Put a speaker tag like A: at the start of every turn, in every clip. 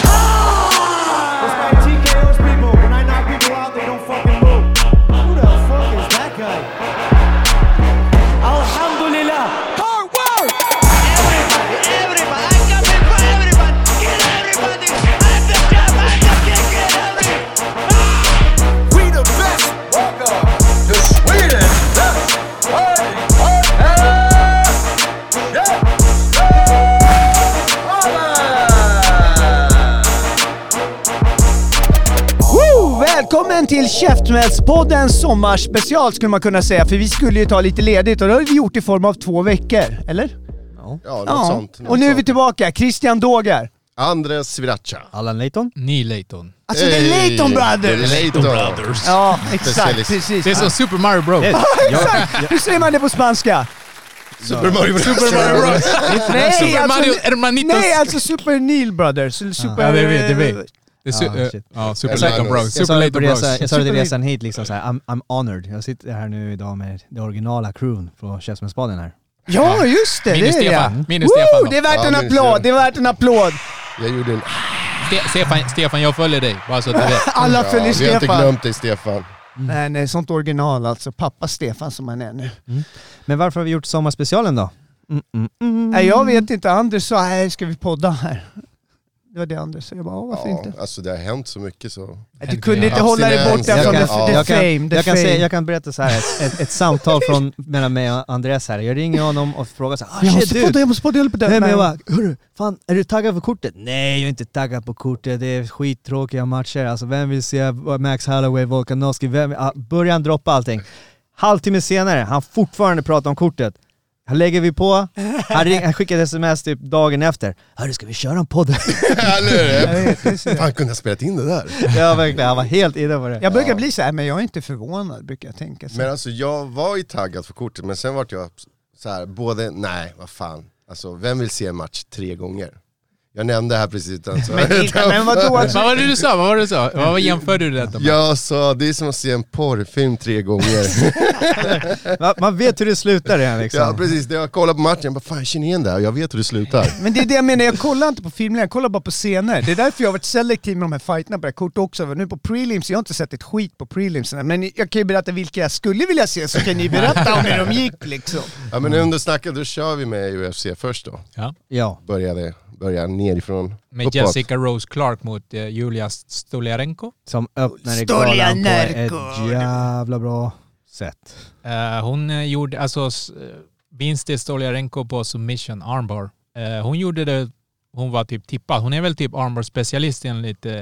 A: time!
B: Like TKO's people, when I knock people out, they don't fucking move. Who the fuck is that guy?
A: Alhamdulillah. Hard work!
C: We the best. Welcome. The Sweden. Best. Party. Party. Yeah. Holla!
D: Woo! Välkommen till Käftsmällspoddens sommarspecial skulle man kunna säga, för vi skulle ju ta lite ledigt och det har vi gjort i form av två veckor, eller?
E: Ja, något sånt.
D: och nu är vi tillbaka, Christian Dågar.
E: Andres Sriracha.
F: Allan Leighton?
G: Ni Layton.
D: Alltså det är Leighton Brothers!
E: Leighton Brothers.
D: Ja, exakt,
E: Specialist.
D: precis.
G: Det är som Super Mario Bros.
D: Exakt! Hur säger man det på spanska?
E: Super Mario Super Mario Bros.
D: Nej,
G: Super Mario Hermanitos.
D: nej, alltså Super Neil Brothers. Eller super...
G: Ja, det vet, det vet. Det är su-
F: Ja,
G: eh,
F: shit.
G: ja, Super
E: Jag sa-
G: Layton Bros.
F: Jag
G: Super
F: sa det på
G: Layton Bros.
F: resa, jag sa det till
D: Super-
F: resan hit liksom såhär, I'm, I'm honored. Jag sitter här nu idag med det originala crewn från Käftsmällsbaden här.
D: Ja, just det.
G: Minus
D: det är
G: Stefan.
D: jag.
G: Minus
D: Woo,
G: Stefan då.
D: Det är värt
E: Ja,
D: en
E: minus
D: applåd,
E: Stefan.
D: det är värt en applåd.
E: Jag gjorde en...
G: Ste- Stefan, Stefan, jag följer dig. Bara så att du vet.
D: Alla
E: Ja,
D: följer
E: vi har inte
D: Stefan.
E: glömt dig Stefan.
D: Nej, nej, sånt original alltså. Pappa Stefan som han är nu.
F: Men varför har vi gjort sommarspecialen då? Mm, mm, mm.
D: Nej, jag vet inte. Anders sa, nej, ska vi podda här? Det var det Anders sa. Jag bara, "Ja, varför
E: Ja,
D: inte?
E: alltså det har hänt så mycket så...
D: Du kunde inte hålla dig borta
E: Jag
D: från
E: kan-
D: the,
E: ja.
D: the
F: jag, kan,
D: fame. The
F: jag, kan
D: fame.
F: säga, jag kan berätta så här ett, ett, ett samtal från, mellan mig och Andres här. Jag ringer honom och frågar så här,
D: jag
F: ah, shit
D: måste podda,
F: du!
D: jag måste podda, jag håller på att dö.
F: Nej men jag
D: Nej.
F: bara, hörru, fan är du taggad för kortet? Nej jag är inte taggad på kortet, det är skittråkiga matcher. Alltså vem vill se Max Holloway, Volkanovski, vem ah, Börjar han droppa allting. Halvtimme senare, han fortfarande pratar om kortet. Han lägger vi på, han, ring, han skickar ett sms typ dagen efter. Hörru ska vi köra en podd?
E: Eller hur? Fan kunde jag spelat in det där?
F: ja verkligen, han var helt inne på det.
D: Jag brukar bli så här, men jag är inte förvånad brukar jag tänka. Så.
E: Men alltså jag var ju taggad för kortet men sen vart jag så här, både, nej vad fan. Alltså vem vill se en match tre gånger? Jag nämnde det här precis alltså.
D: Men, inte, men vadå? Alltså,
G: Vad var det du sa? Vad var det du sa? Vad jämförde du detta med?
E: Jag sa det är som att se en porrfilm tre gånger.
F: Man, man vet hur det slutar redan liksom.
E: ja precis, jag kollade på matchen, bara, fan jag känner igen det här och jag vet hur det slutar.
D: Men det är det jag menar, jag kollar inte på filmer, jag kollar bara på scener. Det är därför jag har varit selektiv med de här fighterna på det här kortet också. Nu på prelims, jag har inte sett ett skit på prelimsen. Men jag kan ju berätta vilka jag skulle vilja se, så kan ni berätta om hur de gick liksom.
E: Ja men under snacket då kör vi med UFC först då.
F: Ja.
E: Började, börja nerifrån
G: Med
E: uppåt.
G: Jessica Rose Clark mot eh, Julia Stolarenko.
F: Som öppnade
D: Stolja
F: galan på
D: Närkor.
F: ett jävla bra sätt.
G: Eh, hon eh, gjorde, alltså s- eh, vinst till Stolarenko på submission armbar. Eh, hon gjorde det, hon var typ tippad. Hon är väl typ armbar-specialist enligt eh,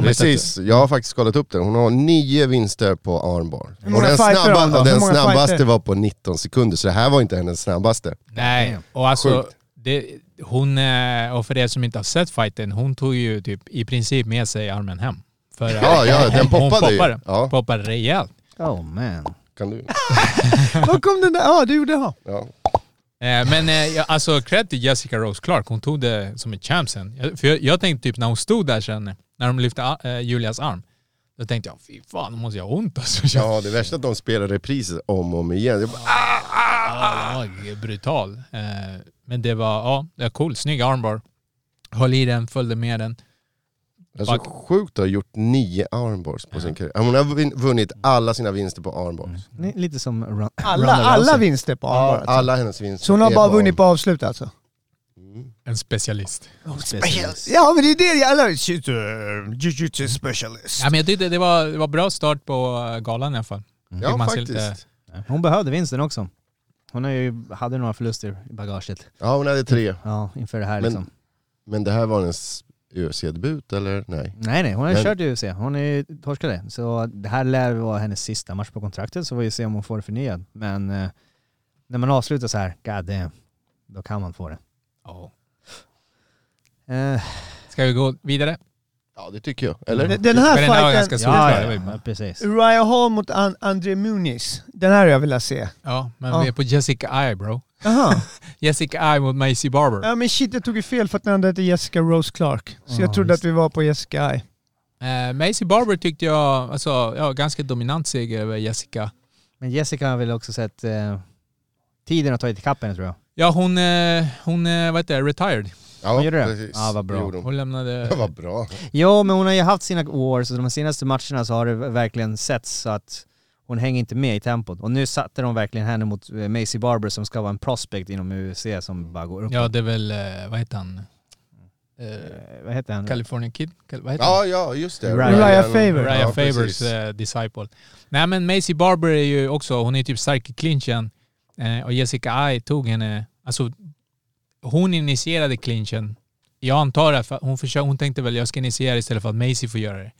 E: Precis, jag har faktiskt kollat upp det. Hon har nio vinster på armbar.
D: många
E: Och den,
D: fighter har hon då?
E: snabba, och
D: Hur
E: den
D: många
E: snabbaste
D: fighter?
E: var på 19 sekunder, så det här var inte hennes snabbaste.
G: Nej, och alltså
E: Sjukt.
G: det, hon, eh, och för er som inte har sett fighten, hon tog ju typ i princip med sig armen hem. För eh,
E: Ja, ja, den
G: hon
E: poppade ju.
G: poppade,
E: Ja.
G: poppade rejält.
F: Oh man.
E: Kan du?
D: Var kom den där? Ja, det gjorde jag.
E: Ja.
G: Eh, Men eh, jag- alltså cred till Jessica Rose Clark, hon tog det som ett champ sen. Jag, för jag, jag tänkte typ när hon stod där sen, när de lyfte a- eh, Julias arm, då tänkte jag fy fan, hon måste jag ha ont alltså.
E: ja, det värsta är att de spelar repriser om och om igen. Jag bara,
G: Ja, den Ah, var brutal. Eh, Men det var, ja, det var cool. Snygg armbar. Höll i den, följde med den.
E: alltså, sjukt att ha gjort nio armbars på sin karriär. Hon har vun- vunnit alla sina vinster på armbars.
D: Mm.
F: Ni- Lite som Ron-
D: Alla,
F: Ronda
D: alla
F: Rousey.
D: vinster på armbar. alltså.
E: Alla hennes vinster
D: Så hon har
E: är
D: bara vunnit på avslut alltså?
G: En specialist.
F: Specialist.
D: Ja men det är det jag alla... Shit, eh, Jiu-jitsu specialist.
G: Ja, men jag tyckte det var, det var bra start på eh, galan i alla fall. Fick
E: Ja,
G: man se
E: faktiskt.
G: lite-
F: Hon behövde vinsten också. Hon har ju, hade några förluster i bagaget
E: Ja, hon hade tre.
F: ja, inför det här
E: Men-
F: liksom.
E: Men det här var hennes UFC-debut, eller? Nej.
F: Nej nej, hon har ju
E: Men-
F: kört i UFC. Hon är ju torskade. Så det här lär vara hennes sista match på kontraktet så får vi se om hon får det förnyad. Men eh, när man avslutar så här, god damn, då kan man få det.
G: Ja.
F: Eh,
G: Ska vi gå vidare?
E: Ja, det tycker jag. Eller?
D: Mm. Den- Den här
G: Men den här var
D: fighten,
G: ganska solklar.
F: ja,
G: det var
F: ja,
G: ju bra.
F: ja, precis.
D: Uriah Hall mot An- André Muniz. Den här har jag velat se.
G: Ja, men
D: Ja.
G: vi är på Jessica I bro.
D: Jaha.
G: Jessica I mot Macy Barber.
D: Ja men shit jag tog ju fel för att den andra hette Jessica Rose Clark. Så jag trodde att vi var på Jessica I.
G: Eh, Macy Barber tyckte jag, alltså, ja, ganska dominant seger över Jessica.
F: Men Jessica har väl också sett... Eh, tiden har tagit ikapp henne tror jag.
G: Ja, hon, eh, hon eh, vad heter det, retired.
E: Ja,
F: Hon gjorde det?
E: precis.
F: Ja, vad bra.
E: gjorde hon.
G: Hon lämnade...
E: Ja, vad bra.
F: Jo, men hon har ju haft sina år, så de senaste matcherna så har det verkligen setts så att hon hänger inte med i tempot. Och nu satte de verkligen henne mot eh, Macy Barber som ska vara en prospect inom UFC som bara går upp.
G: Ja, det är väl, eh, vad heter han? Eh,
F: Eh, vad heter han?
G: California Kid? Cal- vad heter
E: Ja, ja, just det.
F: Ryan.
D: Ryan Faber.
G: Raya
E: Ja, precis.
G: Favors eh, disciple. Nej men Macy Barber är ju också, hon är typ stark i clinchen. Eh, och Jessica Ai tog henne, alltså hon initierade clinchen. Jag antar att hon, försökte, hon tänkte väl jag ska initiera istället för att Macy får göra det.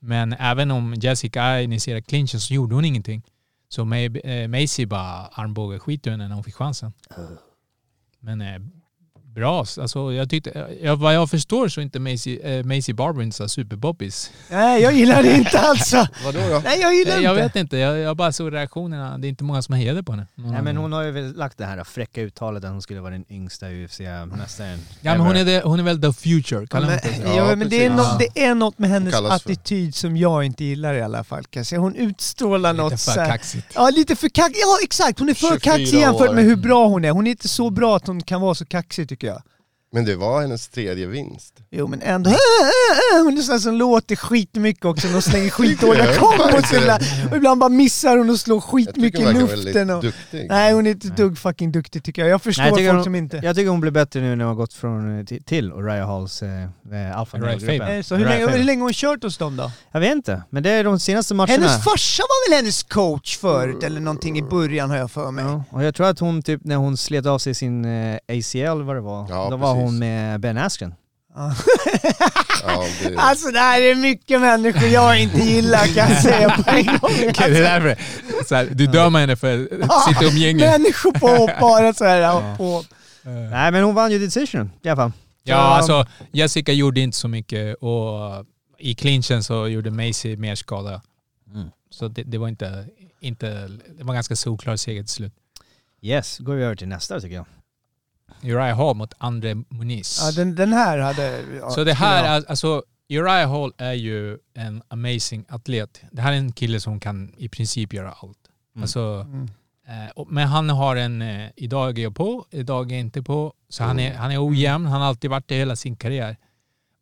G: Men även om Jessica Ai initierade clinchen så gjorde hon ingenting. Så May, eh, Macy bara armbågade skit ur henne när hon fick chansen. Men eh, bra, alltså jag tyckte, jag, vad jag förstår så är inte Macy, eh, Macy Barber inte så här superbobbis.
D: Nej, jag gillar det inte alltså.
E: Vadå då?
D: Nej, jag gillar
G: Eh, Jag,
D: inte.
G: vet inte, jag, jag bara såg reaktionerna. Det är inte många som hejade på henne.
F: Nej men hon har ju väl lagt det här fräcka uttalet att hon skulle vara den yngsta E UFC-mästaren.
G: ja, men hon, är the, hon är väl the future, kallar hon inte
D: Ja, men det, är
E: precis.
D: något, det är något med hennes
E: kallas för.
D: attityd som jag inte gillar i alla fall. Kanske. Hon utstrålar
G: det?
D: något
G: Lite
D: så
G: för
D: här,
G: kaxigt.
D: Ja, lite för kaxig. Ja, exakt. Hon är för
E: 24
D: kaxig jämfört
E: år.
D: med hur bra hon är. Hon är inte så bra att hon kan vara så kaxig tycker jag.
E: Men det var hennes tredje vinst.
D: Jo, men ändå. Hon är sån här som låter skitmycket också när hon slänger skitdåliga
E: Jag
D: kombos.
E: vet inte.
D: Ibland, och ibland bara missar hon och slår
E: Jag tycker
D: skitmycket
E: hon
D: i
E: verkar
D: luften.
E: väldigt
D: Och...
E: duktig.
D: Nej, hon är inte ett dugg fucking duktig tycker jag. Jag förstår
F: jag tycker
D: folk
F: hon-
D: som inte...
F: Jag tycker hon blir bättre nu när hon har gått från, eh, ti- till Oriah Halls eh, eh, alfa
G: Right
F: male-gruppen.
G: Faber.
D: Eh, Så hur,
F: Right
D: länge,
F: Faber.
D: hur länge har hon kört hos dem då?
F: Jag vet inte, men det är de senaste matcherna.
D: Hennes farsa var väl hennes coach förut eller någonting i början har jag för mig.
F: Ja, och jag tror att hon typ när hon slet av sig sin eh, ACL vad det var,
E: Ja,
F: då var
E: precis.
F: hon med Ben Askren.
E: Ja, det,
D: Alltså det här är mycket människor jag inte gillar kan jag säga på en gång.
G: Okej, det är därför. Så här, du dömer henne för sitt umgänge.
D: Människor på hopp bara så här. ja, På.
F: Nej men hon vann ju decision i alla fall.
G: Ja, alltså Jessica gjorde inte så mycket och i clinchen så gjorde Macy mer skada.
F: Mm.
G: Så det, det var inte, inte, det var ganska solklar seger till slut.
F: Yes, går vi över till nästa tycker jag.
G: Uriah Hall mot André Muniz.
D: Ja, den, den här hade... Ja,
G: Så det
D: skulle jag-
G: här, är, alltså Uriah Hall är ju en amazing atlet. Det här är en kille som kan i princip göra allt. Alltså,
D: Mm.
G: eh, och- men han har en, eh, idag är jag på, idag är jag inte på. Så han,
D: Oh.
G: är, han är ojämn, han har alltid varit det hela sin karriär.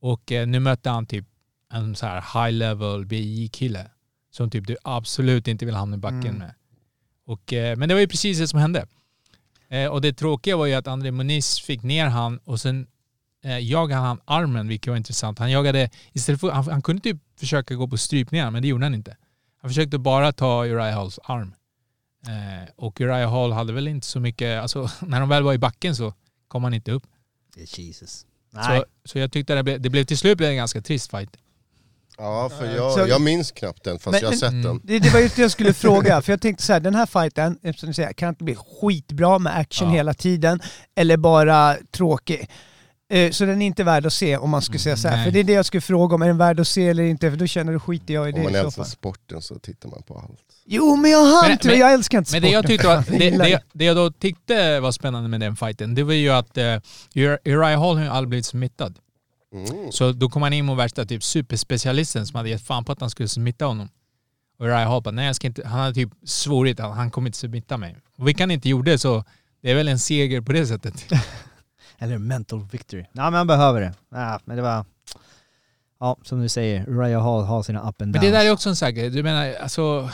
G: Och eh, nu mötte han typ en så här high level BI-kille som typ du absolut inte vill hamna i backen
D: Mm.
G: med. Och, eh, men det var ju precis det som hände. Eh, och det tråkiga var ju att André Muniz fick ner han och sen eh, jagade han armen, vilket var intressant. Han jagade, istället för, han, han kunde typ försöka gå på strypningar, men det gjorde han inte. Han försökte bara ta Uriah Halls arm. Eh, och Uriah Hall hade väl inte så mycket, alltså när de väl var i backen så kom han inte upp.
F: Jesus. Nej.
G: Så, så jag tyckte det, blev- det blev till slut blev det en ganska trist fight.
E: ja, för
D: Så-
E: jag, jag minns knappt den fast
D: Men-
E: jag har sett
G: men-
E: den.
D: Det, det var just det jag skulle fråga, för jag tänkte så här, den här fighten, eftersom du säger, kan inte bli skitbra med action
G: Ja.
D: hela tiden, eller bara tråkig. Eh, Så den är inte värd att se om man skulle säga så här.
G: nej.
D: För det är det jag skulle fråga om, är den värd att se eller inte? För då känner du skiter jag i det
E: Om man alltså
D: i så
E: älskar
D: fall.
E: sporten så tittar man på allt.
D: Jo men jag har
G: Men-
D: inte
G: men-
D: jag älskar inte
G: Men det jag,
D: sporten.
G: tyckte var, det,
D: gillar
G: det, det jag då tyckte var spännande med den fighten, det var ju att eh, Uri- Uriah Hall har ju aldrig blivit smittad.
E: Mm.
G: Så då kom han in mot värsta typ superspecialisten som hade gett fan på att han skulle smitta honom. Och Uriah Hall bara, nej jag ska inte, han hade typ svorit att han kommer inte smitta mig. Och vilket han inte gjorde så det är väl en seger på det sättet.
F: Eller mental victory. Nej men han behöver det. Ja, men det var... Ja, som du säger, Uriah Hall har sina up and
G: Men
F: downs.
G: det där är också en sak, du menar alltså,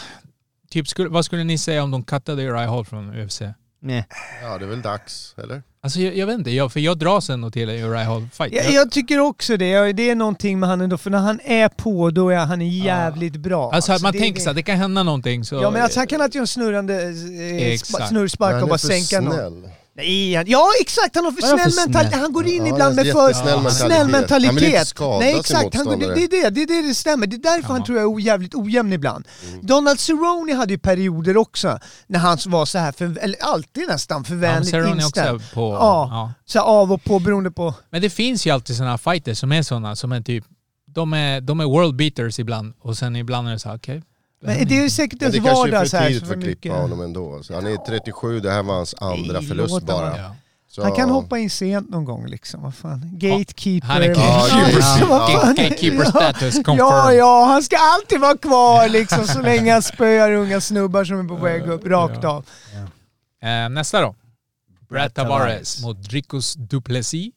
G: typ skulle, vad skulle ni säga om de cuttade Uriah Hall från UFC?
F: Nej.
E: Ja, det är väl dags, eller?
G: Alltså jag, jag vet inte, jag, för jag dras ändå till Uriah Hall fight.
D: Jag, jag tycker också det. Jag- Det är någonting med han ändå, för när han är på då är han jävligt bra.
G: alltså, man
D: det-
G: tänker
D: det-
G: såhär, det kan hända någonting så...
D: Ja men alltså han kan alltid göra en snurrande eh, spa-
G: Exakt.
E: Men
D: snurrspark
E: han
D: och
E: är
D: bara
E: för
D: sänka någon.
E: snäll.
D: Nej, han, ja exakt, han har för
F: Vadå för
D: snäll
F: snäll?
D: mentalitet. Han går in
E: Ja,
D: ibland
E: han
D: med
E: är
D: för
E: jättesnäll
D: snäll
E: mentalitet. Han vill inte
D: mentalitet.
E: skada
D: Nej
E: sin
D: exakt, han går, det,
E: motståndare.
D: det, är det, det är det det stämmer. Det är därför han tror jag är jävligt ojämn ibland.
E: Mm.
D: Donald Cerrone hade ju perioder också när han var så här för, eller alltid nästan, för
G: Ja, men
D: vänligt
G: Cerrone är
D: inställd.
G: också på...
D: Ja.
G: ja.
D: Så här av och på beroende på...
G: Men det finns ju alltid sådana fighter som är sådana som är typ, de är, de är world beaters ibland och sen ibland är det såhär, okej.
D: Men det är ju säkert
E: Men
D: ens
E: det kanske är
D: vardag
E: för
D: så här.
E: tidigt
D: så
E: för att klippa
D: mycket-
E: honom ändå. Så han är 37, det här var hans andra
D: Nej,
E: förlust
D: låt honom.
E: bara.
G: Ja.
E: Så,
D: Han kan hoppa in sent någon gång liksom, vad fan. Gatekeeper.
G: Han är
E: gatekeeper.
D: Ja, alltså, vad fan.
G: Gatekeeper
D: Ja.
G: status confirmed.
D: Ja, ja, han ska alltid vara kvar liksom så länge han spöar unga snubbar som är på väg upp, rakt
G: Ja.
D: av.
G: Eh, nästa då. Brad Tavares
F: Tavares.
G: mot Dricus Duplessis.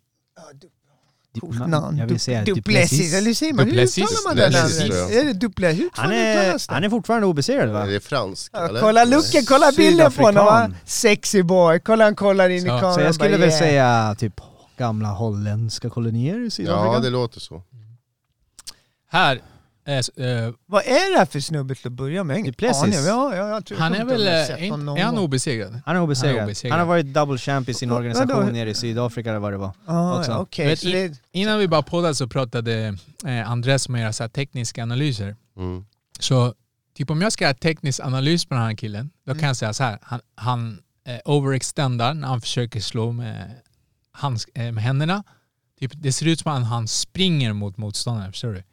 D: Coolt namn.
F: Jag vill säga typ
D: Du- Duplessis, eller hur säger man? Hur
G: Duplessis.
D: uttalar man det
E: Duplessis,
D: namnet?
E: tror jag.
D: Är det Duplessis? Hur fan
F: Han är,
D: uttalas det?
F: han är fortfarande obesegrad va?
E: Är det fransk?
D: Ja,
E: eller?
D: kolla looken, kolla bilden på honom va?
F: Sydafrikan.
D: Sexy boy. Kolla han kollar in i
G: Så-
D: kameran.
F: Så jag skulle
D: bara,
F: väl
D: yeah.
F: säga typ gamla holländska kolonier i Sydafrika.
E: Ja, det låter så.
G: Här. eh, s- eh,
D: Vad är det här för snubbe till att börja med? Jag har ingen
F: Duplessis.
D: aning. Ja, ja, jag tror jag
G: han
D: kommer inte
G: är väl...
D: ihåg att jag
G: eh,
D: sett
G: Är,
D: honom
G: inte-
D: någon
G: är han
D: gång.
G: obesegrad?
F: Han är obesegrad.
G: Han är
F: Han,
G: obesegrad.
F: har varit double champ i sin
D: Vadå?
F: organisation nere i Sydafrika eller vad det var.
D: Ja,
F: också?
D: ja, okej.
G: Vet
D: så
G: i-
D: det,
G: Innan vi bara poddade så pratade eh, Andres med era så här tekniska analyser.
E: Mm.
G: Så typ om jag ska göra teknisk analys på den här killen, då kan jag säga så här. Han, han eh, overextendar när han försöker slå med, hands, eh, med händerna. Typ, det ser ut som att han, han springer mot motståndaren, förstår du?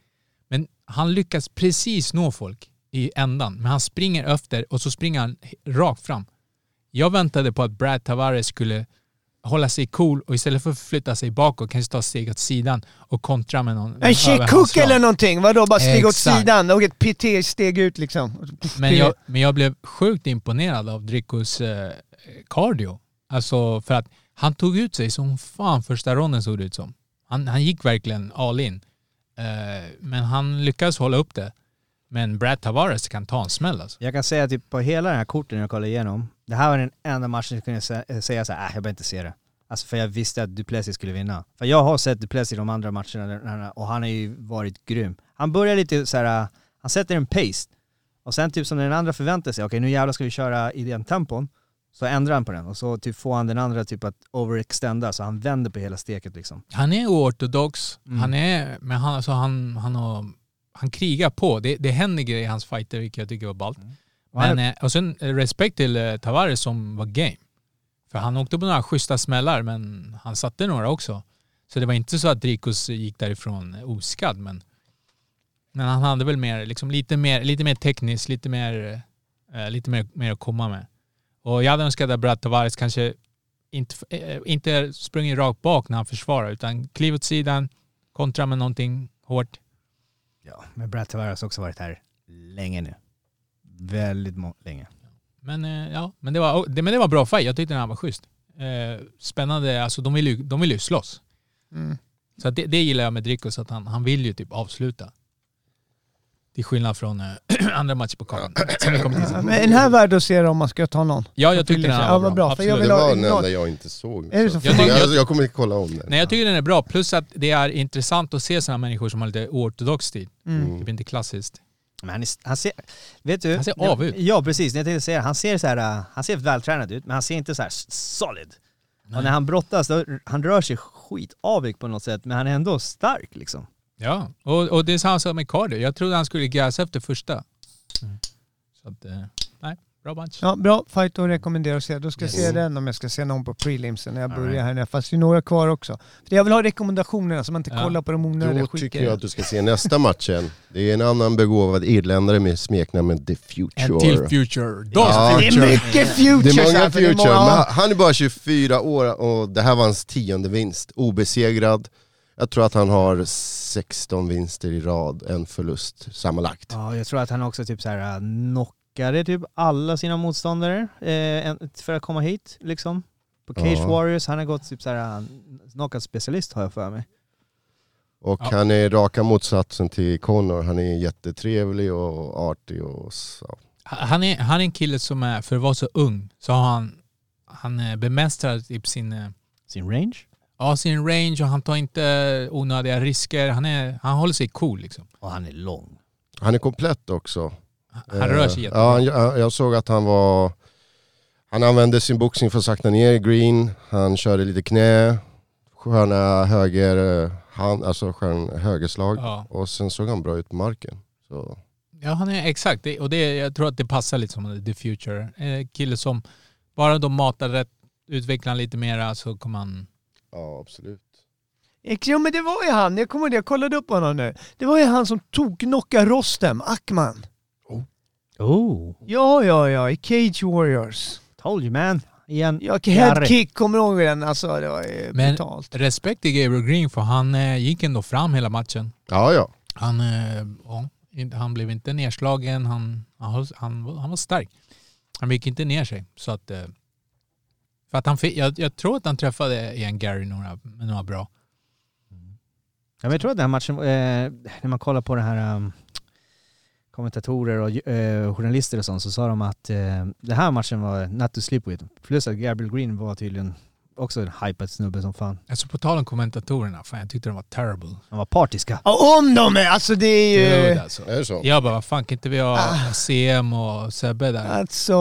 G: Men han lyckas precis nå folk i ändan, men han springer efter och så springer han he- rakt fram. Jag väntade på att Brad Tavares skulle hålla sig cool och istället för att flytta sig bakåt kanske ta steg åt sidan och kontra med någon.
D: en kickhook
G: överhandslag.
D: eller någonting, vadå? Bara steg åt
G: Exakt.
D: sidan och ett PT-steg ut liksom.
G: Men jag, men jag blev sjukt imponerad av Dricos eh, cardio. Alltså för att han tog ut sig som fan första ronden såg det ut som. Han, han gick verkligen all in. Eh, men han lyckades hålla upp det. Men Brad Tavares kan ta en smäll alltså.
F: Jag kan säga typ på hela den här korten jag kollade igenom, det här var den enda matchen jag kunde sä- eh, säga såhär, äh, jag behöver inte se det. Alltså för jag visste att Duplessis skulle vinna. För jag har sett Duplessis i de andra matcherna där- där- och han har ju varit grym. Han börjar lite såhär, äh, han sätter en pace. Och sen typ som den andra förväntar sig, okej nu jävlar ska vi köra i den tempon. Så ändrar han på den och så typ får han den andra typ att overextenda så han vänder på hela steket liksom.
G: Han är oortodox, han är, men han, alltså, han, han, har, han krigar på. Det, det händer grejer i hans fighter vilket jag tycker var ballt. Men, eh, och sen eh, respekt till eh, Tavares som var game. För han åkte på några schyssta smällar men han satte några också. Så det var inte så att Dricus gick därifrån eh, oskadd men, men han hade väl mer, liksom, lite mer, lite mer tekniskt, lite mer, eh, lite mer, mer att komma med. Och jag hade önskat att Brad Tavares kanske inte, eh, inte sprungit rakt bak när han försvarar utan kliv åt sidan, kontra med någonting hårt.
F: Ja, men Brad Tavares har också varit här länge nu. Väldigt må- länge.
G: Men, eh, ja, men, det var, det, men det var bra fight. Jag tyckte den här var schysst. Eh, spännande. Alltså, de vill ju, de vill ju slåss.
D: Mm.
G: Så att det, det gillar jag med Dricus, att han, han vill ju typ avsluta. Till skillnad från eh, andra matcher på kartan. Som vi kommer till sen.
D: Men en här värd att se om man ska ta någon.
G: Ja, jag tyckte den här
D: Ja, vad bra, för jag
G: Absolut.
E: Det
D: vill ha-
E: var den
D: något-
E: enda jag inte såg.
D: Är det
E: så.
D: så?
G: Jag tycker-
E: Jag, jag kommer inte kolla om den.
G: Nej, jag tycker den är bra. Plus att det är intressant att se sådana människor som har lite oortodox stil.
D: Mm.
G: Typ inte klassiskt.
F: Men han, är, han ser, vet du?
G: Han ser av ut.
F: Ja precis, jag tänkte säga det. han ser så här, äh, han ser vältränad ut men han ser inte så här s- solid. Och när han brottas, då, han rör sig skitavig på något sätt men han är ändå stark liksom.
G: Ja, och, och det är samma sak med Cardio. Jag trodde han skulle gasa efter första.
D: Mm.
G: Så att, eh, nej, bra match.
D: Ja, bra fight att rekommendera att se. Då ska jag se
E: Yes.
D: den om jag ska se någon på prelimsen när jag börjar här nu. Fast det är några kvar också. För jag vill ha rekommendationerna så man inte
G: Ja.
D: kollar på de onödiga
E: Då tycker jag
D: skitgrejerna.
E: att du ska se nästa matchen. Det är en annan begåvad irländare med smeknamnet The
G: En till
E: Future.
G: future. Dos
E: Ja.
D: Det är
G: future.
D: mycket
E: Det
D: futures
E: är många
D: här, för det
E: future,
D: många-
E: men han är bara 24 år och det här var hans tionde vinst. Obesegrad. Jag tror att han har 16 vinster i rad, en förlust sammanlagt.
F: Ja, jag tror att han också typ så här äh, knockade typ alla sina motståndare eh, en- för att komma hit liksom. På Cage
E: Ja.
F: Warriors, han har gått typ så här äh, knockout specialist har jag för mig.
E: Och
G: Ja.
E: han är raka motsatsen till Connor. Han är jättetrevlig och artig och så.
G: Han är, han är en kille som är, för att vara så ung, så har han, han eh, bemästrar typ sin, eh,
F: Sin range?
G: ja, sin range och han tar inte onödiga risker. Han, är, han håller sig cool liksom.
F: Och han är lång.
E: Han är komplett också.
G: Han
E: Eh,
G: rör sig
E: Ja,
G: jättebra.
E: han- jag, jag såg att han var... Han använde sin boxning för att sakta ner green. Han körde lite knä, sköna höger, eh, hand, alltså skön högerslag.
G: Ja.
E: Och sen såg han bra ut på marken. Så.
G: Ja, han är exakt. Det, och det, jag tror att det passar lite som the future. Eh, kille som, bara de matar rätt, utvecklar han lite mera så kommer han...
E: Ja, absolut.
D: Jo men det var ju han, jag kommer ihåg det, jag kollade upp honom nu. Det var ju han som tog knocka Rostem, Ackman.
F: Oh!
D: Ja, ja, ja, i Cage Warriors.
F: Told you man! igen.
D: Jag
F: Jarry.
D: headkick, kommer du ihåg den? Alltså det var eh,
G: Men-
D: brutalt.
G: Respekt till Gabriel Green för han eh, gick ändå fram hela matchen.
E: Ja, ja.
G: Han, eh, ja, inte- han blev inte nedslagen, han, han, höll- han, var- han var stark. Han gick inte ner sig. Så att, eh, för att han fick, jag, jag tror att han träffade igen Gary några, några bra.
F: Ja, men jag tror att den här matchen, eh, när man kollar på den här um, kommentatorer och eh, journalister och sånt så sa de att eh, den här matchen var not to sleep with. Plus att Gabriel Green var tydligen också en hypad snubbe som fan.
G: Alltså på tal om kommentatorerna, fan jag tyckte de var terrible.
F: De var partiska.
D: Ja, om de är! Alltså det är ju...
G: Dude, alltså.
E: Är det så?
G: Jag bara, vad fan kan inte vi ha CM och Sebbe där?
D: Alltså...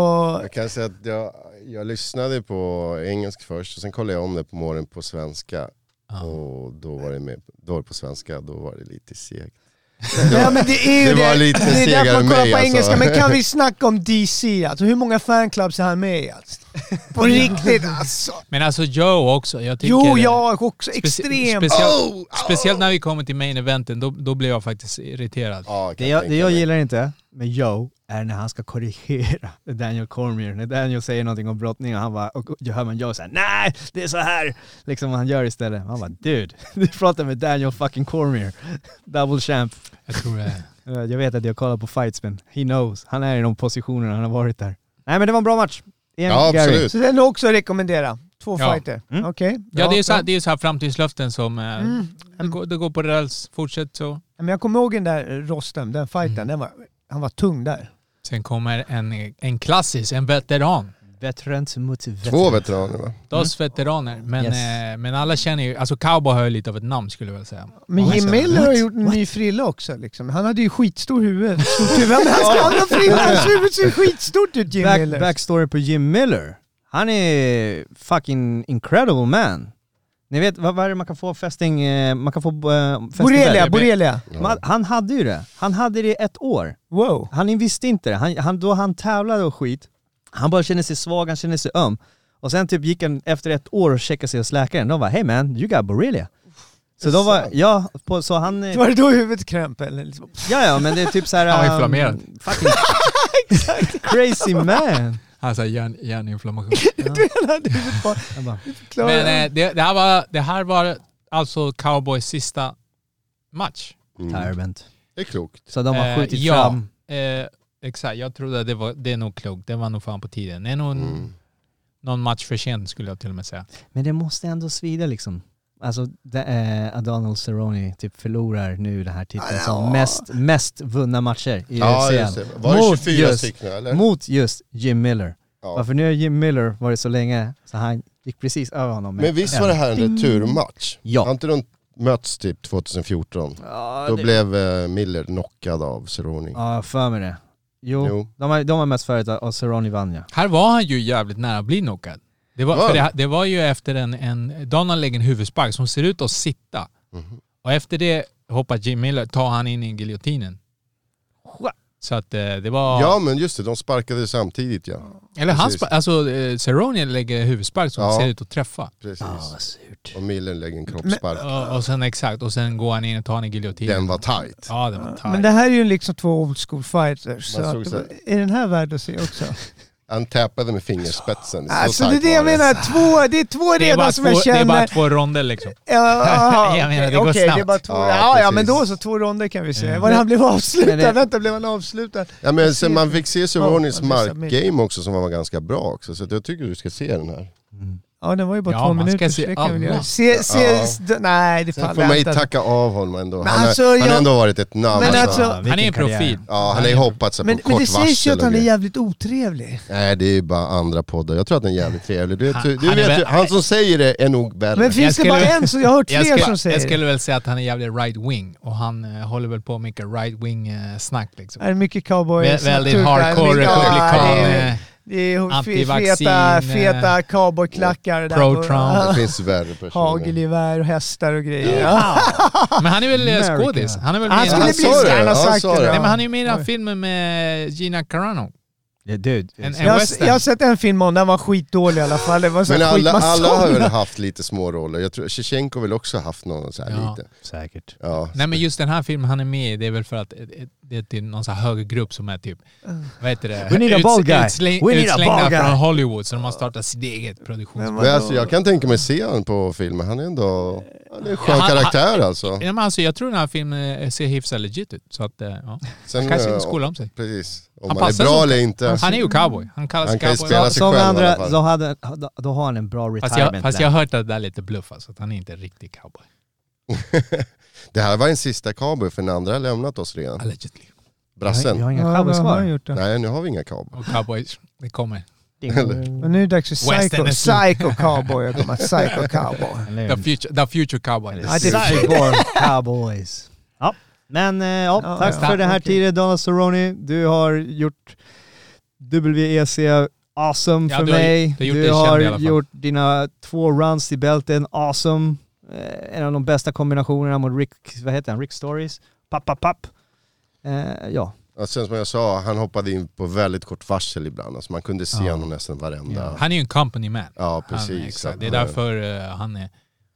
E: Jag kan säga att jag, jag lyssnade på engelsk först och sen kollade jag om det på morgonen på svenska.
G: Ja.
E: Och då var det, med, då var det på svenska, då var det lite segt.
D: Ja, men det är ju
E: Det
D: det.
E: var lite
D: det är därför
E: segare
D: man
E: än
D: kollar
E: mig,
D: på
E: alltså.
D: engelska. Men kan vi snacka om DC? Alltså, hur många fanclubs är han med i? Alltså? På riktigt alltså.
G: Men alltså Joe också. Jag tycker
D: Jo, jag också. Extremt.
E: Oh!
G: Speciellt,
F: Oh,
G: speciellt när vi kommer till main eventen, då, då blev jag faktiskt irriterad.
E: Ja, kan
F: Det jag,
E: tänka
F: det jag
E: mig.
F: gillar inte med Joe är när han ska korrigera Daniel Cormier. När Daniel säger någonting om brottning och han bara, och och hör man Joe säga nej det är så här. Liksom vad han gör istället. Man bara dude, du pratar med Daniel fucking Cormier. Double champ.
G: Jag tror det.
F: Eh, Jag vet att jag kollar på fights men he knows. Han är i de positionerna, han har varit där. Nej men det var en bra match. Igen,
E: Ja,
F: Gary.
E: absolut.
D: Så den är också att rekommendera. Två
G: Ja.
D: fighter.
F: Mm.
D: Okej.
G: Ja, det är ju så här, det är ju så här framtidslöften som... eh,
D: Mm.
G: Det, går, det går på räls, fortsätt så.
D: Men jag kommer ihåg den där Rostem, den fighten.
G: Mm.
D: Den var, han var tung där.
G: Sen kommer en, en klassisk, en veteran.
F: Veterans mot veterans.
E: Två veteraner va?
G: Dos veteraner. Men,
F: Yes.
G: eh, men alla känner ju... Alltså Cowboy har ju lite av ett namn skulle jag vilja säga.
D: Men
G: Om man
D: Jim
G: säger-
D: Miller har gjort en ny frilla också. Liksom. Han hade ju skitstor huvud. Stort huvud. Men han ska ha frilla. Hans huvud ser skitstort ut, Jim
F: Back,
D: Miller.
F: backstory på Jim Miller. Han är fucking incredible man. Ni vet, vad, vad är det man kan få fästing... eh, Man kan få eh, fästing
D: Borrelia,
F: där?
D: borrelia.
F: Man, han hade ju det. Han hade det i ett år.
D: Wow.
F: Han visste inte det. Han, han, då han tävlade och skit, han bara kände sig svag, han kände sig öm. Och sen typ gick han efter ett år och checkade sig hos läkaren. De var hey man, you got borrelia. Så de var, ja, på, så han... eh,
D: Var det då huvudet krömp eller? Liksom.
F: Ja, ja, men det är typ så här...
G: Han var
F: um,
G: inflammerad.
F: fucking crazy man.
G: Alltså hjärn, hjärninflammation.
F: Jag bara,
D: Klara.
G: Men eh, det, det, här var, det här var alltså Cowboys sista match.
E: Mm.
F: Tyrant.
E: Det är klokt.
F: Så de har
G: Eh,
F: skjutit
G: ja.
F: fram...
G: Eh, exakt, jag trodde att det var, det är nog klokt. Det var nog fan på tiden. Det är nog
E: Mm.
G: någon match för sent skulle jag till och med säga.
F: Men det måste ändå svida liksom. Alltså det, eh, Adonal Cerrone typ förlorar nu den här titeln som mest, mest vunna matcher i
E: Ja,
F: UFC.
E: just det. Var det
F: Mot
E: 24
F: just-
E: stycken eller?
F: Mot just Jim Miller.
E: Ja.
F: Varför nu har Jim Miller varit så länge så han gick precis över honom. med
E: Men visst
F: en.
E: var det här en returmatch?
F: Ja.
E: Har inte de mötts typ 2014?
F: Ja,
E: Då
F: det-
E: blev eh, Miller knockad av Cerrone.
F: Ja, jag har för mig det. Jo,
E: Jo.
F: De, har, de har mest förut och Cerrone vann ja.
G: Här var han ju jävligt nära att bli knockad. Det var,
E: Var
G: för det,
E: han?
G: det var ju efter en, en Donald lägger en huvudspark som ser ut att sitta. Och efter det hoppar Jim Miller, tar han in i giljotinen. Så att eh, det var...
E: Ja men just det, de sparkade samtidigt ja.
G: eller han
E: precis.
G: spa- alltså eh, Cerrone lägger en huvudspark som
E: Ja.
G: ser ut att träffa.
E: Precis.
F: surt.
E: Och Miller lägger en kroppsspark.
G: Och, och sen exakt, och sen går han in och tar han i giljotinen.
E: Den var tight.
G: Ja, den var tight.
D: Men det här är ju liksom två old school fighters. Så
E: Man
D: att,
E: såg så här.
D: är den här värd att se också?
E: Han tappade med fingerspetsen. Så
D: Alltså det är
E: tight
D: det jag
E: var
D: menar, två, det är två
G: Det är,
D: redan
G: bara
D: som
G: två,
D: jag
G: det är
D: känner.
G: bara två ronder liksom.
D: Ja,
G: Jag menar, det
D: okej,
G: går
D: okej, är
G: snabbt.
D: bara två.
E: Ja,
D: Ja, ja,
E: precis.
D: men då så, två ronder kan vi se.
G: Mm.
D: Var det han blev avslutad?
F: Men det-
D: Vänta, blev han avslutad?
E: Ja, men sen man fick se Cerrones
D: Ja, man fick se
E: markgame också som var ganska bra också. Så att jag tycker du ska se den här.
D: Ja, den var ju bara
G: Ja,
D: två
G: man ska
D: minuter.
G: se
D: så det kan vi
G: alla.
D: göra. Se, se,
E: Ja.
D: st- nej det
E: Sen
D: fan
E: får man ju
D: vänta.
E: tacka av honom ändå.
D: Men
E: Han,
D: alltså,
E: har, han har
D: jag-
E: ändå varit ett namn.
D: Men
E: alltså.
D: alltså-
F: Ja, vilken
G: Han är en
F: karriär.
G: profil.
E: ja, han har ju hoppat sig på
D: Men,
E: kort
D: men det sägs ju
E: varsel
D: att han
E: och
D: är
E: grejer.
D: jävligt otrevlig.
E: Nej det är ju bara andra poddar. Jag tror att den är jävligt trevlig. Du,
G: Han-
E: du, du
G: han är
E: vet
G: väl-
E: ju, han som säger det är nog värre.
D: Men finns det
G: skulle-
D: bara en? Så jag har hört
G: Jag
D: fler
G: skulle,
D: som säger
G: jag
D: det.
G: skulle väl säga att han är jävligt right-wing och han eh, håller väl på mycket right-wing eh, snack liksom.
D: Är det mycket cowboy?
G: Vä- väldigt hardcore republikan, eh,
D: Det är fe-
G: antivaccin,
D: feta,
G: eh,
D: feta cowboyklackar. där
G: pro
D: på-
G: Trump.
E: Det finns värre personer.
D: Hagelgevär och hästar och grejer. Ja.
G: Men han är väl eh,
F: America.
G: skådis? Han är väl
D: Ah, Han
G: med i-
D: skulle
E: han
D: bli-
E: sa det.
D: han har
E: han
D: sagt
E: sa
D: det.
E: det.
G: Nej, men han är ju med i den här
D: Oj.
G: filmen med Gina Carano.
F: Ja, dude.
G: En, en
D: Jag, har-
G: western.
D: jag har sett en film om den var skitdålig i alla fall. Det var så
E: Men
D: här
E: alla,
D: skitmassa
E: alla har väl
D: sådana.
E: haft lite små roller. Jag tror Shevchenko har väl också haft någon så här
G: Ja.
E: lite.
F: Säkert.
E: Ja.
G: Nej men just den här filmen han är med i, det är väl för att eh, eh, det är till någon sån här högergrupp som är typ,
D: Uh.
G: vad heter det?
F: We need a
G: Uts-
F: ball guy.
G: utsläng-
F: We need a
G: utslängda
F: ball guy.
G: från Hollywood, så de har startat sitt eget produktions...
E: Men alltså, jag kan tänka mig se honom på filmen. Han är ändå... Han är en skön
G: Han- han-
E: karaktär alltså.
G: Ja, men alltså, jag tror den här filmen eh, ser hyfsat legit ut. Så att, eh, ja.
E: Sen,
G: Kanske
E: eh,
G: inte skola om sig.
E: Precis. Om han,
G: Han
E: är
G: passar
E: bra
G: som-
E: eller inte.
G: Han är ju cowboy. Han kallas
E: Han kan ju
G: cowboy.
E: spela sig
F: Som
E: själv i alla
F: andra,
E: fall.
F: så hade, då, då har han en bra
G: Fast jag,
F: retirement
G: fast
F: plan.
G: jag har hört att det är lite bluff alltså, att han är inte är riktig cowboy.
E: Det här var en sista cowboy för den andra har lämnat oss redan.
G: Allegedly.
E: Brassen.
F: Jag har inga
D: Ja,
F: cowboys
D: vad har han
F: kvar.
D: gjort då?
E: Nej, nu har vi inga cowboys.
G: Och cowboys, det kommer.
D: Men nu är det dags för Psycho,
G: Western är slut.
D: psycho Cowboy att komma. Psycho Cowboy.
G: The future, the future cowboy.
D: Ja, det Mm. är-
F: Cyborg Cowboys. Ja, men eh, ja,
D: Ja,
F: tack
D: ja.
F: för den här
D: Okej.
F: tiden Donald Cerrone. Du har gjort WEC awesome
G: Ja,
F: för
G: du har-
F: mig.
G: du har gjort
F: du
G: dig känd i
F: har
G: alla fall.
F: gjort dina två runs i bälten awesome. Eh, en av de bästa kombinationerna mot Rick, vad heter han, Rick Stories. Papp, papp, papp. Eh, ja,
E: Och sen som jag sa, han hoppade in på väldigt kort varsel ibland. Alltså man kunde se
G: Ja.
E: honom nästan varenda... Ja,
G: Han är ju en company man. Han,
E: precis.
G: är-
E: Så
G: exakt. Det är
E: att,
G: därför eh, han är,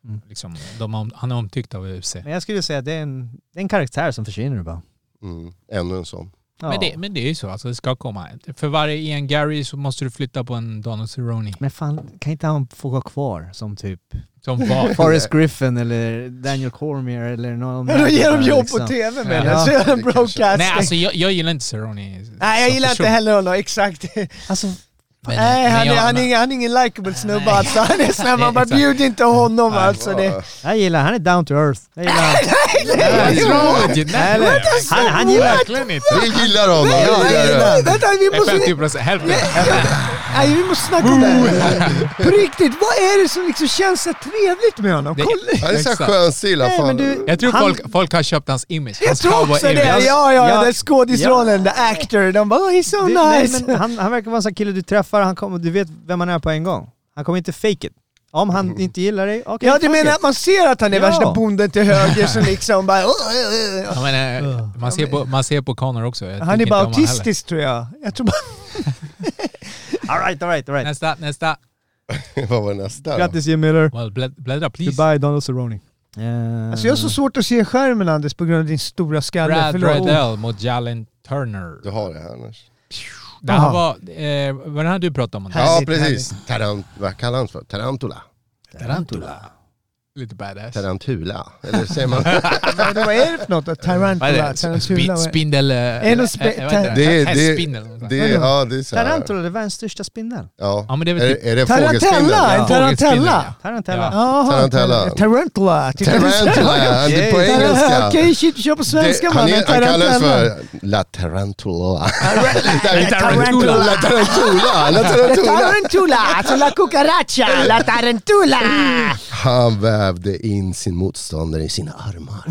F: Mm.
G: liksom, de, har om- han är omtyckt av UFC.
F: men jag skulle säga att det är en, det är en karaktär som försvinner bara.
E: Mm, ännu en sån.
F: Ja.
G: Men, det, men det är ju så, alltså, det ska komma. För varje Ian Gary så måste du flytta på en Donald Cerrone.
F: men fan, kan inte han få vara kvar som typ
G: Som var.
F: Forrest Griffin eller Daniel Cormier eller någon
D: Men då ger de jobb på
F: liksom.
D: tv med
G: Ja.
D: det, så gör de
E: Det kanske-
D: broadcasting.
G: Nej, alltså jag, jag gillar inte Cerrone.
D: Nej, jag gillar inte heller honom, exakt.
F: Alltså,
G: Men-
D: Nej,
G: men
D: han, är,
G: jag-
D: han, är
G: men-
D: ingen, han är ingen likable snubbe
G: Nej.
D: alltså. Han är snäll, man
G: Nej,
D: bara
G: exakt.
D: bjud inte honom alltså. Det.
F: jag gillar han är down to earth. Jag gillar han.
G: What's wrong with you? Nej,
F: Eller,
D: alltså,
F: han, han gillar...
G: verkligen inte.
E: Vi gillar honom!
D: Nej,
E: vi
D: nej,
E: gillar
D: nej,
E: honom.
D: vänta, vi måste,
G: 50 procent, hälften.
D: nej, vi måste snacka om det här. På riktigt, vad är det som liksom känns så trevligt med honom?
G: Det-
D: Kolla.
E: Han är så här
G: Exakt.
E: skön stil.
F: Nej,
E: fan.
F: men du-
G: Jag tror
F: Han-
G: folk, folk har köpt hans image.
D: Jag
G: hans Alltså,
D: tror också
G: cowboy-image.
D: det! Ja, ja,
F: Ja.
D: den skådisrollen, the actor. De bara oh, he's so
F: Du, nej,
D: nice.
F: men han, han verkar vara en sån kille du träffar, han kommer, du vet vem han är på en gång. Han kommer inte fake it. Om han
G: Mm.
F: inte gillar dig, okej.
D: ja, du
F: fuck
D: menar
F: it.
D: att man ser att han är
F: Ja.
D: värsta bonden till höger som liksom bara... "Åh, åh, åh."
G: Ja, men, eh, man, ser på, man ser på Connor också. Jag
D: Han
G: tycker
D: är
G: inte
D: bara
G: om han heller.
D: autistisk tror jag. Jag tror bara...
F: All right, all right, all right.
G: Nästa, nästa.
E: Vad var nästa då?
F: Grattis Jim Miller.
G: Well, blä- bläddra please.
F: Goodbye Donald Cerrone. Uh,
D: Alltså jag
E: Mm.
D: har så svårt att se skärmen Anders på grund av din stora skalle.
G: Brad
D: Förlåt.
G: Riddell mot Jalen Turner.
E: Du har det här annars.
G: Det här
D: Aha.
G: var, eh, vad den här du pratade om?
E: Ja,
D: Härligt,
E: precis. Tarant, vad kallar han för? Tarantula?
G: Tarantula. Lite badass.
E: Tarantula? Eller säger man?
D: Nej, det- Vad är det för något? då?
G: Vad är
D: Tarantula?
G: det?
D: Tarantula?
G: Spin,
D: vad är-
G: spindel... eh,
D: En och spe-
G: eh, vad heter
E: Det är- det-
G: Hästspindel.
E: Det, ja, det är så här.
F: Tarantula, det var den största spindeln.
E: Ja.
G: Ja, men det är
E: är,
G: väl typ-
E: det- är det fågelspindeln?
D: Tarantella! En
E: Ja.
G: Fågelspindel,
D: tarantella!
F: Tarantella.
G: Ja.
D: Jaha,
E: Tarantella.
D: Tarantula! Titta, du sa-
E: Tarantula! Det är på
D: Tarantella,
E: engelska.
D: Okej, shit, vi kör på svenska
E: Det- han,
D: mannen.
E: är, han kallas
D: Tarantella.
E: för La Tarantula. Tarantula.
G: Tarantula.
E: La Tarantula. La Tarantula.
D: Tarantula! Alltså la cucaracha! La tarantula!
E: Han vävde in sin motståndare i sina armar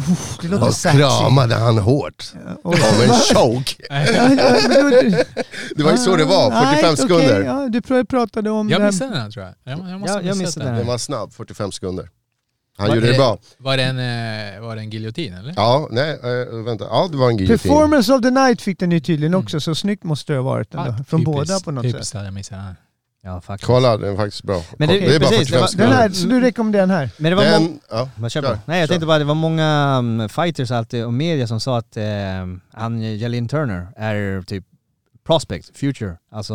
D: Det låter
E: och
D: sexy.
E: kramade han hårt.
D: Och-
E: Som en choke.
D: Ja, ja, men då-
E: Det var ju så det var, 45
D: Right, okej,
E: sekunder.
D: ja, Du pratade om...
G: Jag
D: eh,
G: missade den här tror jag. Jag, jag måste
F: Ja,
G: ha
F: jag
G: missat
F: missade
G: den.
E: Den
F: den.
E: var snabb, 45 sekunder.
G: Var
E: Han gjorde det bra.
G: Var det en, eh, var det en giljotin eller?
E: Ja, nej, eh, vänta. Ja, det var en giljotin.
D: Performance of the night fick den ju tydligen
E: Mm.
D: också, så snyggt måste det ha varit ändå.
G: Ah,
D: Från
G: typiskt,
D: båda på något sätt.
G: Typiskt att jag missade den här.
F: Ja, faktiskt.
E: Kolla, den är faktiskt bra.
F: Men
E: det,
F: det-
E: är bara 45
F: precis, det var-
D: Den
E: sekunder.
D: här, så du rekommenderar den här?
F: Men det var mång-
E: Den, ja.
F: Man kör
E: Kör,
F: på. Nej jag
E: kör.
F: tänkte bara, det var många mm, fighters alltid och media som sa att eh, han Jalin Turner är typ prospect, future. Alltså,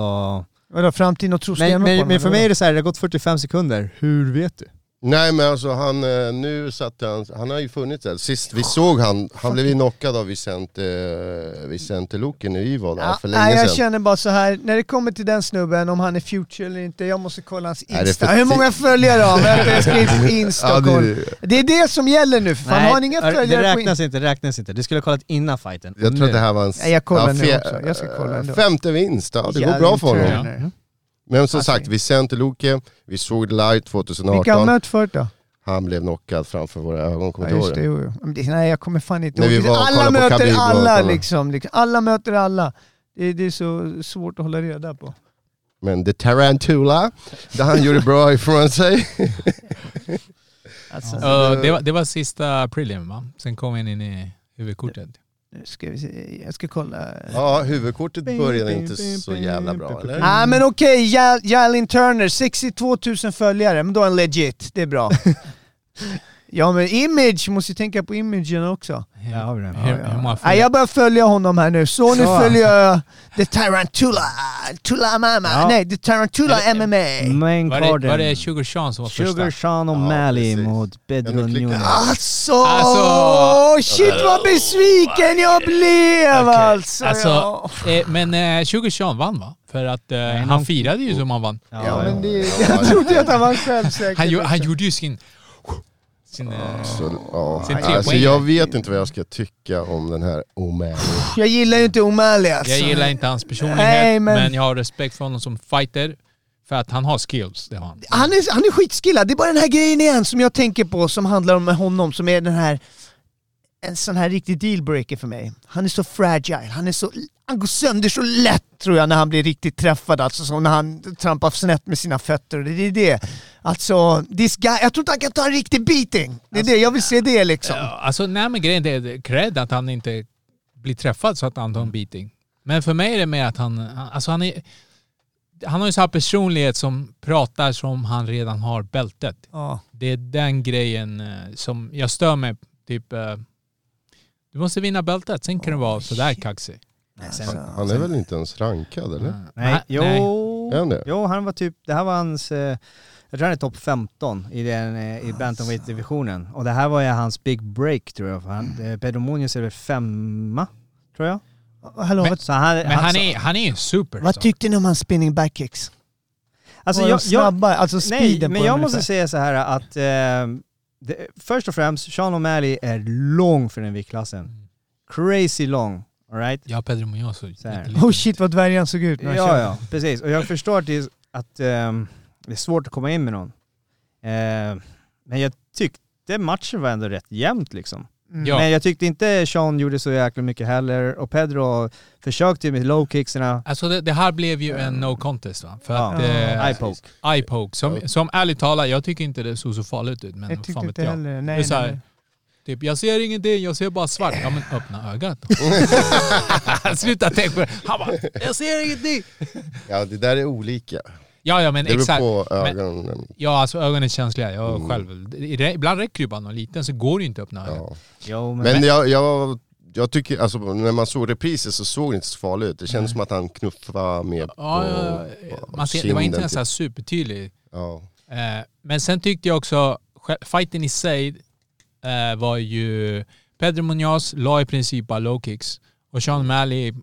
D: Vadå, framtiden och tro
F: men,
D: stenhårt på
F: men,
D: den,
F: men för
D: eller
F: mig är
D: vadå?
F: det så här, det har gått 45 sekunder. Hur vet du?
E: Nej men alltså han, eh, nu satt han, han har ju funnits där. Sist vi såg han, han blev ju knockad av Vicente, eh, Vicente Luque nu i var där för
D: nej,
E: länge
D: jag
E: sedan.
D: känner bara så här när det kommer till den snubben, om han är future eller inte, jag måste kolla hans
E: Nej, det är
D: Insta.
E: för
D: Hur många följare har han? Vänta, jag skriver på Insta
E: Ja,
D: och
E: det-
D: kolla. Det är det som gäller nu, för fan har han inga
F: det-
D: följare
F: det
D: på Insta?
F: räknas inte, det räknas inte. Du skulle ha kollat innan fighten.
E: Jag tror att det här var en...
D: Nej, jag kollar nu
E: fe-
D: också. Jag ska kolla
E: eh,
D: ändå.
E: Femte vinst, ja, det går bra för honom.
G: Turner.
E: Men som
D: Alltså.
E: sagt, Vicente Luque, vi såg det live
D: Vilka har
E: 2018.
D: mött förut då?
E: Han blev knockad framför våra ögon, kommer
D: Ja,
E: du ihåg
D: just det,
E: det?
D: jo, jo. Men det, Nej, jag kommer fan inte
E: När vi
D: ihåg.
E: var och
D: Alla
E: kollade på
D: möter
E: Khabib och
D: alla
E: kollade.
D: liksom, liksom. Alla möter alla. Det, det är så svårt att hålla reda på.
E: Men The Tarantula, där han gjorde bra ifrån sig.
D: Alltså,
G: Ja, det, var, det var sista prelim va? Sen kom en in i huvudkortet.
D: nu ska vi se. Jag ska kolla.
E: Ja, huvudkortet började inte så jävla bra, eller?
G: Mm.
D: Ah, men okej, Jal- Jalin Turner, 62 000 följare, men då är han legit. Det är bra. ja men image, måste ju tänka på imagen också.
G: Ja,
F: Där har vi den.
G: Hur, hur många
D: Nej, jag börjar följa honom här nu. Så nu
F: Så.
D: följer jag The Tarantula. Tula Mama.
F: Ja.
D: Nej, The Tarantula
G: Mm.
D: MMA.
F: Main
G: var, det, var det
F: Carden.
G: Sugar Sean som var
F: Sugar
G: första?
F: Sean
E: Ja,
F: O'Malley
E: precis.
F: mot Pedro
E: Ja, nu klickar Ah!
F: Nunes.
E: jag.
D: Alltså,
G: Alltså.
D: shit vad besviken jag blev
G: Okej.
D: alltså. ja.
G: Alltså, eh, men eh, Sugar Sean vann va? För att eh, han
F: han-
G: firade ju som han vann.
F: Ja,
D: Ja, men det,
E: ja.
D: jag trodde ju att han var självsäker.
G: Han, gjo- han gjorde ju sin... sin eh,
E: Så, ja.
G: Sin tre
E: Alltså,
G: poäng.
E: jag vet inte vad jag ska tycka om den här O'Malley.
D: Jag gillar ju inte O'Malley alltså.
G: jag gillar inte hans personlighet,
D: Nej, men-
G: men... jag har respekt för honom som fighter. För att han har skills, det har han.
D: han är, han är skitskillad. Det är bara den här grejen igen som jag tänker på som handlar om honom som är den här en sån här riktig dealbreaker för mig. Han är så fragile. Han, är så, han går sönder så lätt tror jag när han blir riktigt träffad. Alltså som när han trampar snett med sina fötter. Det är det. Alltså, this guy, jag tror inte han kan ta en riktig beating. Det är det, jag vill se det liksom.
G: Ja, Alltså, nej men grejen är det är cred att han inte blir träffad så att han tar en beating. Men för mig är det mer att han... han- Alltså han är... Han har ju så här personlighet som pratar som han redan har bältet.
D: Ja.
G: Det är den grejen eh, som jag stör mig Typ... eh, Du måste vinna bältet, sen kan du vara sådär kaxig.
D: Alltså.
E: Han är väl inte ens rankad eller?
F: Nej,
G: nej.
F: jo.
E: Är han det?
F: Jo, han var typ, det här var hans, eh, jag tror han är topp 15 i, den, eh, i bantamweight-divisionen. Och det här var ju hans big break tror jag, för han, eh, Pedro Munoz är väl femma, tror jag. Ah,
D: Hallå,
G: Men-
D: vad,
F: Så han, alltså,
G: Men han
F: så-
G: är, han är ju en super.
D: vad tyckte ni om hans spinning backkicks?
F: alltså,
D: Var
F: jag,
D: de
F: jag,
D: snabba, alltså
F: nej,
D: speeden
F: men
D: på
F: jag
D: dem
F: måste
D: ungefär?
F: säga så här att eh, det, först och främst, Sean O'Malley är lång för den viktklassen.
G: Mm.
F: Crazy lång, alright?
G: Ja, Pedro Munoz. så-
F: Så här.
D: Oh shit vad dvärgen såg
G: Typ
D: ut när han
F: Ja,
D: körde.
F: ja, precis. Och jag förstår att, det är, att ehm, det är svårt att komma in med någon. Eh, men jag tyckte matchen var ändå rätt jämnt liksom.
G: Ja.
F: Men jag tyckte inte Sean gjorde så jäkla mycket heller. Och Pedro försökte ju med low-kicksarna.
G: Alltså det, det här blev ju en no contest va? För
F: Ja.
G: att... Eh,
F: Eye poke.
G: eye poke. Som, som ärligt talat, jag tycker inte det såg så farligt ut. Men
D: Jag
G: vad
D: tyckte
G: fan vet
D: inte
G: jag.
D: heller.
G: det är
D: Nej,
G: så
D: nej,
G: här,
D: nej.
G: Typ, jag ser ingenting, jag ser bara svart. Ja men öppna ögat då. Sluta tänka på det. Han bara, jag ser ingenting.
E: Ja, det där är olika.
G: Ja, ja men
E: Det beror
G: exakt.
E: på
G: Men-
E: ögonen.
G: Ja, alltså ögonen är känsliga. Jag
D: Mm.
G: själv. Ibland räcker det ju bara någon liten så går det ju inte att öppna ögat.
E: Ja.
F: Jo, men,
E: Men jag, jag, jag tycker, alltså, när man såg repriser så såg det inte så farligt ut. Det kändes som att han knuffade mer på,
G: Ja, ja, ja.
E: på
G: Man ser, det var inte
E: kinden,
G: ens
E: typ.
G: så här supertydlig.
E: Ja.
G: Eh, men sen tyckte jag också, sj- fighten i sig eh, var ju... Pedro Munoz la i princip bara low kicks. Och Sean Malley,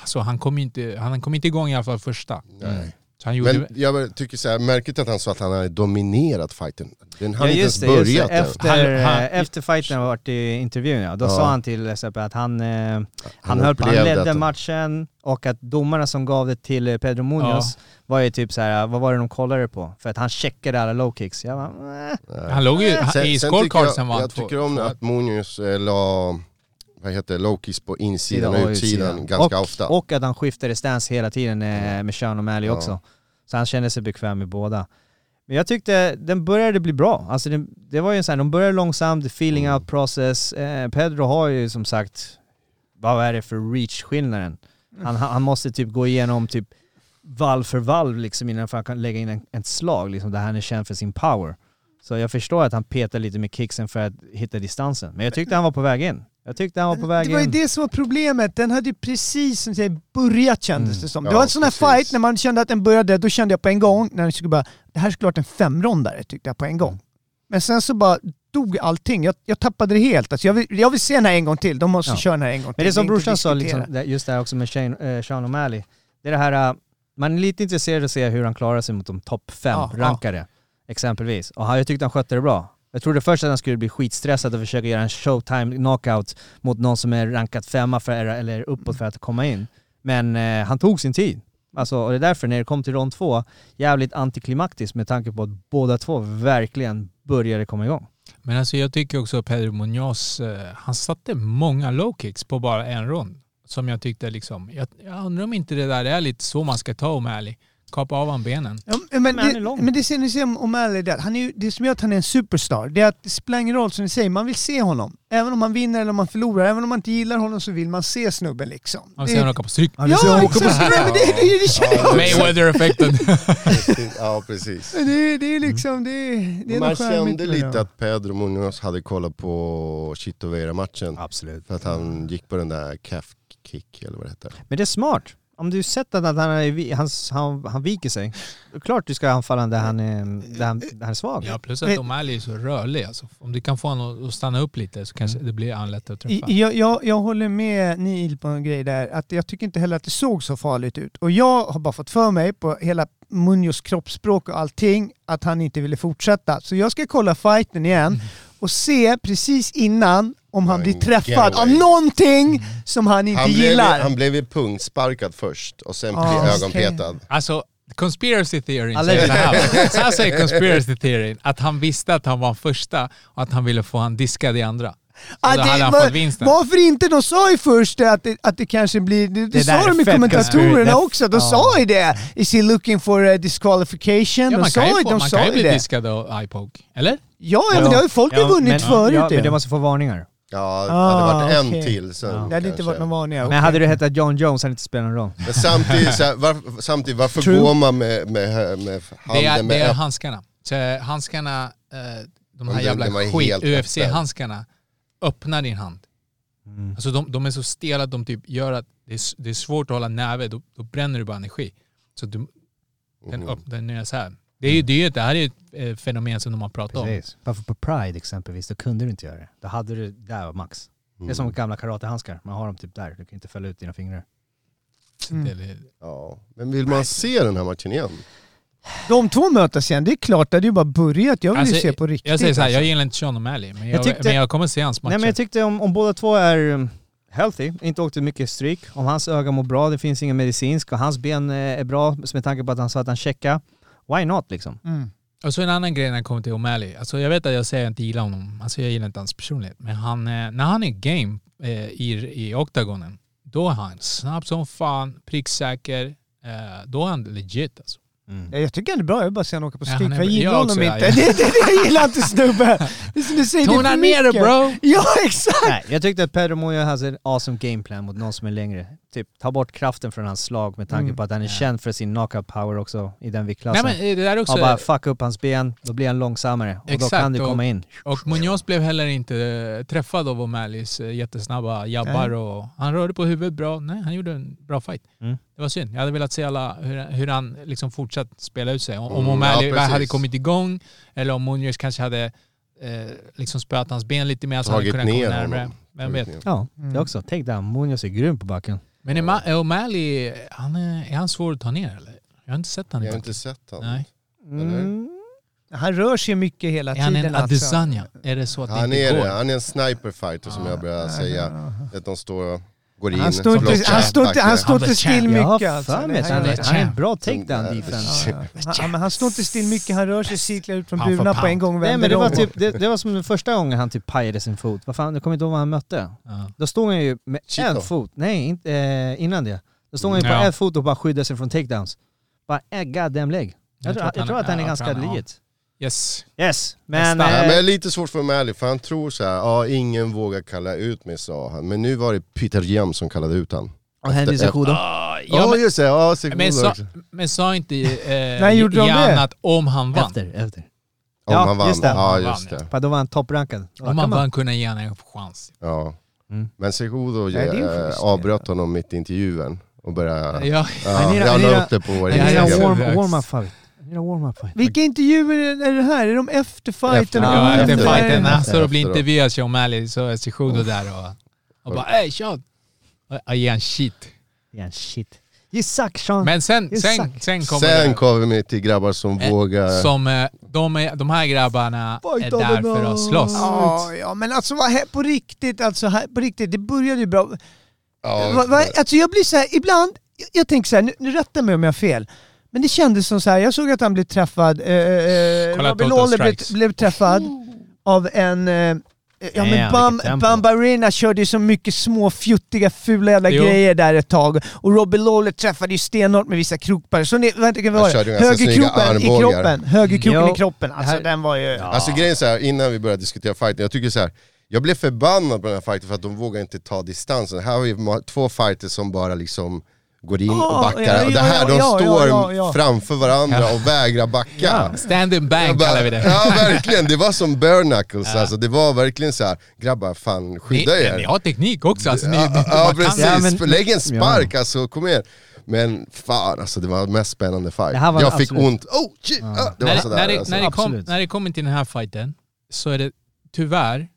G: alltså han kom inte, han kom inte igång i alla fall första. Mm.
E: Nej.
G: Så han gjorde...
E: Men jag tycker så här, märkligt att han sa att han hade dominerat fighten. Den
F: ja,
E: hade inte ens
F: just det, just det.
E: börjat än.
F: Efter,
G: Han- han-
F: eh, efter fighten var det i intervjun ja. Då
E: Ja.
F: sa han till Seppe att han, eh, han,
E: Han
F: höll på, han
E: upplevde
F: ledde
E: att-
F: matchen och att domarna som gav det till eh, Pedro Munoz var ju typ så här, vad var det de kollade på? För att han checkade alla low kicks. Jag bara, eh.
G: Han låg ju
E: Sen-
G: i
E: sen tycker
G: scorecardsen
E: jag-
G: var han
E: Jag
G: två-
E: tycker om
G: två-
E: att Munoz eh, la, vad heter det, Lokis på insidan
F: Sida
E: och utsidan ganska
F: och,
E: ofta.
F: Och att han skiftade stance hela tiden eh, med Sean O'Malley
E: Ja.
F: också. Så han kände sig bekväm med båda. Men jag tyckte den började bli bra. Alltså det, det var ju en sån här, de började långsamt, the feeling
E: Mm.
F: out process. Eh, Pedro har ju som sagt, vad är det för reach-skillnaden? Han, han han måste typ gå igenom typ valv för valv liksom innan han kan lägga in en, ett slag liksom, där han är känd för sin power. Så jag förstår att han petar lite med kicksen för att hitta distansen. Men jag tyckte han var på väg in. Jag tyckte han var på väg
D: Det var ju
F: in.
D: det som var problemet. Den hade ju precis som jag börjat kändes
F: Mm.
D: det som. Det
E: Ja,
D: var en sån här
E: precis.
D: fight, när man kände att den började, då kände jag på en gång, när den skulle bara, det här är såklart en femrondare tyckte jag på en
F: Mm.
D: gång. Men sen så bara dog allting. Jag, jag tappade det helt. Alltså jag, vill, jag vill se den här en gång till. De måste
F: Ja.
D: köra den här en gång till.
F: Men det är som
D: inte
F: brorsan sa,
D: diskutera.
F: liksom, det- just det här också med Shane, eh, Sean O'Malley. Det är det här, eh, man är lite intresserad av att se hur han klarar sig mot de topp
D: Ja, ja.
F: 5-rankade, exempelvis. Och han, jag tyckte han skötte det bra. Jag trodde först att han skulle bli skitstressad och försöka göra en showtime knockout mot någon som är rankat femma för, eller uppåt för att komma in. Men eh, han tog sin tid. Alltså, och det är därför när det kom till rond två, jävligt antiklimaktiskt med tanke på att båda två verkligen började komma igång.
G: Men alltså jag tycker också att Pedro Munoz, eh, han satte många low kicks på bara en rond. Som jag tyckte liksom, jag, jag undrar om inte det där är lite så man ska ta O'Malley. kapa av han benen.
D: Ja, men, men,
H: han är
D: det,
H: lång.
D: men det ser ni ser om O'Malley där. Han är ju, det som gör att han är en superstar, det är att det spelar ingen roll som ni säger, man vill se honom. Även om han vinner eller om han förlorar, även om man inte gillar honom så vill man se snubben liksom.
G: Han
D: Det-
G: ser honom åka på stryk.
D: Ja, exakt! Nej, men det, det, det känner jag också.
G: Mayweather affected.
E: Ja, precis.
D: Det, det är liksom, det, är- det är
E: Man
D: något charmigt
E: kände
D: med det,
E: lite
D: ja.
E: att Pedro Munoz hade kollat på Chitoveira-matchen.
F: Absolut.
E: För att han gick på den där calf kick eller vad det heter.
F: Men det är smart. Om du sett att han, är, vi- han, han, han viker sig, då är klart du ska anfalla där han, är- där han, där han är svag.
G: Ja, plus att O'Malley är så rörlig. Alltså, om du kan få honom att stanna upp lite så kanske det blir han lättare att
D: Mm. I-
G: träffa.
D: Jag, jag, jag håller med Neil på en grej där, att jag tycker inte heller att det såg så farligt ut. Och jag har bara fått för mig på hela Munjos kroppsspråk och allting att han inte ville fortsätta. Så jag ska kolla fighten igen och se precis innan om han
E: Mm. Ja,
D: blir
E: en
D: träffad av
E: getaway. Mm.
D: någonting som han inte
E: Han blev,
D: gillar.
E: han blev ju punksparkad först och sen
D: Ah,
E: blev
D: okej.
E: ögonpetad.
G: Alltså, conspiracy theory
F: Alla-
G: säger så här. Så här säger conspiracy theory att han visste att han var första och att han ville få han diskad i andra.
D: Ah,
G: Och då
D: det
G: hade han
D: var-
G: fått vinsten.
D: Varför inte? De sa ju först det att det, att det kanske blir... Det, det,
F: Det där
D: sa
F: är
D: de ju
F: fett
D: kommentatorerna
F: konspiracy.
D: också. De
F: Ja.
D: sa ju det. Is he looking for a disqualification?
G: Ja,
D: de
G: man
D: sa
G: kan ju,
D: ju,
G: få,
D: de
G: man
D: sa
G: kan ju
D: ju
G: bli
D: det.
G: diskad av eye-poke. Eller?
D: Ja, ja, men det har ju folk
F: Ja,
D: har vunnit
F: men-
D: förut
F: ja,
D: ju.
F: men det måste få varningar.
E: Ja, det
D: Ah,
E: hade varit
D: okej.
E: en till sen
D: Det hade inte
E: kanske.
D: varit någon vanlig.
F: Men hade du hetat John Jones hade det inte spelat någon roll.
E: Men samtidigt, så här, varför, samtidigt varför
D: True.
E: går man med, med, med
G: Det är,
E: handen
G: det
E: med
G: är
E: öppen-
G: handskarna. Så eh, handskarna, eh, de
E: Men
G: här
E: den-
G: jävla
E: den var helt
G: skit-UFC-handskarna, öppnar din hand. Alltså de, de är så stela att de typ gör att det är, s- det är svårt att hålla näve, då, då bränner du bara energi. Så du,
E: Mm.
G: den öppnar så här. Det, är ju, det, är ju, det här är ju ett eh, fenomen som de har pratat om.
F: Precis. Varför på Pride exempelvis, då kunde du inte göra det. Då hade du, där var max. Det är som gamla karatehandskar, man har dem typ där. Du kan inte fälla ut dina fingrar.
G: Det, det,
E: Ja. Men vill man se den här matchen igen?
D: De två mötas igen, det är klart. Det hade ju bara börjat. Jag vill ju se på riktigt.
G: Alltså, Jag säger så här,
D: alltså.
G: jag gillar inte Sean O'Malley, men jag,
F: Jag tyckte-
G: men jag kommer se hans matcher.
F: Nej men jag tyckte om, om båda två är um, healthy, inte åkte mycket stryk, om hans öga mår bra, det finns ingen medicinsk och hans ben eh, är bra med tanke på att han sa att han checkade. Why not liksom?
D: Mm.
G: Och så Alltså, en annan grej när det kommer till O'Malley. Alltså jag vet att jag säger att jag inte gillar honom, alltså jag gillar inte hans personlighet. Men han, eh, när han är game eh, i, i oktagonen, då är han snabb som fan, pricksäker. Eh, då är han legit alltså.
D: Ja, jag tycker han är bra, jag vill bara se honom åka på
G: Ja, han
D: stryk.
G: är
D: jag
G: bra.
D: gillar
G: Jag
D: honom
G: också, ja,
D: inte.
G: ja.
D: Det, det, det, jag gillar inte snubben. Det är som du säger, det är
G: Tona
D: för
G: ner det
D: mycket. Alltså.
G: bro!
D: Ja, exakt!
F: Nej, jag tyckte att Pedro Moya hade en awesome gameplan mot någon som är längre. Typ ta bort kraften från hans slag med tanke
D: Mm.
F: på att han är
G: Ja.
F: känd för sin knockout power också i den
G: Nej
F: viktklassen.
G: men eh, det där är
F: Ja,
G: också...
F: bara fucka upp hans ben, då blir han långsammare och då
G: Exakt,
F: kan du
G: och-
F: komma in.
G: Och Munoz blev heller inte eh, träffad av O'Malleys eh, jättesnabba jabbar. Och han rörde på huvudet bra. Nej, han gjorde en bra fight.
F: Mm.
G: Det var synd. Jag hade velat se alla hur, hur han liksom fortsatt spela ut sig. Om, om
E: Mm,
G: O'Malley
E: ja, precis.
G: hade kommit igång eller om Munoz kanske hade eh, liksom spöat hans ben lite mer så han
E: Tagit
G: hade kunnat komma
E: ner
G: närmare.
E: honom.
G: Vem vet.
F: Ja,
D: Mm.
F: det också. Tänk där, Munoz är grym på backen.
G: Men är Ma- är O'Malley, han är, är han svår att ta ner eller? Jag har inte sett honom.
E: Jag har inte sett honom.
G: Nej.
E: Mm.
D: Han rör sig mycket hela
G: Är han
D: tiden. alltså.
G: en Adesanya? Är det så att
E: Han
G: det inte
E: är
G: går?
E: det, han är en sniperfighter
D: Ah,
E: som jag börjar säga. Att de står och går in.
D: Han står inte,
E: blockar,
D: han står inte, han
E: attacker.
D: står inte still
F: Jag har
D: mycket. alltså.
F: för mig
D: det
F: att
D: här
F: han
D: är-
F: är- han är en bra
E: Som
F: takedown
E: där.
F: defense.
D: Ja, ja, men han står inte still mycket, han rör sig, cyklar ut från
G: Pound for
D: burna på
G: pound.
D: en gång och
F: Nej
D: vänder
F: men det var,
D: om.
F: typ, det, det var som den första gången han typ pajade sin fot. Vad fan, jag kommer inte ihåg vad han mötte.
G: Ja.
F: Då stod han ju med
E: Chito.
F: en fot, nej inte, eh, innan det. Då stod han ju på
G: Ja.
F: en fot och bara skyddade sig från takedowns. Bara en goddamn leg. Jag, tror, jag tror att han är
G: ja,
F: ganska
G: jag tror han-
F: legit.
G: Yes.
F: Yes, men...
E: Ja, men det
F: Eh,
E: är lite svårt för O'Malley för han tror så här, ja ingen vågar kalla ut mig sa han. Men nu var det Peter Jem som kallade ut han.
F: och Henry Cejudo.
G: Ah,
E: Ja,
G: ja, men-
E: just det, ja Sigmund
G: Men sa,
E: också.
G: men sa inte eh,
D: Nej, gjorde de
G: Jan
D: det?
G: att om han vann,
F: Efter, efter.
E: Om
F: Ja,
E: han vann.
F: just det.
E: Ja,
G: Han
E: just
G: vann,
E: det.
F: Bara Då var han topprankad. Då
G: om
F: kan
G: han
F: man-
G: vann kunde ge honom en chans.
E: Ja.
F: Mm.
E: Men Segodo
D: Nej, det är ju
E: eh,
D: schysst.
E: avbröt honom mitt i intervjun och började... Ja.
G: Ja,
F: I need a-
E: jag
F: I need
E: la
F: a-
E: upp det på vår
F: I need
G: Ja,
F: a
G: ja, ja.
E: Instagram.
F: warm,
G: Exakt.
F: warm-up fight. I need a warm-up fight.
D: Vilka intervjuer är är det här? Är de efter fighten?
E: Efter-
G: ja, efter
E: efter-
G: fighten Alltså, när han
E: efter-
G: står och blir
E: efteråt.
G: intervjuad Sean O'Malley så är Cejudo där och, och bara ey Sean! Och- Och ger han shit.
F: Yeah, shit. You suck Sean.
G: Men sen,
F: Exakt.
G: sen, sen kommer
E: Sen
G: det.
E: kommer vi till grabbar som
G: Eh,
E: vågar...
G: Som, eh, de, är, de här grabbarna är
D: Fight of
G: där
D: the
G: för att slåss.
D: Ja, ja, men alltså vad här, på riktigt, alltså här, på riktigt, det började ju bra.
E: Ja,
D: Va, va, alltså jag blir så här, ibland, jag, jag tänker så här, nu, nu rätta mig om jag har fel. Men det kändes som så här, jag såg att han blev träffad, eh, eh,
G: Kolla
D: Robbie
G: Total
D: Lawler blev,
G: Strikes.
D: blev träffad av en, eh, Ja men
F: Damn,
D: Bam,
F: vilket tempo.
D: Bambarina körde ju så mycket små fjuttiga fula jävla
G: Jo.
D: grejer där ett tag. Och Robbie Lawler träffade ju stenhårt med vissa krokar. Så ni, vänta, kan vi
E: Han
D: vara
E: körde ju ganska snygga
D: Högerkroppen i
E: armbågar.
D: kroppen. Högerkroken
F: Jo.
D: i kroppen. Alltså
F: här-
D: den var ju...
E: Alltså grejen är så här, innan vi började diskutera fighten, jag tycker så här. Jag blev förbannad på den här fighten för att de vågar inte ta distansen. Här har vi ma- två fighters som bara liksom går in
D: Ja,
E: och backar.
D: Ah, ja,
E: och det här,
D: ja,
E: de
D: ja,
E: står
D: ja, ja.
E: framför varandra och vägrar backa.
G: Stand and bank
E: Jag bara-
G: kallar vi det.
E: Ja verkligen, det var som bare knuckles alltså. Det var verkligen så här, grabbar fan
G: Ni,
E: skydda er.
G: ni har teknik också. Alltså, ni, ni,
E: Ja,
G: man
E: ja
G: kan-
E: precis,
F: Ja, men-
E: lägg en spark alltså, kom igen. Men fan alltså det var den mest spännande fight.
F: Det här var
E: jag
F: det
E: fick
F: absolut.
E: ont, oh shit! Ah, det var
G: när,
E: sådär
G: när, det,
E: alltså.
G: när, det kom,
F: Absolut.
G: när det kommer till den här fighten så är det tyvärr,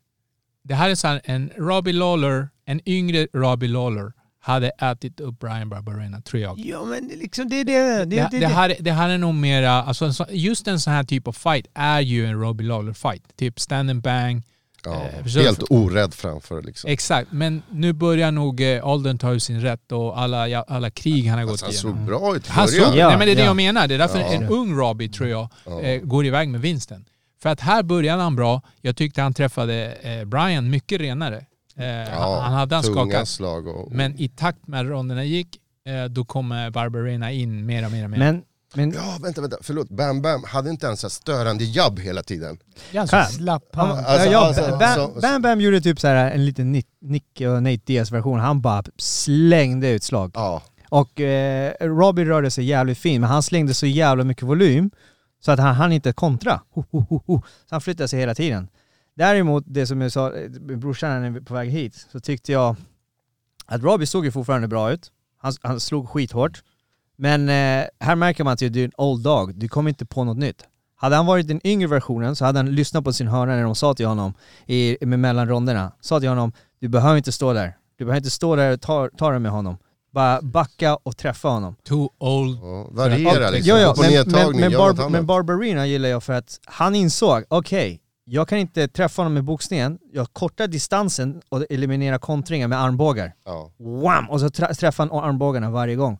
G: det här är så här, en Robbie Lawler, en yngre Robbie Lawler hade ätit upp Brian Barbarena tror jag.
D: Ja men liksom det är det.
G: Det,
D: det,
G: det, här, det här är nog mera, alltså, en så- just en sån här typ av fight är ju en Robbie Lawler fight. Typ stand and bang.
E: Ja,
G: eh, försök-
E: helt orädd framför liksom.
G: Exakt, men nu börjar nog eh, åldern ta ut sin rätt och alla, ja, alla krig han har gått
E: Alltså, han
G: igenom.
E: såg bra ut i
G: Han såg,
E: början.
F: Ja,
G: nej, men det är det
F: ja.
G: jag menar. Det är därför
E: Ja.
G: en ung Robbie, tror jag, eh, går iväg med vinsten. För att här började han bra. Jag tyckte han träffade eh, Brian mycket renare. Eh,
E: Ja,
G: han- han hade han
E: tunga
G: skakat.
E: slag och...
G: Men i takt med ronderna gick, eh, då kommer Barbarena in mer och mer och mer.
F: Men, men
E: Ja, vänta, vänta, förlåt. Bam Bam hade inte ens en störande jabb hela tiden.
G: Ja, så-
F: Här.
D: Slapp
F: Ja,
D: han.
F: men-
E: Alltså,
F: ja,
E: alltså,
F: Bam-
E: alltså,
F: Bam Bam gjorde typ så här en liten Nick, Nick och Nate Diaz-version. Han bara slängde utslag.
E: Ja,
F: Och eh, Robbie rörde sig jävligt fint, men han slängde så jävla mycket volym så att han hann inte kontra. Ho, ho, ho, ho. Så han flyttade sig hela tiden. Däremot, det som jag sa, eh, brorsan är på väg hit, så tyckte jag att Robbie såg ju fortfarande bra ut. Han, han slog skithårt. Men eh, här märker man att du är en old dog, du kommer inte på något nytt. Hade han varit den yngre versionen så hade han lyssnat på sin hörna när de sa till honom i, med mellan ronderna, sa till honom du behöver inte stå där, du behöver inte stå där och ta, ta det med honom. Bara backa och träffa honom.
G: too old.
E: ja. variera liksom.
F: Jo, jo,
E: Upp och
F: men, men,
E: nedtagning,
F: men,
E: gör något
F: Bar-
E: annat.
F: men Barbarina gillar jag för att han insåg, okej, jag kan inte träffa honom med boxningen, jag kortar distansen och eliminerar kontringar med armbågar.
E: ja.
F: Wham! Och så tra- träffar han armbågarna varje gång.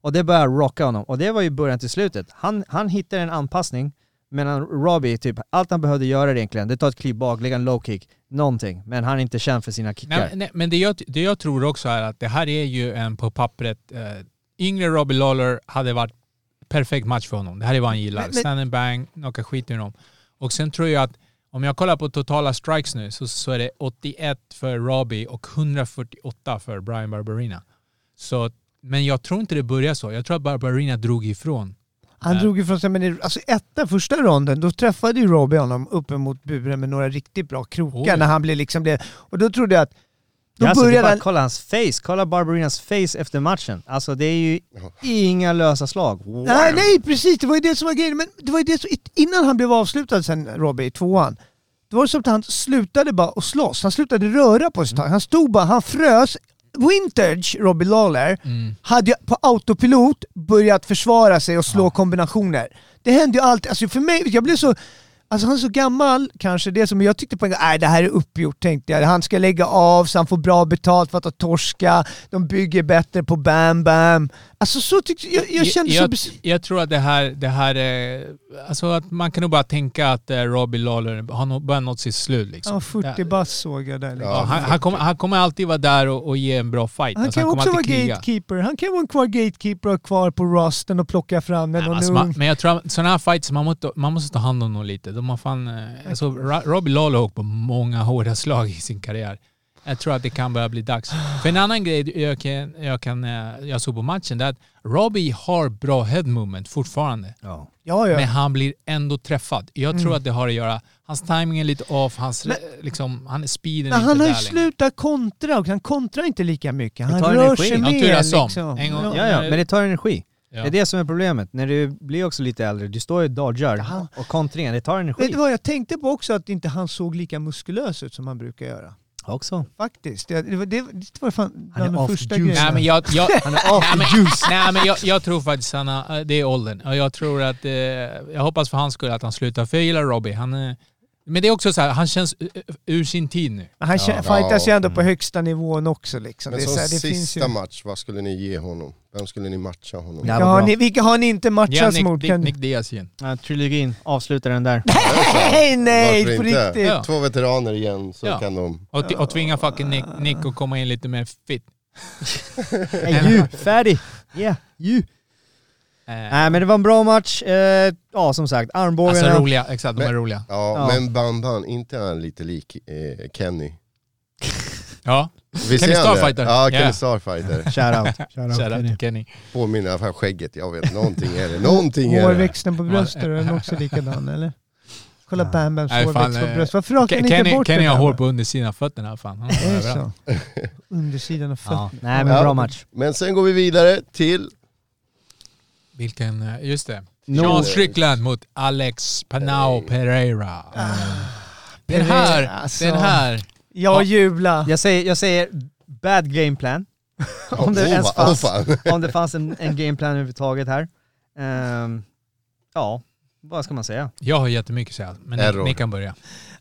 F: Och det börjar rocka honom. Och det var ju början till slutet. Han, han hittar en anpassning, medan Robbie, typ, allt han behövde göra egentligen, det tar ett kliv bak, lägga en low kick, någonting. Men han är inte känd för sina kickar.
G: Nej, nej, men det jag, det jag tror också är att det här är ju en på pappret, eh, yngre Robbie Lawler hade varit perfekt match för honom. Det här är vad han gillar.
F: Men- men-
G: Stand and bang, knocka skiten ur dem. Och sen tror jag att om jag kollar på totala strikes nu så, så är det 81 för Robbie och 148 för Brian Barberina. Så, men jag tror inte det börjar så. Jag tror att Barberina drog ifrån.
D: Han
G: Ja.
D: drog ifrån sig, men det- alltså etta första ronden, då träffade ju Robbie honom uppemot buren med några riktigt bra krokar
G: Oh, ja.
D: när han blev liksom blev... Och då trodde jag att... Då
F: Ja, alltså, det är
D: började
F: bara,
D: han...
F: kolla hans face, kolla Barbarinas face efter matchen. Alltså det är ju inga lösa slag.
D: Nej, nej precis, det var ju det som var grejen. Men det var ju det som, innan han blev avslutad sen, Robbie, i tvåan. Det var som att han slutade bara att slåss. Han slutade röra på sig ett tag. Han stod bara, han frös. Vintage, Robbie Lawler, hade ju på autopilot börjat försvara sig och slå kombinationer. Det hände ju alltid. Alltså för mig, jag blev så... Alltså han är så gammal kanske, det som jag tyckte på en gång, nej det här är uppgjort tänkte jag. Han ska lägga av så han får bra betalt för att ha torska, de bygger bättre på Bam Bam. Alltså så tyckte jag, jag, jag kände så...
G: jag,
D: bes-
G: jag tror att det här, det här är, alltså att man kan nog bara tänka att eh, Robbie Lawler har nog börjat nått sitt slut liksom.
D: Ja, 40 bass såg jag där. liksom.
G: Ja, han, han, kommer, han kommer alltid vara där och, och ge en bra fight.
D: Han
G: Alltså,
D: kan
G: kommer
D: också vara
G: alltid kriga.
D: gatekeeper. Han kan vara en kvar gatekeeper och kvar på rosten och plocka fram den.
G: Nej, men
D: och
G: Alltså,
D: nu-
G: man, men jag tror att sådana här fights, man måste, man måste ta hand om dem lite. De har fan, eh, alltså, Ra- Robbie Lawler har åkt på många hårda slag i sin karriär. Jag tror att det kan börja bli dags. För en annan grej jag, kan, jag, kan, eh, jag såg på matchen, det är att Robbie har bra head movement fortfarande.
F: Ja.
D: ja,
G: Men
D: ja.
G: han blir ändå träffad. Jag tror att det har att göra, hans timing är lite off, hans,
D: Men-
G: liksom, han, speeden
D: Men
G: är
D: han
G: inte
D: har ju
G: där längre.
D: slutat kontra och han kontrar inte lika mycket.
F: Det
D: Han
F: tar
D: rör
F: energi.
D: sig
G: Han
D: mer.
G: turas om.
D: Liksom.
G: En gång-
D: Ja.
F: Ja, ja, men det tar energi.
G: Ja.
F: Det är det som är problemet. När du blir också lite äldre, du står ju och dodgar
D: Ja.
F: och kontringen, det tar
D: Vet du
F: energi.
D: vad, jag tänkte på också att inte han såg lika muskulös ut som han brukar göra.
F: Också.
D: Faktiskt. Det, det, var- det, det var fan
F: Han är
D: bland de
F: off
D: första
F: juice.
G: Nej
D: grejerna.
G: men jag, jag,
F: Han är off
G: Nej,
F: the juice.
G: Nej men jag, jag tror faktiskt han äh, har, det är åldern. Och jag tror att, eh, jag hoppas för hans skull att han slutar. För jag gillar Robbie. Han, eh, Men det är också så här, han känns eh, eh, ur sin tid nu.
D: Men han ja, fightas ju ändå
G: Mm.
D: på högsta nivån också liksom.
E: Men
D: det är
E: som
D: så här, det finns ju...
E: sista match, vad skulle ni ge honom? Vem skulle ni matcha honom?
F: Ja.
E: Ja.
D: Vilka har, ni, vilka har ni inte matchats
G: Nick,
D: mot?
G: Nick,
D: Kan...
G: Nick Diaz igen.
F: Ja, trilogin, avsluta den där.
D: Nej, nej,
E: Varför
D: på
E: inte?
D: riktigt.
G: Ja.
E: Två veteraner igen så
G: Ja.
E: kan de...
G: Och, t- och tvinga fucking Nick, Nick att komma in lite mer fit. Eh,
F: Hey, you, färdig! Yeah, you!
G: Eh,
F: Nej men det var en bra match. Eh, ja som sagt, armbågarna.
G: alltså roliga, exakt de är roliga.
E: Ja,
F: Ja.
E: men Banban, inte är han lite lik eh, Kenny?
G: Ja,
E: Visst
G: Kenny
E: är han det?
G: Starfighter.
E: Ja, Kenny
G: Ja.
E: Starfighter.
F: Shoutout.
G: kära Kenny.
E: Påminner i alla fall skägget, jag vet någonting är det. Någonting är det.
D: Hårväxten på bröstet, är den också likadan eller? Kolla Bam Bams
G: Nej, fan,
D: hårväxt på
G: eh,
D: bröstet. Varför rakar
G: Ke-
D: ni inte
G: Kenny,
D: bort
G: Kenny
D: det
G: har
D: där,
G: hår
D: va?
G: på undersidan av fötterna. Fan. Han
D: Är
G: har
D: det
G: överallt.
D: så? Undersidan av
F: Ja.
D: fötterna.
F: Nej men bra match.
E: Men sen går vi vidare till
G: Vilken, eh, just det.
F: No.
G: Sean Strickland mot Alex Panao Pereira. Den här,
D: Ah. Pereira, alltså.
G: den här.
D: Jag jublar.
F: Jag säger, jag säger bad game plan. om, det
E: Åh,
F: ens
E: va-
F: fanns,
E: åh, fan.
F: om det fanns en, en game plan överhuvudtaget här. Ehm, ja, vad ska man säga?
G: Jag har jättemycket att säga, men
E: Error.
G: ni, ni kan börja.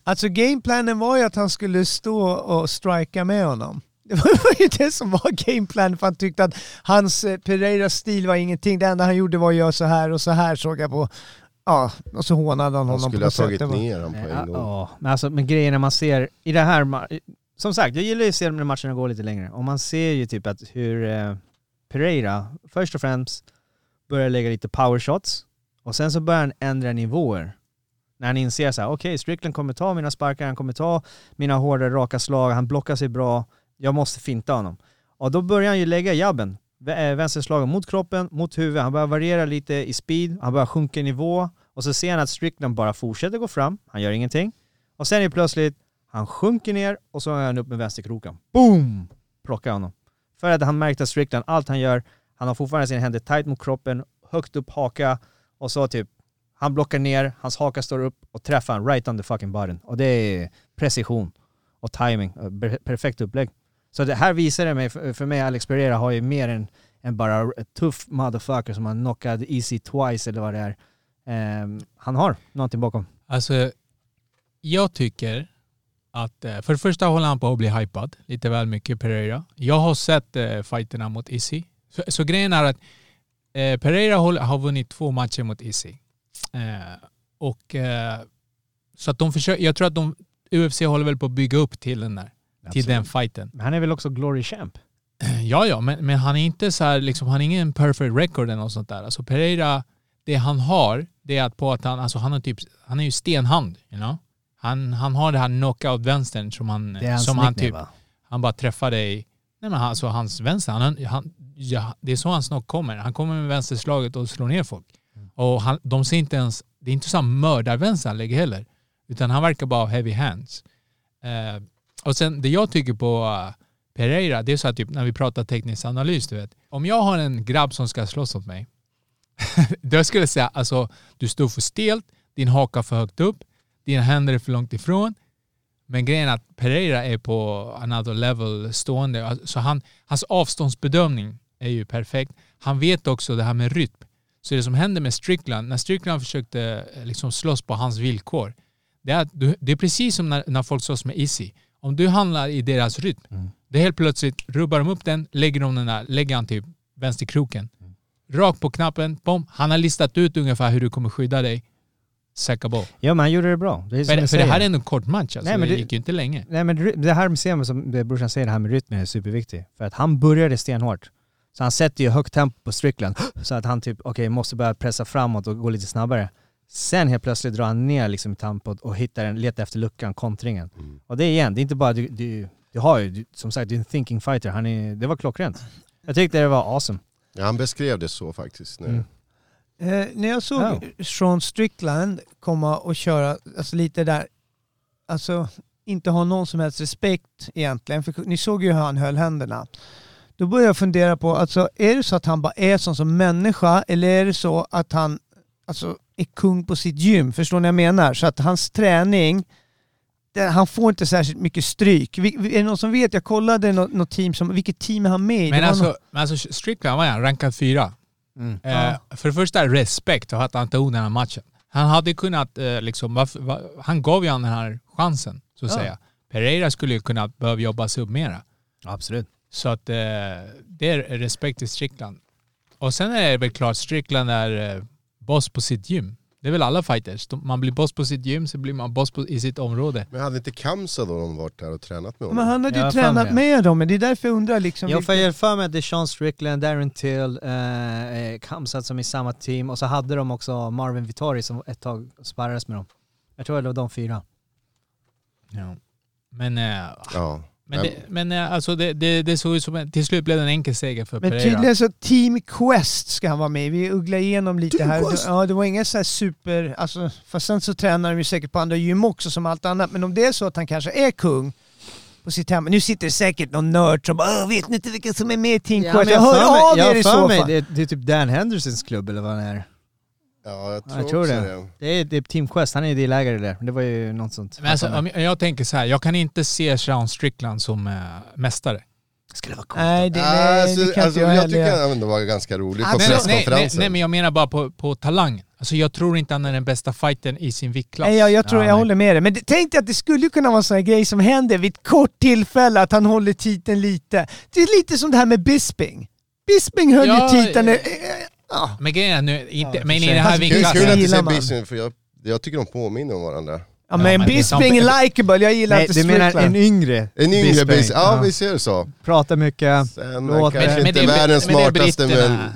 D: Alltså gameplanen var ju att han skulle stå och strika med honom. Det var ju det som var gameplanen för han tyckte att hans eh, Pereiras stil var ingenting. Det enda han gjorde var att göra så här och så här såg jag på. Ja, och så hånade han
E: Han
D: honom på
E: skulle ha
D: något sätt.
E: tagit
D: Det var-
E: ner honom på
F: Eh,
E: en gång.
F: ja, men alltså men grejerna man ser i det här ma- Som sagt, jag gillar ju att se de när matcherna går lite längre. Och man ser ju typ att hur eh, Pereira först och främst börjar lägga lite power shots och sen så börjar han ändra nivåer. När han inser så här, okej Strickland kommer ta mina sparkar, han kommer ta mina hårda raka slag, han blockar sig bra, jag måste finta honom. Och då börjar han ju lägga jabben, vä- eh, vänsterslagen mot kroppen, mot huvudet, han börjar variera lite i speed, han börjar sjunka i nivå och så ser han att Strickland bara fortsätter gå fram, han gör ingenting. Och sen är det plötsligt, han sjunker ner och så är han upp med vänsterkroken. Boom! Plockar honom. För att han märkte att Strickland, allt han gör, han har fortfarande sina händer tight mot kroppen, högt upp haka och så typ, han blockar ner, hans haka står upp och träffar han right on the fucking button. Och det är precision och timing, och per- perfekt upplägg. Så det här visar det mig, för för mig Alex Pereira har ju mer än, än bara en tuff motherfucker som han knockade easy twice eller vad det är. Ehm, han har någonting bakom.
G: Alltså, jag tycker att eh, för det första håller han på att bli hypad lite väl mycket, Pereira. Jag har sett eh, fighterna mot Issy. Så, så grejen är att eh, Pereira håller, har vunnit två matcher mot Issy. Eh, och eh, så att de försöker, jag tror att de, UFC håller väl på att bygga upp till den där, till den fighten.
F: Men han är väl också glory champ?
G: Ja, ja, men, men han är inte så här, liksom, han är ingen perfect record eller något sånt där. Alltså Pereira, det han har, det är att på att han, alltså han har typ, han är ju stenhand, you know? Han, han har det här knockout-vänstern som han,
F: Det är hans
G: som han typ,
F: va?
G: han bara träffar dig, nej men han, alltså hans vänster, han, han, ja, det är så hans knock kommer. Han kommer med vänsterslaget och slår ner folk.
F: Mm.
G: Och han, de ser inte ens, det är inte så här mördarvänster han lägger heller, utan han verkar bara ha heavy hands. Eh, och sen det jag tycker på eh, Pereira, det är så här typ när vi pratar teknisk analys, du vet. Om jag har en grabb som ska slåss mot mig, då skulle jag säga alltså du står för stelt, din haka för högt upp, dina händer är för långt ifrån. Men grejen är att Pereira är på another level stående. Alltså, Så han, hans avståndsbedömning är ju perfekt. Han vet också det här med rytm. Så det som händer med Strickland, när Strickland försökte eh, liksom slåss på hans villkor, det är, att du, det är precis som när, när folk slåss med Izzy. Om du handlar i deras rytm, det är helt plötsligt rubbar de upp den, lägger de den där, lägger han typ vänsterkroken.
F: Mm.
G: Rakt på knappen, bom. Han har listat ut ungefär hur du kommer skydda dig. Säkra boll.
F: Ja men han gjorde det bra. Det är
G: För,
F: som jag
G: för det
F: säger.
G: här är ändå en kort match alltså.
F: Nej, men
G: det
F: det-
G: gick ju inte länge.
F: Nej men ry- det här ser man som det brorsan säger, det här med rytmen är superviktigt. För att han började stenhårt. Så han sätter ju högt tempo på Strickland. Så att han typ, okej, måste börja pressa framåt och gå lite snabbare. Sen helt plötsligt drar han ner liksom i tempot och hittar en, letar efter luckan, kontringen. Och det är igen, det är inte bara du, du, du har ju, du, som sagt, du är en thinking fighter. Han är, det var klockrent. Jag tyckte det var awesome.
E: Ja, han beskrev det så faktiskt. Nu.
F: Mm.
D: Eh, när jag såg
F: Oh.
D: Sean Strickland komma och köra alltså, lite där, alltså inte ha någon som helst respekt egentligen, för ni såg ju hur han höll händerna. Då började jag fundera på, alltså är det så att han bara är sån som människa eller är det så att han alltså, är kung på sitt gym? Förstår ni vad jag menar? Så att hans träning, det, han får inte särskilt mycket stryk. Vi, vi- är det någon som vet? Jag kollade något, något team som, vilket team är han med i? Det
G: Men
D: var någon-
G: alltså, men alltså Strickland var han rankad fyra. Eh, För det första respekt för att han tog den här matchen. Han hade kunnat, eh, liksom, varför, va, han gav ju han den här chansen, så att
F: Ja.
G: säga. Pereira skulle ju kunna behöva jobba sig upp mera.
F: Absolut.
G: Så att eh, det är respekt till Strickland. Och sen är det väl klart, Strickland är eh, boss på sitt gym. Det är väl alla fighters. De, man blir boss på sitt gym, så blir man boss på, i sitt område.
E: Men hade inte Kamsa då de varit där och tränat med honom?
D: Men han hade ju
F: Ja, fan,
D: tränat
F: ja.
D: med dem, men det är därför jag undrar liksom...
F: Jag
D: vilka-
F: får jag för mig att det är Sean Strickland, Darren Till, eh, eh, Kamsat som är i samma team och så hade de också Marvin Vittori som ett tag sparrades med dem. Jag tror det var de fyra.
G: Men, eh,
E: Ja.
G: men, det, men eh, alltså det, det, det såg ut som en, till slut blev det en enkel seger för
D: Men
G: Pereira.
D: tydligen så Team Quest ska han vara med i. Vi ugglar igenom lite
E: Team
D: här.
E: Quest?
D: Ja, det var inga så här super... Alltså, fast sen så tränar de ju säkert på andra gym också som allt annat. Men om det är så att han kanske är kung på sitt hem. Nu sitter det säkert någon nörd som bara "Åh, ”Vet ni inte vilka som är med i Team Quest?” Jag
F: för mig-
D: hör av
F: jag
D: er i
F: för
D: så
F: mig, det,
D: fall.
F: är- det är typ Dan Hendersons klubb eller vad det är.
E: ja, jag tror,
F: Jag tror
E: också
F: det.
E: det.
F: Det är, det är Team Quest, han är delägare där. Det var ju något sånt.
G: Men alltså, om jag, jag tänker så här, jag kan inte se Sean Strickland som eh, mästare.
F: skulle vara coolt.
D: Nej, det, nej, det kan
E: Ah, alltså,
D: inte jag
E: jag
D: heller
E: tycker
D: göra.
E: han ändå var ganska rolig
D: Ah,
E: på
D: nej,
G: Nej, nej, nej,
E: presskonferensen.
G: nej, men jag menar bara på, på talang. Alltså jag tror inte han är den bästa fighten i sin viktklass.
D: Nej, jag, jag tror
F: Ja,
D: jag
F: nej.
D: håller med dig. Men det, tänk dig att det skulle kunna vara en sån här grej som händer vid ett kort tillfälle, att han håller titeln lite. Det är lite som det här med Bisping. Bisping höll
G: Ja,
D: ju titeln...
G: eh,
D: eh, eh, ja.
G: Men grejen är nu, inte,
F: Ja,
G: men i
F: för sig.
G: den här
D: Fast
E: Kul,
D: Klassen.
E: kul att
G: viktklassen...
E: du
D: Gillar
E: säger
D: man.
E: Bisping, för jag, jag tycker de påminner om varandra.
D: Ja men
G: men
D: Bisping
G: det är
D: är likeable, jag gillar
F: Nej,
D: inte
F: du menar
D: Strickland.
F: en yngre
E: En yngre
F: Bisping.
E: Bisping, ja vi ser det så.
F: Pratar mycket.
E: Sen,
F: Låt
E: han kanske
F: mig.
G: Men
E: inte
G: det är-
E: världens
G: men det är
E: smartaste men,
G: britterna.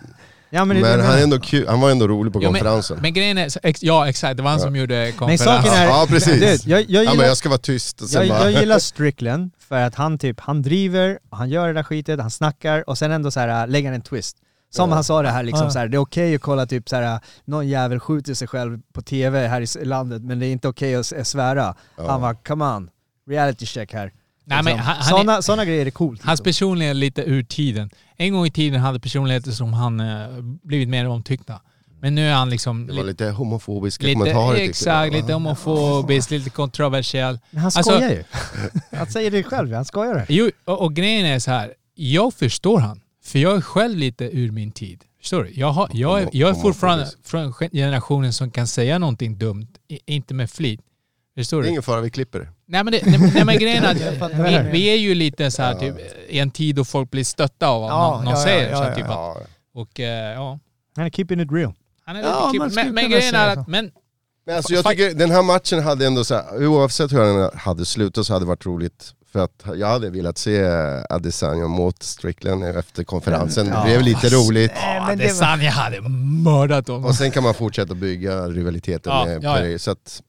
F: Ja, men, det är det
E: men
F: jag
E: han, är
F: menar.
E: ändå kul, han var ändå rolig på
G: Jo,
E: konferensen.
G: Men, men grejen är, så ex, ja exakt, det var han som gjorde
F: men saken
G: konferensen.
F: är...
E: Ja, precis.
F: Du, jag, jag,
E: ja,
F: gillar,
E: men jag ska vara tyst och sen
F: jag,
E: bara...
F: jag gillar Strickland för att han typ, han driver, han gör det där skitet, han snackar och sen ändå så här äh, lägger han en twist. Som han sa det här liksom,
D: Ja.
F: så här, det är okej att kolla typ så här, äh, någon jävel skjuter sig själv på tv här i s- landet men det är inte okej att s- svära. Han bara, come on, reality check här.
G: Nej, men han, han är,
F: sådana, sådana grejer är coolt.
G: hans
F: liksom.
G: personlighet är lite ur tiden. En gång i tiden hade personligheter som han eh, blivit mer omtyckta. Men nu är han liksom...
E: Det var lite homofobiska
G: lite,
E: kommentarer tyckte
G: exakt,
E: jag.
G: lite homofobisk, lite kontroversiell.
F: liksom. Men han
G: Alltså-
F: skojar ju. Han säger det själv, han skojar det.
G: Jo, och, och grejen är så här. Jag förstår han. För jag är själv lite ur min tid. Förstår du? Jag, har, jag, är, jag är fortfarande från generationen som kan säga någonting dumt. I, inte med flit. Förstår
E: Det är
G: du?
E: ingen fara, vi klipper det.
G: Nej men, det, nej, men- nej, men grejen är att
D: fattar
G: vi,
D: det.
G: vi är ju lite så här typ i en tid då folk blir stötta av vad
D: Ja,
G: någon, någon
D: ja, ja,
G: säger.
D: ja,
G: så
D: ja,
G: här, typ att,
E: Ja.
G: och eh, ja.
F: Han är keeping it real.
G: Han är
D: Ja,
G: lite
D: man
G: klipp,
D: skulle
G: men, men
D: kunna
G: grejen
D: säga
G: är
D: så.
G: att, men
E: Men alltså jag tycker den här matchen hade ändå så här, oavsett hur den hade slutat så hade det varit roligt. För att jag hade velat se Adesanya mot Strickland efter konferensen.
G: Mm.
E: Det blev lite roligt.
D: Nej, men det var... Alltså,
G: Adesanya hade mördat honom.
E: Och sen kan man fortsätta bygga rivaliteten
G: Ja,
E: med
G: ja, ja.
E: Perry. Så att,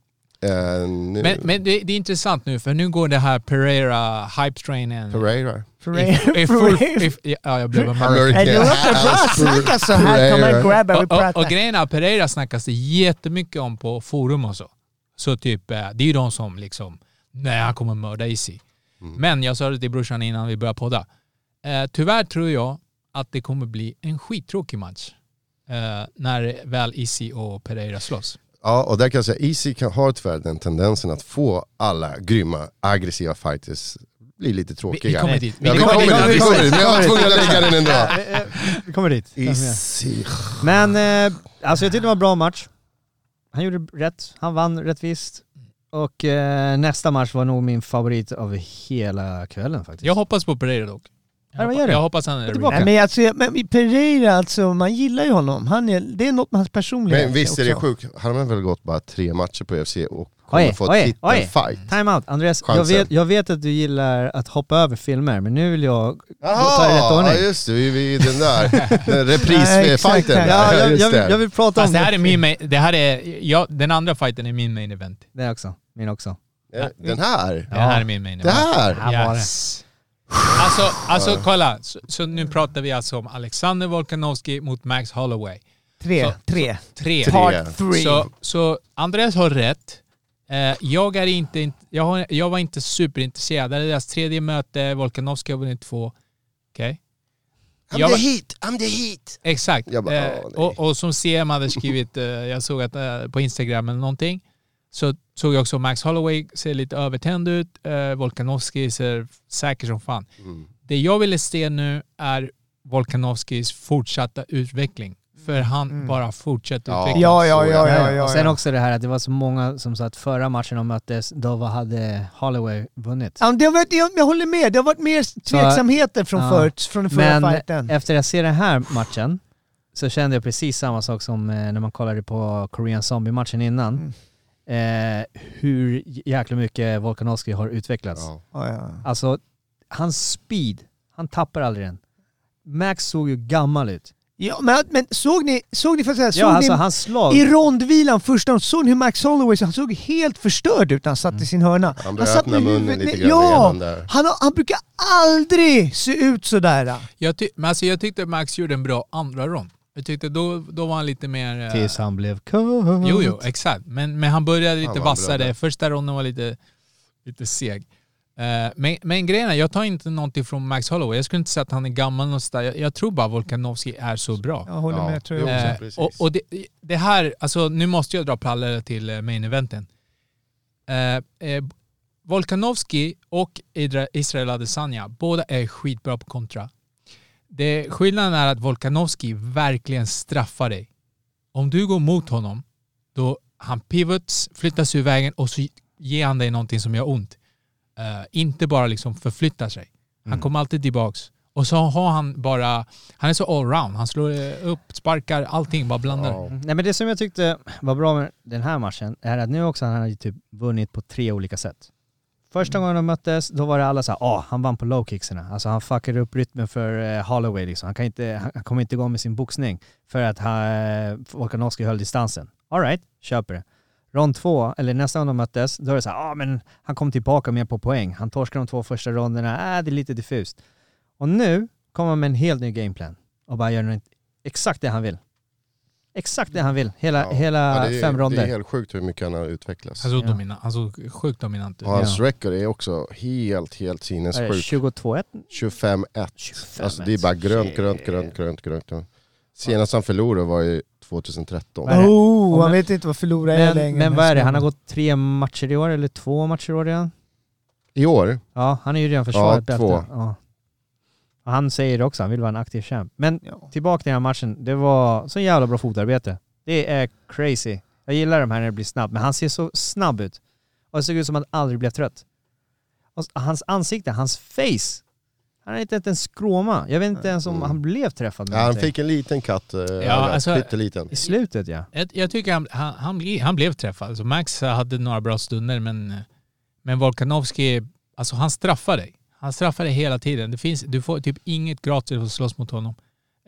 E: eh, nu,
G: Men, men det, det är intressant nu för nu går det här Pereira hype-trainen
E: Pereira.
G: I, i full, i, ja, jag blev American.
D: Nej, det låter bra snacka så alltså? här, kan man grabba, vi
F: Oh,
G: Och, och, och
D: pratar.
G: grejen är, Pereira snackas det jättemycket om på forum och så. Så typ, eh, det är ju de som liksom, nej han kommer mörda Isi. Men jag sa det till brorsan innan vi började podda. Eh, tyvärr tror jag att det kommer bli en skittråkig match. Eh, när väl Isi och Pereira slåss.
E: Ja, och där kan jag säga, Easy kan, har tyvärr den tendensen att få alla grymma, aggressiva fighters bli lite
G: Vi,
E: tråkiga.
G: vi kommer dit.
E: Ja, vi kommer dit, vi kommer dit. Men jag var tvungen att lägga den ändå.
F: Vi kommer dit.
E: Easy.
F: Men eh, alltså jag tyckte det var en bra match. Han gjorde rätt, han vann rättvist. Och eh, nästa match var nog min favorit av hela kvällen faktiskt.
G: Jag hoppas på Pereira dock.
F: Ja,
G: Jag,
F: vad
G: hoppas,
F: gör du?
G: jag hoppas han
F: Gå
G: är
F: tillbaka.
D: Nej, men alltså, men i Pereira alltså, man gillar ju honom. Han är, det är något med hans personlighet.
E: Men visst är det
D: också.
E: sjukt, han har väl gått bara tre matcher på UFC och kommer
F: Oj,
E: få
F: oj, oj.
E: titelfight.
F: Time out. Andreas, jag
E: Chansen.
F: vet, jag vet att du gillar att hoppa över filmer, men nu vill jag ta det
E: Jaha,
F: i rätt
E: ja
F: ordning.
E: just det, vi vi- den där den
D: Nej, exakt.
E: reprisfighten.
F: Ja, jag,
E: just
F: jag, vill,
E: det.
F: jag vill prata
G: Fast Alltså,
F: om
G: det här är min main, det här är, jag, den andra fighten är min main event.
F: Det också. Min också.
E: Ja, Den här.
G: Det här är min main
E: Det
G: event.
E: här.
F: Här var
G: Yes. Alltså, alltså kolla, så, så nu pratar vi alltså om Alexander Volkanovski mot Max Holloway.
D: Tre,
G: Så-
D: tre.
G: Tre.
E: Tre.
D: Part three.
G: Så, så Andreas har rätt. Eh, jag, är inte, int- jag, har, jag var inte superintresserad. Det här är deras tredje möte, Volkanovski har vunnit två. Okej? Jag var-
E: heat, I'm the heat.
G: Exakt.
E: Jag bara,
G: eh,
E: "Åh, nej."
G: och, och som CM hade skrivit, eh, jag såg att eh, på Instagram eller någonting, så såg jag också Max Holloway ser lite övertänd ut, eh, Volkanovski ser säker som fan.
E: Mm.
G: Det jag ville se nu är Volkanovskis fortsatta utveckling. för han
D: Mm.
G: bara fortsätter
E: Ja.
G: utvecklas.
D: Ja, ja, ja, ja, ja,
F: Nej,
D: ja.
F: och sen också det här att det var så många som sa att förra matchen de möttes, då var- hade Holloway vunnit.
D: Ja, men det har varit, jag, jag håller med, det har varit mer tveksamheter från,
F: ja.
D: förut, från den förra
F: Men
D: fighten.
F: efter jag ser den här matchen så kände jag precis samma sak som eh, när man kollade på Korean Zombie-matchen
D: Mm.
F: innan. Eh, hur jäkla mycket Volkanovski har utvecklats.
E: Ja.
D: Ja, ja.
F: Alltså, hans speed, han tappar aldrig den. Max såg ju gammal ut.
D: Ja, men, men såg ni, såg ni, för att säga, såg
F: Ja, alltså
D: ni
F: hans slag.
D: i rondvilan första såg ni hur Max Holloway han såg helt förstörd ut när han satt i sin hörna?
E: Mm. Han
D: satt
F: Alltså,
E: började öppna
D: med
E: munnen
D: huvudet ner-
E: lite grann
D: ja,
E: igen där.
D: han, har- han brukar aldrig se ut sådär. äh.
G: Jag, ty- men alltså, jag tyckte Max gjorde en bra andra rond. Jag tyckte då, då var han lite mer... eh,
F: Tills han blev kung.
G: Jo, jo, exakt. Men, men han började
E: Han
G: lite
E: var
G: vassare.
E: bröd.
G: Första ronden var lite, lite seg. Eh, men, men grejen är, jag tar inte någonting från Max Holloway. Jag skulle inte säga att han är gammal någonstans. Jag, jag tror bara Volkanovski är så bra.
D: Jag håller
E: Ja,
D: med, tror
E: jo.
D: jag.
E: också,
G: Eh,
E: precis.
G: och och det, det här, alltså nu måste jag dra paralleller till eh, main eventen. Eh, eh, Volkanovski och Idra- Israel Adesanya, båda är skitbra på kontra. Det, skillnaden är att Volkanovski verkligen straffar dig. Om du går mot honom, då han pivots, flyttas ur vägen och så ger han dig någonting som gör ont. Eh, inte bara liksom förflyttar sig. Han kommer alltid tillbaks. Och så har han bara, han är så allround. Han slår eh, upp, sparkar, allting bara blandar.
E: Ja.
F: Nej men det som jag tyckte var bra med den här matchen är att nu också han har ju typ vunnit på tre olika sätt. Första gången de möttes, då var det alla såhär, ah han vann på lowkicksarna. Alltså han fuckade upp rytmen för eh, Holloway liksom. Han, kan inte, han- han kommer inte igång med sin boxning för att han, eh, Volkanovski höll distansen. Alright, köper det. Rond två, eller nästa gång de möttes, då är det såhär, ah men han kom tillbaka mer på poäng. Han torskade de två första ronderna, äh, det är lite diffust. Och nu kommer han med en helt ny gameplan och bara gör något- exakt det han vill. Exakt det han vill, hela,
E: Ja.
F: hela
E: Ja, det är-
F: fem
E: Det är
F: ronder.
E: helt sjukt hur mycket han har utvecklats.
G: Han såg,
F: Ja.
G: dominant, han såg sjukt dominant ut.
E: Och hans
F: Ja.
E: record är också helt, helt
F: Vad är det,
E: sinnessjukt.
F: 22-1?
E: 25-1. Alltså det är
F: 25-1.
E: bara grönt, grönt,
F: Shit.
E: grönt, grönt, grönt. grönt. Senast han förlorade var ju 2013.
F: Vad är det?
D: Oh,
F: Om
D: han
F: jag-
D: vet inte vad förlora är
F: Men,
D: längre.
F: men vad är det, han har gått tre matcher i år eller två matcher i år redan?
E: I år?
F: Ja, han är ju redan försvarat
E: Ja,
F: bältet.
E: två.
F: Ja. Och Han säger det också, han vill vara en aktiv kämp. Men
D: Ja.
F: tillbaka till den här matchen, det var så jävla bra fotarbete. Det är crazy. Jag gillar de här när det blir snabbt, men han ser så snabb ut. Och det såg ut som att han aldrig blev trött. Och s- hans ansikte, hans face. Han har inte ens en skråma. Jag vet inte ens om
E: Mm.
F: han blev träffad med
E: Ja, han
F: någonting.
E: fick en liten katt. Ja,
G: alltså-
E: Pytteliten.
F: I slutet ja.
G: Jag, jag tycker han, han, han, ble, han blev träffad. Alltså Max hade några bra stunder men, men Volkanovski, alltså han straffar dig. Han straffar dig hela tiden. Det finns, du får typ inget gratis att slåss mot honom.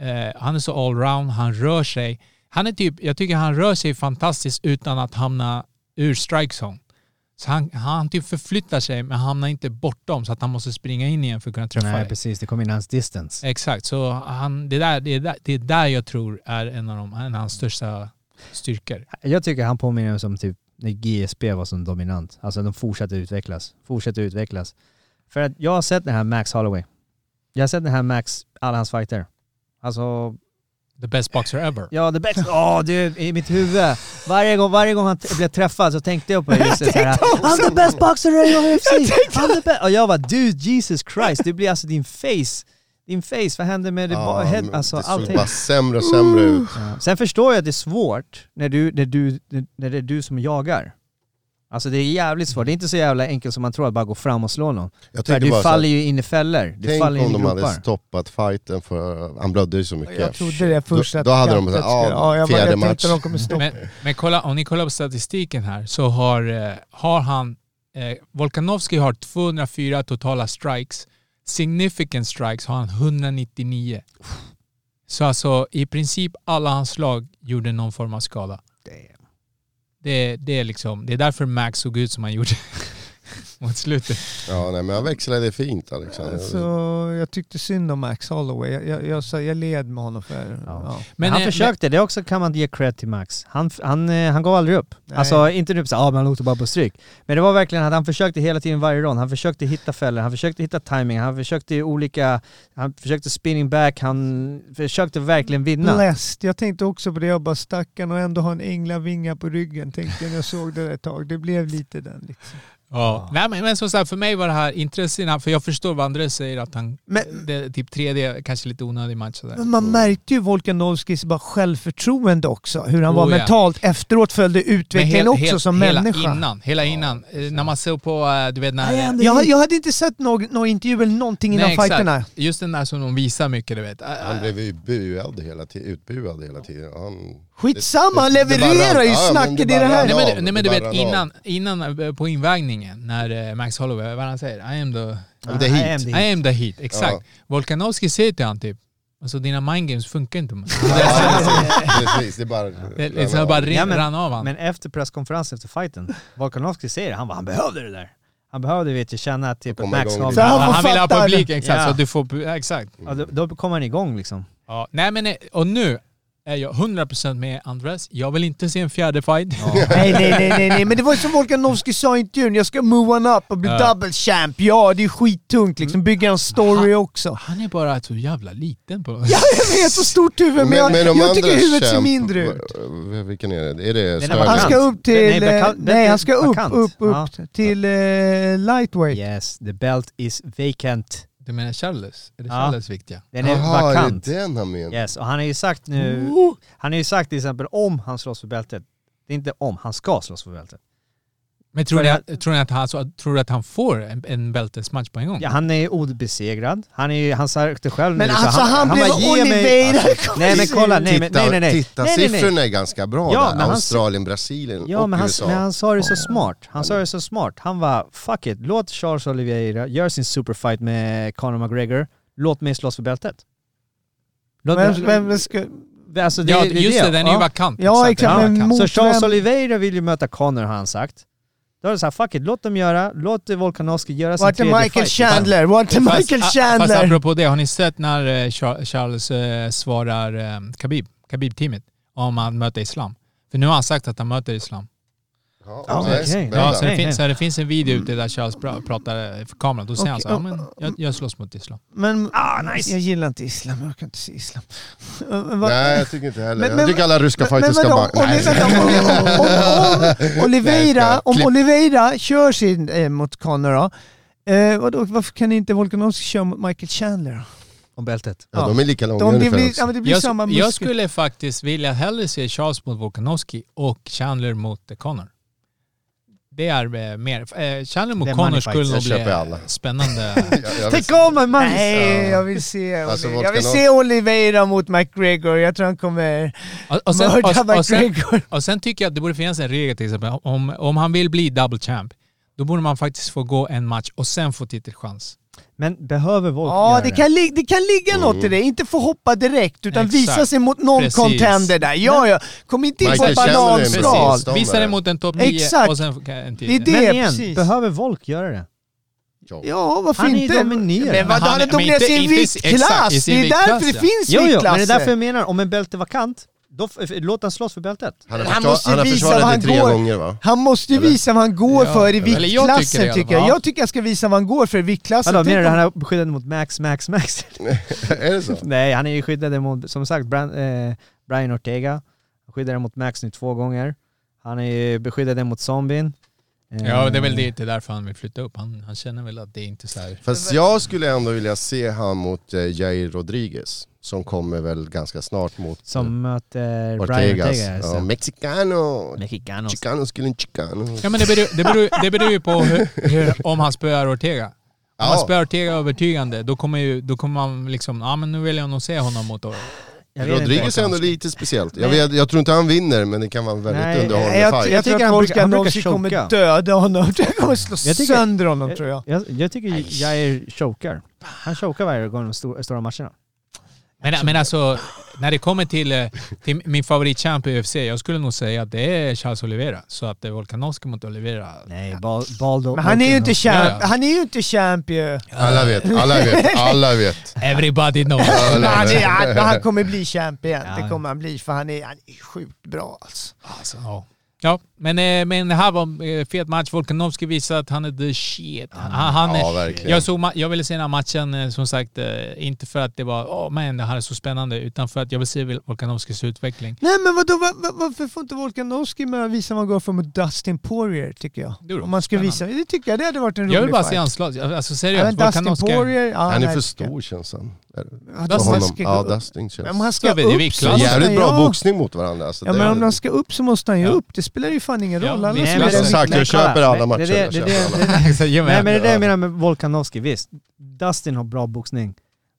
G: Eh, han är så allround, han rör sig. Han är typ, jag tycker han rör sig fantastiskt utan att hamna ur strike zone. Så han, han typ förflyttar sig men hamnar inte bortom så att han måste springa in igen för att kunna träffa
F: Nej
G: dig.
F: precis, det kom in hans distance.
G: Exakt, så han, det, där, det, är där, det är där jag tror är en av, de, en av hans största styrkor.
F: Jag tycker han påminner mig som typ när GSP var som dominant. Alltså de fortsätter utvecklas, fortsätter utvecklas. För att jag har sett den här Max Holloway. Jag har sett den här Max, alla hans fighter. Alltså,
G: The best boxer ever.
F: ja the best, åh du, i mitt huvud. Varje gång, varje gång han t- blev träffad så tänkte jag på det just så här. I'm the best boxer in UFC! I'm the best. Och jag bara, dude Jesus Christ, det blir alltså din face. Din face, vad händer med det?
E: Ja,
F: ba- head,
E: men
F: alltså
E: Ah, det såg
F: allting.
E: bara sämre och sämre ut.
F: Ja. Sen förstår jag att det är svårt när, du, när, du, när det är du som jagar. Alltså det är jävligt svårt. Det är inte så jävla enkelt som man tror att bara gå fram och slå någon.
E: Jag
F: För
E: tänker
F: du
E: bara så
F: faller
E: här,
F: ju in i fällor. Du
E: tänk
F: faller in
E: om
F: i
E: de hade
F: gropar.
E: stoppat fighten för han blödde ju så mycket.
D: Jag trodde det först
E: Då-
D: att
E: då hade de
D: Kantet
E: så här, ja,
D: skulle- jag bara,
E: fjärde
D: jag
E: match.
D: tänkte de kommer stoppa.
G: Men, men kolla, om ni kollar på statistiken här så har, eh, har han, eh, Volkanovski har 204 totala strikes. Significant strikes har han 199. Så alltså i princip alla hans slag gjorde någon form av skada. Det, det, är, liksom, det är därför Max såg ut som han gjorde mot slutet.
E: Ja, nej, men han växlade fint liksom. Alexander.
D: Så jag tyckte synd om Max Holloway. Jag, jag, jag, sa- jag led med honom för...
F: Ja.
D: Ja.
F: Men han
G: eh,
F: försökte, det också kan man ge cred till Max. Han, han, eh, han gav aldrig upp.
D: Nej.
F: Alltså inte nu såhär, ah, men han åkte bara på stryk. Men det var verkligen att han försökte hela tiden varje rond. Han försökte hitta fällor, han försökte hitta timing, han försökte olika, han försökte spinning back, han försökte verkligen vinna.
D: Blessed. Jag tänkte också på det, jag bara stackarn och ändå ha en änglavinga på ryggen tänkte jag när jag såg det där ett tag. Det blev lite den liksom.
G: Ja. Ja. Nej, men, men som sagt, för mig var det här intresserna, för jag förstår vad Andres säger att han,
D: Men-
G: det, typ 3D, kanske lite onödig match sådär.
D: Men man märkte ju Volkanovskis bara självförtroende också. Hur han var
G: Oh, ja.
D: mentalt. Efteråt följde utvecklingen också som
G: hela
D: människa.
G: Innan, hela innan. Eh, när man ser på, eh, du vet när...
D: Jag, jag hade inte sett någon, någon intervju eller någonting innan
G: Nej, exakt.
D: fighterna.
G: Just den där som de visar mycket, du vet. Eh,
E: Han blev ju buad hela tiden, utbuad hela tiden. Han,
D: Skitsamma, han
E: Det- det- det bara
D: levererar ju
E: rann- ja, men
D: snacket i
E: det
D: det
E: bara
D: här.
E: rann
G: Nej
E: av,
G: men,
E: det
G: du- nej, men du
E: bara
G: vet
E: rann av.
G: innan, innan eh, på invägningen när eh, Max Holloway, vad han säger? I am the,
D: Ah,
E: I'm the heat.
G: I am the heat. Exakt.
E: Ja.
G: Volkanovski säger till han typ, alltså dina mind games funkar inte. Man.
E: Precis, det bara...
G: Det, liksom, jag bara rin,
F: Ja, men-
G: rann av han.
F: Men efter presskonferensen, efter fighten, Volkanovski säger det, han bara, han behövde det där. Han behövde vet du känna att typ
E: Och komma
F: Max
E: igång
F: Holloway...
E: lite.
D: Ja,
G: han,
D: vad
G: han vill ha
D: fattar du?
G: publiken, exakt.
F: Ja.
G: Så att du får, pu- exakt.
F: Ja, då, då kommer han igång liksom.
G: Ja. Nej men, eh, och nu är jag 100% med Andres. Jag vill inte se en fjärde fight.
D: Nej, nej, nej, nej, nej, men det var ju som Volkanovski sa i intervjun. Jag ska move on up och bli
G: Ja.
D: double champ. Ja, det är skittungt liksom. Bygga en story också.
G: Han är bara så jävla liten på något
D: Ja,
G: sätt.
D: jag vet, så stort huvud, men, jag, jag tycker huvudet ser mindre ut.
E: Vilken är det? Är det
F: är
E: Sterling?
D: Han ska upp till...
F: Nej,
D: Nej,
F: vakant.
D: nej han ska upp,
F: Vakant.
D: upp, upp
F: Ja.
D: till eh, lightweight.
F: Yes, the belt is vacant.
G: Du menar Charles? Är det
F: Ja.
G: Charles viktiga?
F: Den är
E: Jaha, är
F: vakant.
E: det den han menar?
F: Yes, och han har ju sagt nu, han har ju sagt till exempel om han slåss för bältet, det är inte om, han ska slåss för bältet.
G: Men tror
F: För
G: ni,
F: jag-
G: att, tror, ni att han, så, tror du att han får en, en bältesmatch på en gång?
F: Ja, han är ju obesegrad, han, är ju, han sa det själv
D: Men
F: nu, liksom.
D: alltså han, blev
F: bara, "Ge mig-" Alltså,
D: Oliveira.
F: Nej men kolla, nej men
E: Titta,
F: nej nej nej.
E: titta
F: nej, nej, nej.
E: siffrorna är ganska bra
F: Ja, men
E: där.
F: han-
E: Australien, Brasilien
F: Ja
E: och
F: men han,
E: USA.
F: men han sa det så smart, han sa det så smart. Han var fuck it, låt Charles Oliveira göra sin superfight med Conor McGregor, låt mig slåss för bältet. Låt
D: Vem, vem ska...
F: alltså, det,
G: Ja,
F: är
G: just det, den är ju
F: Ja.
G: vakant.
D: Ja, exakt,
G: Den är
D: men
G: vakant.
D: mot-
F: Så Charles
D: vem?
F: Oliveira vill ju möta Connor har han sagt. Då är det såhär, fuck it, låt dem göra, låt Volkanovski göra sin
D: Vart är
F: tredje
D: Michael
F: fight.
D: Chandler? Vart är
G: Fast-
D: Michael
G: a- Fast
D: Chandler?
G: apropå det, har ni sett när eh, Char- Charles eh, svarar eh, Khabib, Khabib-teamet, om han möter Islam? För nu har han sagt att han möter Islam.
E: Ja,
F: Ja,
E: nej,
F: okej.
E: spännande.
G: Ja, så, det
F: nej, nej.
G: finns, så det finns en video ute där Charles pra, pratar eh, för kameran. Då säger han så här, ja, men jag, jag slåss mot Islam.
D: Men, ah, nice. Jag gillar inte islam, jag kan inte se islam. Men vad-
E: Nej, jag tycker inte heller.
D: Men- men-
E: jag tycker alla ryska fighters ska
D: vadå?
E: bara...
D: Om,
E: Nej.
D: vänta, om, om, om, Oliveira,
E: Nej,
D: om
E: klipp.
D: Oliveira kör sin eh, mot Connor då, eh, vadå, varför kan inte Volkanovski köra mot Michael Chandler då?
F: Om bältet.
E: Ja, de är lika långa
D: De, det
E: ungefär
D: blir,
E: också.
D: ja, men det blir
G: Jag,
D: samma
G: jag
D: muskel.
G: skulle faktiskt vilja hellre se Charles mot Volkanovski och Chandler mot eh, Connor. Det är eh, mer... Eh, Chandler mot
F: Det är
G: Connor
F: money fight.
G: skulle nog
E: Jag
G: bli
E: köper
G: eh,
E: alla.
G: spännande.
E: Jag- jag
F: Tänk
E: visste-
F: om en man!
D: Nej, jag vill se,
E: Alltså,
D: jag vill
E: Volkanov-
D: se Oliveira mot McGregor. Jag tror han kommer
G: Och, och, sen,
D: mörda
G: och, och, sen,
D: McGregor.
G: och sen tycker jag att det borde finnas en regel till exempel. Om, om han vill bli double champ, då borde man faktiskt få gå en match och sen få titelchans.
F: Men behöver Volk
D: Ja,
F: göra
D: det kan, li- det kan ligga något i det. Inte få hoppa direkt, utan
G: Mm. Exakt.
D: visa sig mot någon
G: Precis.
D: contender där. Ja, ja. Kom inte in på
E: Michael Chandler är en bra
D: bananskal.
E: motståndare. De
G: Visa det
E: är-
G: mot en topp 9
D: Exakt.
G: och sen en
D: Det är
G: titel.
D: det,
F: Men igen,
D: precis.
F: behöver Volk göra det?
D: Ja, varför
F: Han är ju
D: inte?
F: dominerad.
D: Men vadå,
G: Han-
D: han är
G: men
D: dominerad i
G: inte-
D: sin
G: inte- exakt, i
D: viktklass! Det
G: sin
D: är
G: viktklass,
D: därför det
G: ja.
D: finns
F: Jo, jo, men det är därför
D: viktklasser.
F: jag menar, om en bälte är vakant, då f- låt han slåss för bältet.
E: Han har,
D: Han
E: försvar,
D: måste
E: han har
D: visa vad
E: försvarat
D: han
E: det tre
D: går-
E: gånger va?
D: Han måste ju
E: Eller?
D: visa vad han går
G: Ja,
D: för i
G: eller jag tycker det i alla
D: viktklassen
G: fall.
D: tycker jag.
G: Ja.
D: Jag tycker han ska visa vad han går för i viktklassen.
F: Vadå,
D: Tänk
F: menar du
D: om-
F: han är skyddad mot Max, Max, Max?
E: är det så?
F: Nej, han är ju skyddad mot, som sagt, Brian, eh, Brian Ortega. Han skyddade mot Max nu två gånger. Han är ju beskyddad mot zombien. Eh,
G: Ja, det är väl det, det är därför han vill flytta upp. Han, han känner väl att det är inte så här...
E: Fast jag skulle ändå vilja se han mot eh, Jair Rodriguez. Som kommer väl ganska snart mot
F: Som möter
E: eh,
F: Brian
E: Ortegas.
F: Ortega.
E: ja,
F: alltså.
E: Mexicano!
F: Mexicanos.
E: Chicano skulle en chicano.
G: Ja, men det beror, det beror, det beror ju på hur, hur, om han spöar Ortega. Om han
E: Ja.
G: spöar Ortega övertygande, då kommer, ju, då kommer man liksom... Ja, men nu vill jag nog se honom mot... Or-
F: Jag vet inte.
E: Rodriguez är ändå lite speciellt. Jag, vet, jag tror inte han vinner men det kan vara en väldigt
F: Nej,
E: underhållande
D: Nej, jag, jag,
E: fight.
D: tror
F: tycker
D: att
F: han brukar- han brukar
D: Volkanovski kommer
F: choka.
D: döda honom. Jag kommer slå
F: Jag tycker- Eh,
D: sönder honom tror jag.
F: Jag, jag tycker ju Jair chokar. Han chokar varje gång de stor, stora matcherna.
G: Men, men alltså, när det kommer till, eh, till min favoritchamp i UFC, jag skulle nog säga att det är Charles Oliveira. Så att det är Volkanovski mot Oliveira.
F: Nej, bal, Baldo...
D: Men han är ju inte champ,
G: Ja, ja.
D: han är ju inte champ ju.
E: Alla vet, alla vet, alla vet.
G: Everybody knows.
D: Men
E: Alla
D: han,
E: vet.
D: är, han, han kommer bli champ igen,
F: Ja.
D: det kommer han bli för han är, han är sjukt bra alltså.
G: Alltså, ja. Ja, men, eh, men det här var eh, fet match. Volkanovski visar att han är the shit. Han, han,
E: Ja,
G: är-
E: verkligen.
G: jag, såg, ma- jag ville se den här matchen, eh, som sagt, eh, inte för att det var åh men det här är så spännande, utan för att jag vill se Vol- Volkanovskis utveckling.
D: Nej men vadå, va- va- varför får inte Volkanovski med visa vad han går för mot Dustin Poirier tycker jag?
G: Det vore
D: Om man ska
G: spännande.
D: visa, det tycker jag det hade varit en rolig
G: Jag vill bara
D: fight.
G: se anslag. Alltså
D: Ja,
G: seriöst,
D: men Dustin
G: Volkanovski.
D: Poirier, ja,
E: Han är
D: nej,
E: för
D: ska-
E: stor känns han.
D: Ja,
E: För
G: Dustin
D: han
E: honom.
D: ska
E: Ja,
D: gå upp.
E: Dustin
D: Ja,
E: känns...
D: men han ska
G: Så
D: upp.
G: vet vi,
E: Det
G: klass.
E: är jävligt bra
D: ja.
E: boxning mot varandra. Alltså,
D: Ja
E: det
D: men
E: är-
D: om de ska upp så måste han ju
G: Ja.
D: upp. Det spelar ju fan ingen
G: Ja, alltså-
D: roll.
G: vi
D: Alla
G: slår
D: spelar
E: Som
D: ju-
E: sagt, jag
F: kolla.
E: köper alla
F: Nej,
E: matcher.
F: Det, är
E: Jag
F: det, det,
E: köper alla.
F: är- det,
G: Så, ge mig
F: nej
G: en.
F: men det är det jag menar med Volkanovski, visst. Dustin har bra boxning.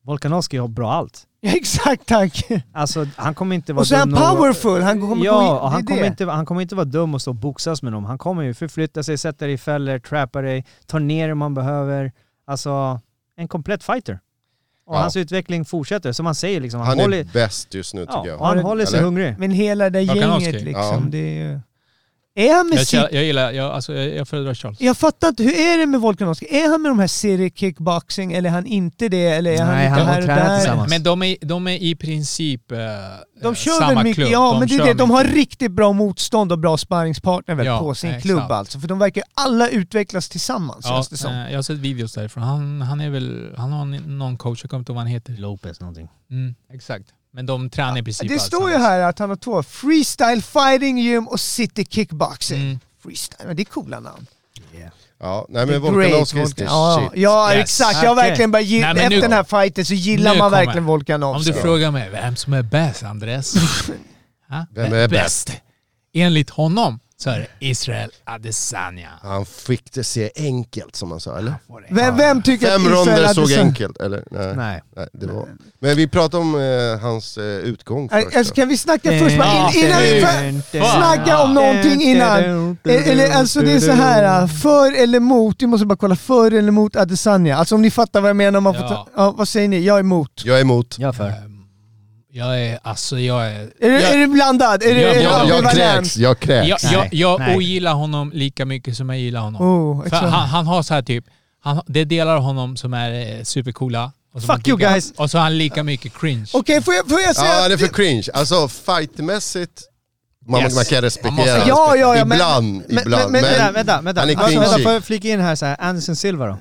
F: Volkanovski har bra allt.
D: Exakt tack!
F: Alltså han kommer inte vara
D: Och så är han
F: dum nog-
D: powerful, han kommer gå in.
F: Ja, och han
D: det är
F: kommer,
D: det.
F: inte, han kommer inte vara dum och stå och boxas med dem. Han kommer ju förflytta sig, sätta dig i fällor, trappa dig, ta ner dig om man behöver. Alltså, en komplett fighter. Och
E: Ja.
F: hans utveckling fortsätter, som han säger liksom. Han,
E: Han
F: håller,
E: är bäst just nu tycker
F: ja,
E: jag.
F: och han håller sig
E: Eller?
F: hungrig.
D: Men hela det där
G: Volkanovski,
D: gänget liksom,
E: ja.
D: det är ju... Är han med
G: jag,
D: sitt...
G: känner- jag gillar, jag, alltså, jag, jag föredrar Charles.
D: Jag fattar inte, hur är det med Volkanovski? Är han med de här serie kickboxing eller är han inte det? Eller är han
F: Nej,
D: inte
F: han- de
D: här och
F: tränar
D: där?
F: tillsammans.
G: Men de är, de är i princip eh,
D: De kör
G: samma
D: väl mycket,
G: klubb.
D: ja men det är
G: kör
D: det, de har
G: mycket.
D: riktigt bra motstånd och bra sparringspartner väl
G: Ja,
D: på sin
G: exakt.
D: klubb alltså. För de verkar ju alla utvecklas tillsammans
G: Ja,
D: känns det som.
G: eh, jag har sett videos därifrån. Han, han är väl, han har en- någon coach, jag kommer inte ihåg vad han heter.
F: Lopez någonting.
G: Mm, exakt. Men de tränar i princip
D: Det
G: allt
D: står ju
G: samma.
D: här att han har två, freestyle fighting gym och city kickboxing.
G: Mm.
D: Freestyle, men det är coola namn.
E: Ja, nej
D: The
E: men
D: Great
E: Volkanovski is
D: Volkan-
E: the
D: ja,
E: shit.
D: ja
G: Yes.
D: exakt, jag har
F: Okej.
D: verkligen bara gill-
G: Nej, men
D: efter
G: nu-
D: den här fighten så gillar
G: nu
D: man
G: kommer-
D: verkligen
G: Om
D: Volkanovski.
G: du frågar mig vem som är bäst, Andres? Ha?
E: Vem är
G: Enligt honom så är det Israel Adesanya.
E: Han fick det se enkelt som man sa, eller?
D: Vem, vem tycker
E: Fem
D: att Israel
E: ronder
D: Adesanya-
E: såg enkelt, eller? Nej.
F: Nej.
E: Nej, det var. Men vi pratade om eh, hans eh, utgång
D: Nej,
E: först.
D: Alltså,
E: då.
D: kan vi snacka först? bara In, innan vi pra- snacka om någonting innan. Eh, Eller alltså det är så här, eh, för eller emot, vi måste bara kolla, för eller emot Adesanya? Alltså om ni fattar vad jag menar, om man får
G: Ja.
D: ta, ja, vad säger ni? Jag är emot.
E: Jag är emot.
F: Jag för.
G: Jag är, alltså jag är...
D: Är, du
G: jag,
D: är du blandad? Är du
G: Jag-
D: är du
E: Jag, jag
D: ambivalent?
E: kräks, jag
G: jag,
E: kräks.
G: jag,
F: Nej.
G: jag ogillar honom lika mycket som jag gillar honom.
D: Oh,
G: För
D: exakt.
G: han, han har så här typ, han, det är delar av honom som är eh, supercoola. och som
F: Fuck you
G: lika-
F: guys.
G: Och så är han lika mycket cringe.
D: Okej, får jag, får jag säga...
E: Ja,
D: att-
E: det är för cringe. Alltså fightmässigt, man, man kan
G: Yes. Man måste-
E: respektera
G: Ja,
D: ja, ja, men-
E: Ibland,
D: men-
E: ibland.
D: men-
F: Vänta, vänta, vänta.
E: Han är
F: Alltså, vänta,
E: cringy.
F: får jag flika in här så här, Anderson Silva då?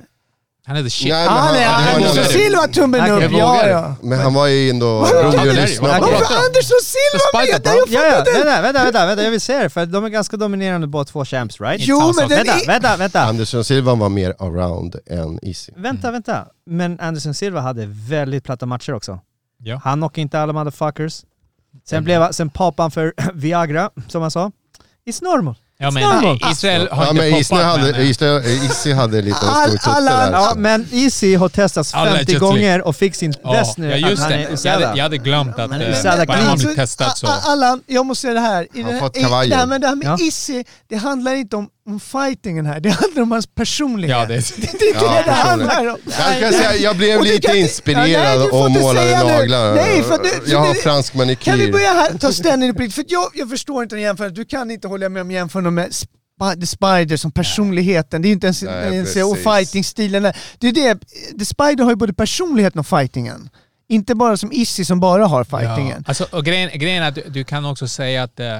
G: Han är the shit.
E: Nej, men
D: han är
E: det var en
D: Anderson
E: annan-
D: Silva, tummen
F: Jag
D: upp! Ja,
G: vågar.
D: ja.
E: Men han var ju ändå rolig att lyssna
F: Varför-
E: på.
D: Varför Anderson Silva
G: Despite
D: med?
G: that,
D: Jag
G: bro.
D: fattar
F: Ja, ja,
D: inte.
F: vänta, vänta, vänta, vänta, jag vill säga det för de är ganska dominerande båda två champs, right?
D: Jo,
G: Samma
D: men
G: sak.
D: den
F: Vänta,
D: är...
F: vänta, vänta.
E: Anderson Silva var mer around än Easy.
G: Mm.
F: Vänta, vänta. Men Anderson Silva hade väldigt platta matcher också.
G: Ja. Mm.
F: Han knockade inte alla motherfuckers. Sen, blev, han- sen poppade han för Viagra, som han sa. It's normal.
G: Ja, men
F: Snarare.
G: Israel har
E: Ja,
G: inte
E: men
G: poppat.
E: Isne
G: men, eh,
E: hade, Isne, Isi hade lite
D: All-
E: stor tutte
D: alla-
E: där. liksom.
F: Ja,
G: alltså.
E: så.
F: men Easy har testats 50
G: Allegedly.
F: gånger och fick sin bäst nu.
G: Ja, just
F: att han
G: det.
F: är
G: Jag
F: Usada.
G: hade, jag hade glömt att
F: Men
G: eh,
F: Usada
G: bara
F: kan-
G: han blev
D: Alltså,
G: testad
F: Ah,
G: så.
D: A- A- Allan, jag måste säga det här. I
E: Han har
D: den-
E: fått
D: i-
E: kavajen.
D: Det här, men det här med
F: Ja.
D: Issi, det handlar inte om, om fightingen här. Det handlar om hans personlighet.
G: Ja, det är
D: Det är inte
E: Ja,
D: det det
E: personlighet.
D: handlar om.
E: Jag kan säga, jag blev
D: Och du
E: lite
D: kan- Ja,
E: inspirerad
D: nej, du får
E: och
D: inte
E: målade
D: säga nu.
E: naglar.
D: Nej, för du-
E: jag har
D: du-
E: fransk manikyr.
D: Kan vi börja här, ta ställning på riktigt? För jag, jag förstår inte den jämförelsen. Du kan inte hålla med om jämförelsen med Sp- The Spider som personligheten. Det är ju inte ens,
E: Nej,
D: ens och
E: precis.
D: fightingstilen. där. Det är det, The Spider har ju både personligheten och fightingen. Inte bara som Issi som bara har fightingen.
G: Ja. Alltså, och grejen, grejen är att du, du kan också säga att eh,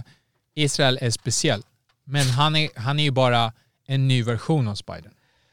G: Israel är speciell. Men han är, han är ju bara en ny version av Spidern.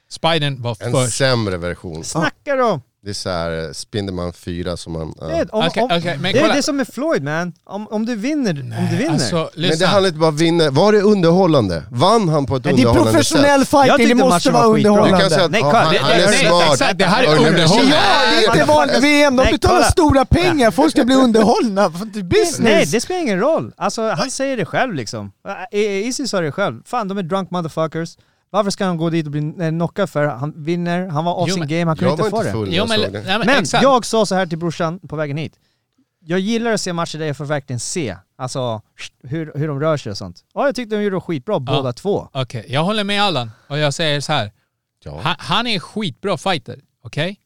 G: Spidern var
E: En
G: först.
E: sämre version.
F: Snackar om!
E: Det är så här eh, Spindelman 4 som man... Ja.
F: Det är, om,
G: Okej,
F: om,
G: okej, men
F: det, är
G: kolla.
F: det som är Floyd man. Om, om du vinner, om du vinner.
G: Alltså,
E: Men det
G: lyssna.
E: handlar inte bara om att vinna. Var det underhållande? Vann han på ett
D: Men det är
E: underhållande sätt?
D: professionell
F: Jag
D: fighting, det
F: tyckte
D: måste
F: matchen
D: vara
F: var skitbra.
E: Du kan
D: underhållande.
E: säga att
F: Nej,
E: ja,
F: kolla,
E: han,
F: det-
E: han
G: det-
E: är
G: nej,
E: smart.
G: exakt, det här är
E: Och den där-
G: underhållning.
D: Ja, det är inte vanligt. VM, de
F: Nej,
D: betalar
F: kolla.
D: stora pengar. Folk ska bli underhållna. För att det är business.
F: Nej, det spelar ingen roll. Alltså, han säger det själv liksom. I- I- Izzy sa det själv. Fan, de är drunk motherfuckers. Varför ska han gå dit och bli eh, knockad för? Han vinner, han var off
G: Jo,
F: sin
G: men-
F: game, han kunde
E: Jag
F: inte
E: var
F: få
E: inte
F: det.
E: full när
G: Jo,
E: jag
G: men,
E: såg
G: nej,
E: det.
G: men,
F: Men
G: exakt.
F: jag sa så här till brorsan på vägen hit. Jag gillar att se matcher där jag får verkligen se alltså, hur, hur de rör sig och sånt. Ja, jag tyckte de gjorde skitbra båda två.
G: Okej, jag håller med Allan och jag säger så här. Han, han är en skitbra fighter, okej?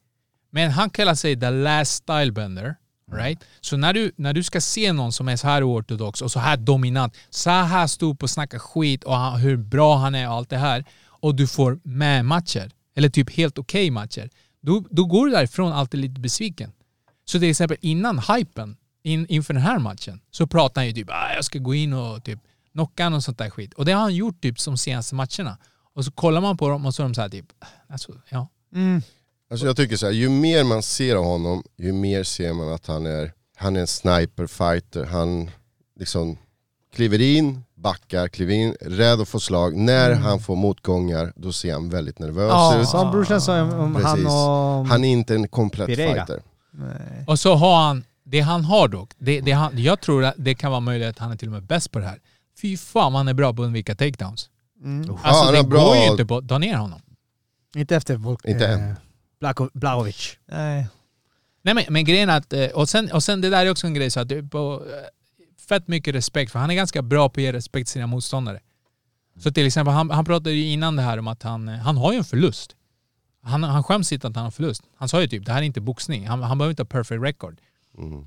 G: Men han kallar sig the last stylebender, right? Så när du, när du ska se någon som är så här ortodox och så här dominant, så här stor på att snacka skit och han, hur bra han är och allt det här och du får med matcher, eller typ helt okej matcher, då, då går du därifrån alltid lite besviken. Så till exempel innan hypen, in, inför den här matchen, så pratar han ju typ ah, jag ska gå in och typ knockan och sånt där skit. Och det har han gjort typ som senaste matcherna. Och så kollar man på dem och så är de så här typ, alltså, ja.
E: Alltså jag tycker så här, ju mer man ser av honom, ju mer ser man att han är, han är en sniper fighter. Han liksom kliver in, backar, kliver in, rädd att få slag. När
D: Mm.
E: han får motgångar, då ser han väldigt nervös ut.
F: Som brorsan sa om om han
E: Precis.
F: och...
E: Han är inte en komplett
F: Pereira.
E: fighter.
G: Och så har han, det han har dock, det, det han, jag tror att det kan vara möjligt att han är till och med bäst på det här. Fy fan vad han är bra på att undvika takedowns. Alltså
E: Ja, han
G: det
E: är bra.
G: går ju inte på att ta ner honom.
F: Inte efter Volk...
E: Inte
F: eh,
E: än.
F: Blako- Blaovic.
D: Nej.
G: Nej men, men grejen är att, eh, och sen, och sen det där är också en grej så att du på, eh, fett mycket respekt för han är ganska bra på att ge respekt till sina motståndare. Så till exempel, han, han pratade ju innan det här om att han, eh, han har ju en förlust. Han, han skäms inte att han har förlust. Han sa ju typ, det här är inte boxning. Han, han behöver inte ha perfect record.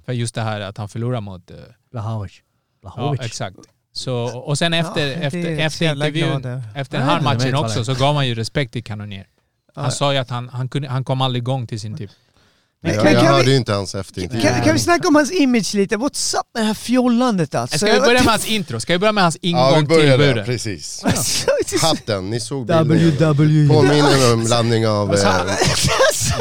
G: För just det här att han förlorar mot... eh,
F: Blahovic.
G: Ja,
F: Blahovic.
G: exakt. Så, och sen efter,
D: det är
G: efter,
D: jag så
G: efter
D: jävla
G: intervjun,
D: glad över.
G: efter
F: eh. Ja,
G: den här
F: det vet
G: matchen
F: jag.
G: också, så gav han ju respekt till Kanonier. Han sa ju att han, han, kunde, han kom aldrig igång till sin typ.
E: Jag,
D: Men
E: jag
D: kan
E: hörde
D: vi-
E: ju inte hans efterintervju.
D: Kan, kan vi snacka om hans image lite? What's up med det här fjollandet alltså?
G: Äh, Ska vi börja med hans intro? Ska vi börja med hans ingång
E: Ja, vi
G: till
E: börjar där,
G: buren?
E: precis.
D: Alltså,
E: Hatten, ni såg
D: E.
E: bilden.
F: WWE.
E: Påminner om en blandning av eh,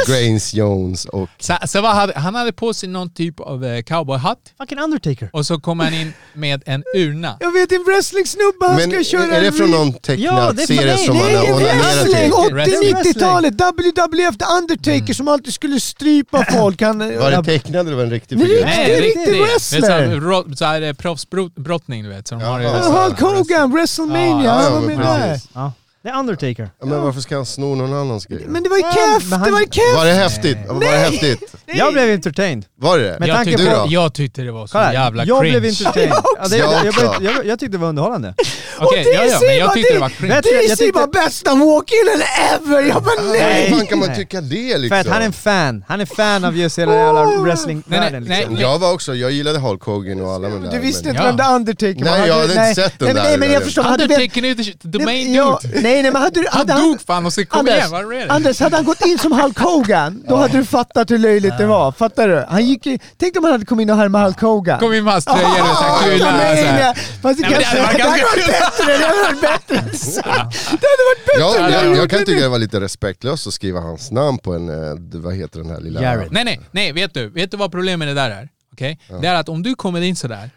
E: Grains Jones och...
G: Så, så vad hade, han hade på sig någon typ av eh, cowboyhatt
F: Fucking Undertaker.
G: och så kom han in med en urna.
D: Jag vet en wrestlingsnubbe, han
E: Men
D: ska köra
E: är det från någon
F: Ja,
E: tecknad
F: det är från-
E: serie
F: nej,
E: som
F: det
E: han
F: är
E: har onanerat
D: Wrestling!
E: till?
F: Wrestling.
D: 80-90-talet! WWF The Undertaker som alltid skulle strypa folk. Han,
E: Var det tecknad eller var det en riktig
D: Nej,
E: figur?
D: det- är riktig wrestler.
G: Såhär eh, proffsbrottning du vet. Så de har
E: Ja.
G: ju så här-
D: Hulk Hogan, WrestleMania,
G: Ja,
D: han
E: ja,
D: var
E: men
D: med där.
E: precis.
F: Ja. Det är Undertaker.
E: Ja, men varför ska han sno någon annans grej?
D: Men det var ju
F: Ja,
D: keft,
F: men
D: det
F: han-
D: var ju keft!
E: Var det häftigt? Var det häftigt?
F: Jag blev entertained.
E: Var det det?
F: Men-
G: Jag
F: tanke
G: tyckte,
E: på-
G: jag tyckte det var så
F: Kolla,
G: jävla
F: jag
G: cringe.
F: blev entertained. Ja, det,
E: Jag
F: jag, jag,
E: också.
F: jag, jag, jag tyckte det var underhållande.
G: Okej,
D: Och
G: ja, ja, men jag
D: DC
G: tyckte det var
D: var
G: cringe.
F: Jag tror- jag
D: DC
F: tyckte-
D: var bästa walk-in ever! Jag bara
E: Hur
D: nej!
E: fan kan man
F: Nej.
E: tycka det
F: För att
E: liksom?
F: han är en fan. Han är fan av just hela jävla
G: Nej, nej,
F: wrestling-världen.
G: nej.
F: Liksom.
E: Jag var också, jag gillade Hulk Hogan och alla de där.
D: Du visste
E: men-
D: inte
G: Ja.
D: vem The Undertaker var?
E: Nej, jag hade inte
D: nej.
E: sett den
D: nej, men-
E: där
D: Nej men jag
E: där.
D: förstår, hade du vetat-
G: Undertaken är ju the
D: Nej,
G: main
D: ja,
G: dude.
D: Nej nej men hade du...
G: Han
D: hade
G: dog fan och så kom igen, vad är
D: Anders,
G: det?
D: Anders, hade han gått in som Hulk Hogan, då hade du fattat hur löjligt det var. Fattar du? Han gick in, tänk om han hade kommit in och härmat Hulk Hogan.
G: Kom in med hans tröja och så
D: Ah, jag
G: här kula. och så
D: menar,
G: här.
D: Fast det
G: Nej, men det
D: kanske...
G: hade
D: Det
G: varit
D: hade
G: ganska
D: varit
G: kul.
D: bättre, det hade varit bättre. Så. Det hade varit bättre.
E: Ja,
G: Ja,
E: jag,
G: jag
E: jag kan tycka det var lite respektlöst att skriva hans namn på en, eh, d- vad heter den här lilla...
F: Jared.
G: Nej, nej, nej, vet du, vet du vad problemet med det där är? Okej? Det är att om du kommer in sådär,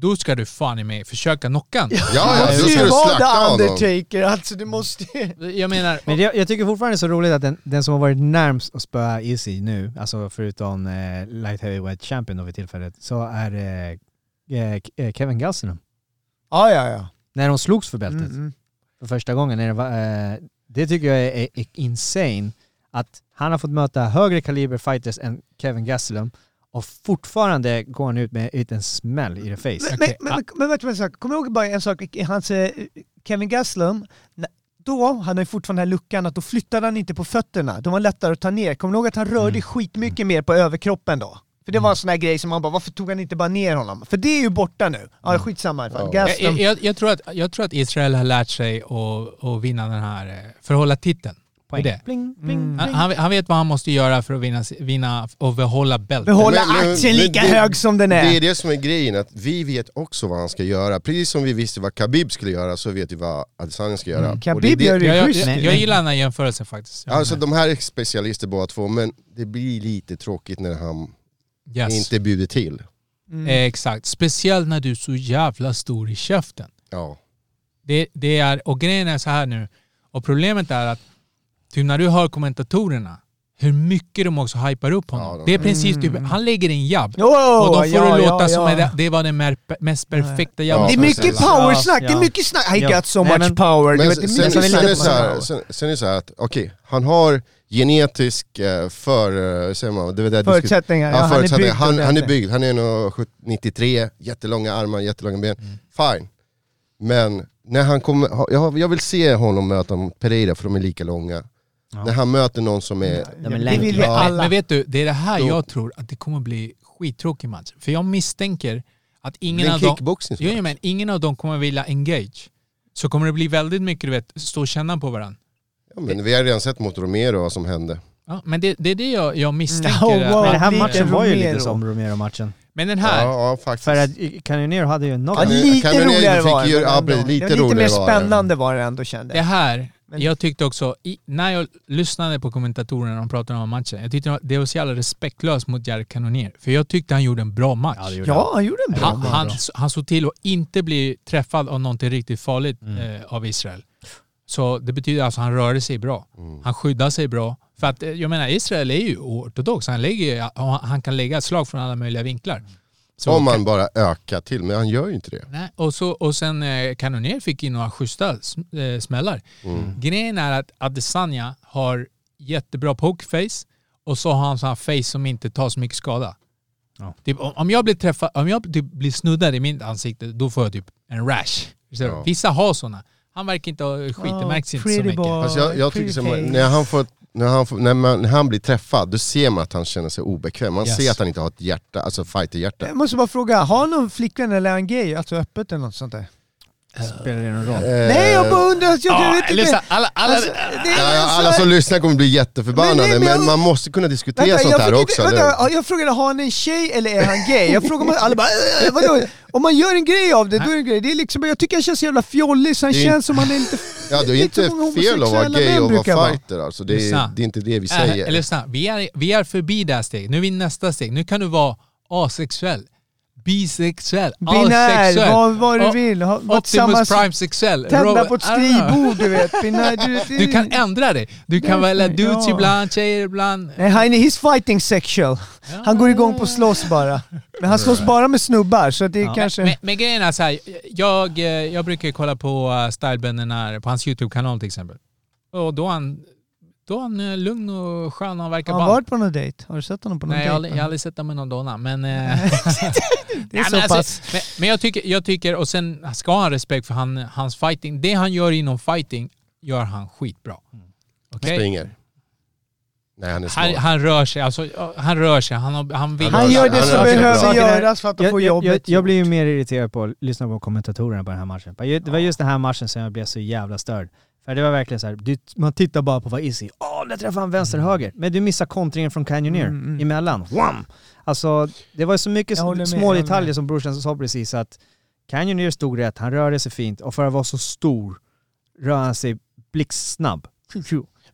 G: då ska du fan i mig försöka knocka honom.
E: Ja, ja,
D: Du
E: då ska du
D: var
E: slakta
D: The
E: honom.
D: Undertaker, alltså du måste ju...
G: Jag menar,
F: Men jag, jag tycker fortfarande det är så roligt att den, den som har varit närmst att spöa Izzy nu, alltså förutom eh, Light Heavyweight Champion då vid tillfället, så är eh, eh, K- eh, Kevin Gastelum.
D: Ja, ja, ja.
F: När de slogs för bältet
D: Mm, mm.
F: för första gången. När det, var, eh, det tycker jag är, är, är insane. Att han har fått möta högre kaliber fighters än Kevin Gastelum och fortfarande går han ut med ut en smäll i the face.
D: Men,
G: Okej,
D: men,
G: ah.
D: men, men vet du vad jag sa? Kommer du ihåg bara en sak? I Hans, eh, Kevin Gaslam, nä- då, han har ju fortfarande den här luckan, att då flyttade han inte på fötterna. De var lättare att ta ner. Kommer du ihåg att han rörde skitmycket mer på överkroppen då? För det var en sån här grej som man bara, varför tog han inte bara ner honom? För det är ju borta nu. Ja, skitsamma i alla fall.
E: Ja.
G: jag, jag,
D: Gaslam.
G: jag, jag, tror att, jag tror att Israel har lärt sig att, att vinna den här, eh, för att hålla titeln. Det är Det. Mm.
F: Bling, bling,
G: Han, han, han vet vad han måste göra för att vinna, vinna och behålla bältet.
D: Behålla
E: Men- men-
D: aktien
E: men
D: lika
E: det-
D: hög som den är.
E: Det är det som är grejen, att vi vet också vad han ska göra. Precis som vi visste vad Khabib skulle göra så vet vi vad Adesanya ska göra. Och det är
D: Mm, Khabib
E: det-
D: gör det
G: Jag,
D: ju
G: jag,
D: schysst.
G: jag, jag gillar den här jämförelsen faktiskt. Jag
E: Alltså
G: menar,
E: de här är specialister båda två, men det blir lite tråkigt när han
G: yes.
E: inte bjuder till.
G: Eh, Exakt. Speciellt när du är så jävla stor i käften.
E: Ja.
G: Det, det är, och grejen är så här nu, och problemet är att typ när du hör kommentatorerna, hur mycket de också hypar upp honom.
E: Ja, de-
G: det är precis
D: Mm.
G: typ, han lägger en jabb.
D: Åh,
G: och då får
D: ja,
G: det
D: ja,
G: låta som
D: ja.
G: att det, det var den mer, mest perfekta jabben.
E: Ja,
D: Det är mycket
E: precis.
D: powersnack, det
F: Ja.
D: är mycket snack. I
F: Ja.
D: got so
F: Nej,
D: much
F: men-
D: power. Du
E: Men
D: vet,
E: sen,
D: det är
E: sen,
D: mycket
E: sen, är det så här,
D: power.
E: sen, sen är det så här att, okej, han har genetisk eh, för, eh, säger man, det var det jag diskuterade.
D: Förutsättningar.
E: Ja, förutsättningar. Han, han är
D: ordentligt.
E: byggd, han är 1,93, jättelånga armar, jättelånga ben. Fine. Men när han kommer, ha- jag, jag vill se honom möta Pereira för de är lika långa. När han möter någon som är...
F: De är
D: Det vill vi
F: lanky.
G: Men,
D: alla.
G: men vet du, det är det här
E: Jo.
G: jag tror att det kommer bli skittråkig match. För jag misstänker att
E: Det
G: ingen
E: är en
G: av dem...
E: kickboxing.
G: Jo, jo, men ingen av dem kommer vilja engage. Så kommer det bli väldigt mycket, du vet, stå och känna på varandra.
E: Ja, men vi har redan sett mot Romero vad som hände.
G: Ja, men det, det är det jag, jag misstänker.
D: No,
G: att-
D: Mm. wow.
F: Men den här
D: Lite
F: matchen var ju lite
D: Romero.
F: som Romero-matchen.
G: Men den här,
E: Ja, ja faktiskt.
F: För att Canyoneer hade ju en
D: Ja,
F: knockout.
E: Kan du-
D: lite
E: kan du-
D: roligare
E: du fick
D: var det.
E: ju-
D: men
E: ja,
D: ändå.
E: precis, lite
D: det var lite mer
E: roligare var det.
D: spännande var det ändå kände
G: det
D: jag.
G: här,
D: Men-
G: jag tyckte också, i, när jag lyssnade på kommentatorerna när de pratade om matchen, jag tyckte det var så jävla respektlöst mot Jared Cannonier. För jag tyckte han gjorde en bra match.
D: Ja, han gjorde en bra
G: han,
D: match.
G: han, han såg till att inte bli träffad av någonting riktigt farligt eh, av Israel. Så det betyder alltså att han rörde sig bra. Han skyddade sig bra. För att eh, jag menar, Israel är ju ortodox. Han, lägger, ju- och han- han kan lägga ett slag från alla möjliga vinklar. Så
E: Om man bara ökar till, men han gör ju inte det.
G: Nej, och, så, och sen eh, Kanonier fick in några schyssta sm- eh, smällar. Grejen är att Adesanya har jättebra pokerface och så har han sån här face som inte tar så mycket skada. Typ, om, om jag blir träffad, om jag typ blir snuddad i mitt ansikte, då får jag typ en rash. Så
E: Ja.
G: Vissa har såna. Han verkar inte ha skit, det
D: Ja,
G: märks inte så
D: pretty
G: mycket.
D: boy,
E: Fast Alltså, jag, jag tycker
D: pretty
E: som,
D: face.
E: när, han får, när, han får, när, man, när han blir träffad, då ser man att han känner sig obekväm. Man
G: Yes.
E: ser att han inte har ett hjärta, alltså fighterhjärta.
D: Jag måste bara fråga, har han någon flickvän eller är han gay? Alltså öppet eller något sånt där?
F: Spelar det någon roll?
D: Nej,
E: Eh,
D: jag bara undrar. Jag, jag
G: Ja,
D: vet inte.
G: lyssna, alla, alla,
D: Alltså, det är
E: Ja,
D: så-
E: ja, alla som lyssnar kommer bli jätteförbannade,
D: Men
E: men,
D: nej, men jag-
E: man måste kunna diskutera
D: Vänta,
E: sånt
D: jag
E: här
D: fick
E: också.
D: Inte,
E: eller hur?
D: vänta, ja, jag frågade, har han en tjej eller är han gay? Jag frågar, om alla bara, "Äh, vadå? Om man gör en grej av det, då är det en grej. Det är liksom, jag tycker han känns så jävla fjollig, så han
E: Det är
D: känns som han är lite...
E: ja, det är
D: lite
E: inte
D: som
E: fel att
D: liksom
E: vara
D: homosexuella
E: gay
D: män
E: och
D: brukar
E: vara fighter. Alltså, det,
G: Lyssna.
E: är, det är inte det vi
G: Äh,
E: säger.
G: eller lyssna, vi är, vi är förbi det här steget. Nu är vi i nästa steg. Nu kan du vara asexuell, bisexuell,
D: Binär,
G: allsexuell.
D: vad, vad du
G: och-
D: vill. Ha, varit
G: Optimus
D: tillsammans-
G: Prime sexuell.
D: Tända
G: Robert-
D: på ett
G: I don't know.
D: skrivbord, du vet. Binär, du,
G: Du kan ändra dig. Du kan välja
D: Därför,
G: dudes
D: ja.
G: ibland, tjejer ibland.
D: Nej, han är he's fighting sexual. Han går igång på att slåss bara. Men han slåss bara med snubbar, så det är kanske...
G: Men, men grejen är så här, jag, eh, jag brukar kolla på eh, Stylebender när, på hans YouTube-kanal till exempel. Och då är han, då är han eh, lugn och skön och verkar
D: har han
G: bra.
D: varit på någon dejt? Har du sett honom på någon
G: Nej, jag har aldrig-
D: dejt?
G: jag har aldrig sett honom med någon donna, men... eh,
D: det är
G: Nej,
D: så
G: men,
D: pass.
G: alltså, men, men jag tycker, jag tycker, och sen ska han ha respekt för han, hans fighting. Det han gör inom fighting gör han skitbra. Okej?
E: Mm. Springer. Nej, han är smart.
G: Han, han rör sig, alltså, ja, han rör sig, han, har- han vill.
D: han gör det
E: Han
D: som
E: rör sig
D: behöver
E: bra.
D: göras för att de
F: Jag,
D: får
F: jag, jag,
D: jobbet.
F: jag blir ju mer irriterad på att lyssna på kommentatorerna på den här matchen. Bara ju- Det var just den här matchen som jag blev så jävla störd. För det var verkligen så här, du, man tittar bara på vad Izzy, åh där träffade han vänster höger. Men du missar kontringen från Canyoneer
D: Mm, mm.
F: emellan. Wham! Alltså det var så mycket
D: Jag håller med, jag
F: små
D: håller
F: detaljer
D: med.
F: som brorsan sa precis att Canyoneer stod rätt, han rörde sig fint och för att vara så stor rör han sig blixtsnabb.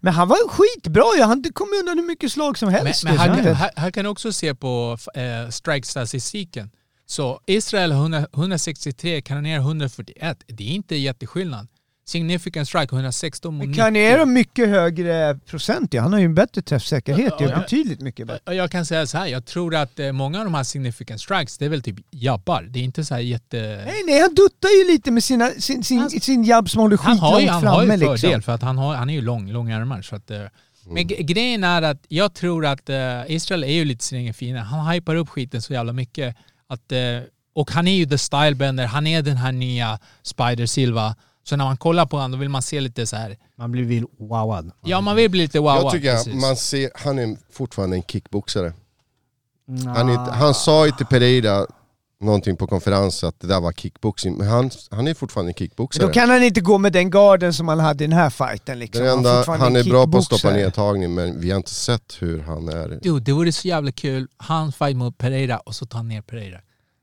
D: Men han var skitbra ju, han kom undan hur mycket slag som
G: Men,
D: helst.
G: men
D: Det
G: här,
D: kändes.
G: kan- här, här kan du också se på eh, strikes-statistiken. Så Israel 100, 163, Kanadien 141. Det är inte jätteskillnad. Significant strike 116 mot
D: Men
G: 90.
D: Kanye har mycket högre procent ju. Han har ju en bättre träffsäkerhet ju.
G: Ja, ja.
D: Betydligt mycket bättre.
G: Och Jag kan säga så här, jag tror att eh, många av de här significant strikes, det är väl typ jabbar. Det är inte så här jätte...
D: Nej, nej, han duttar ju lite med sina, sin, sin,
G: Han-
D: sin jabb som håller
G: han
D: skitlångt
G: har ju, han har ju
D: framme
G: fördel
D: liksom.
G: för att han, har, han är ju lång, långa armar. Så att, eh,
E: Mm.
G: Men gre- grejen är att jag tror att eh, Israel är ju lite sin egen fiende. Han hypar upp skiten så jävla mycket. Att, eh, och han är ju the stylebender, han är den här nya Spider Silva. Så när man kollar på honom då vill man se lite så här.
F: Man blir vill wowad.
G: ja man vill bli lite wow
E: Mm. jag tycker att man ser, han är fortfarande en kickboxare. Han, är, inte-
F: Ah.
E: han sa ju till Pereira någonting på konferens att det där var kickboxing, men han, han är fortfarande en kickboxare.
D: Då kan han inte gå med den garden som han hade i den här fighten liksom.
E: Den
D: Han
E: enda, han,
D: fortfarande
E: är
D: en
E: bra på att stoppa
D: kickboxare.
E: nedtagning men vi har inte sett hur han är.
G: Dude, det vore så jävla kul. Han fight mot Pereira och så tar han ner Pereira.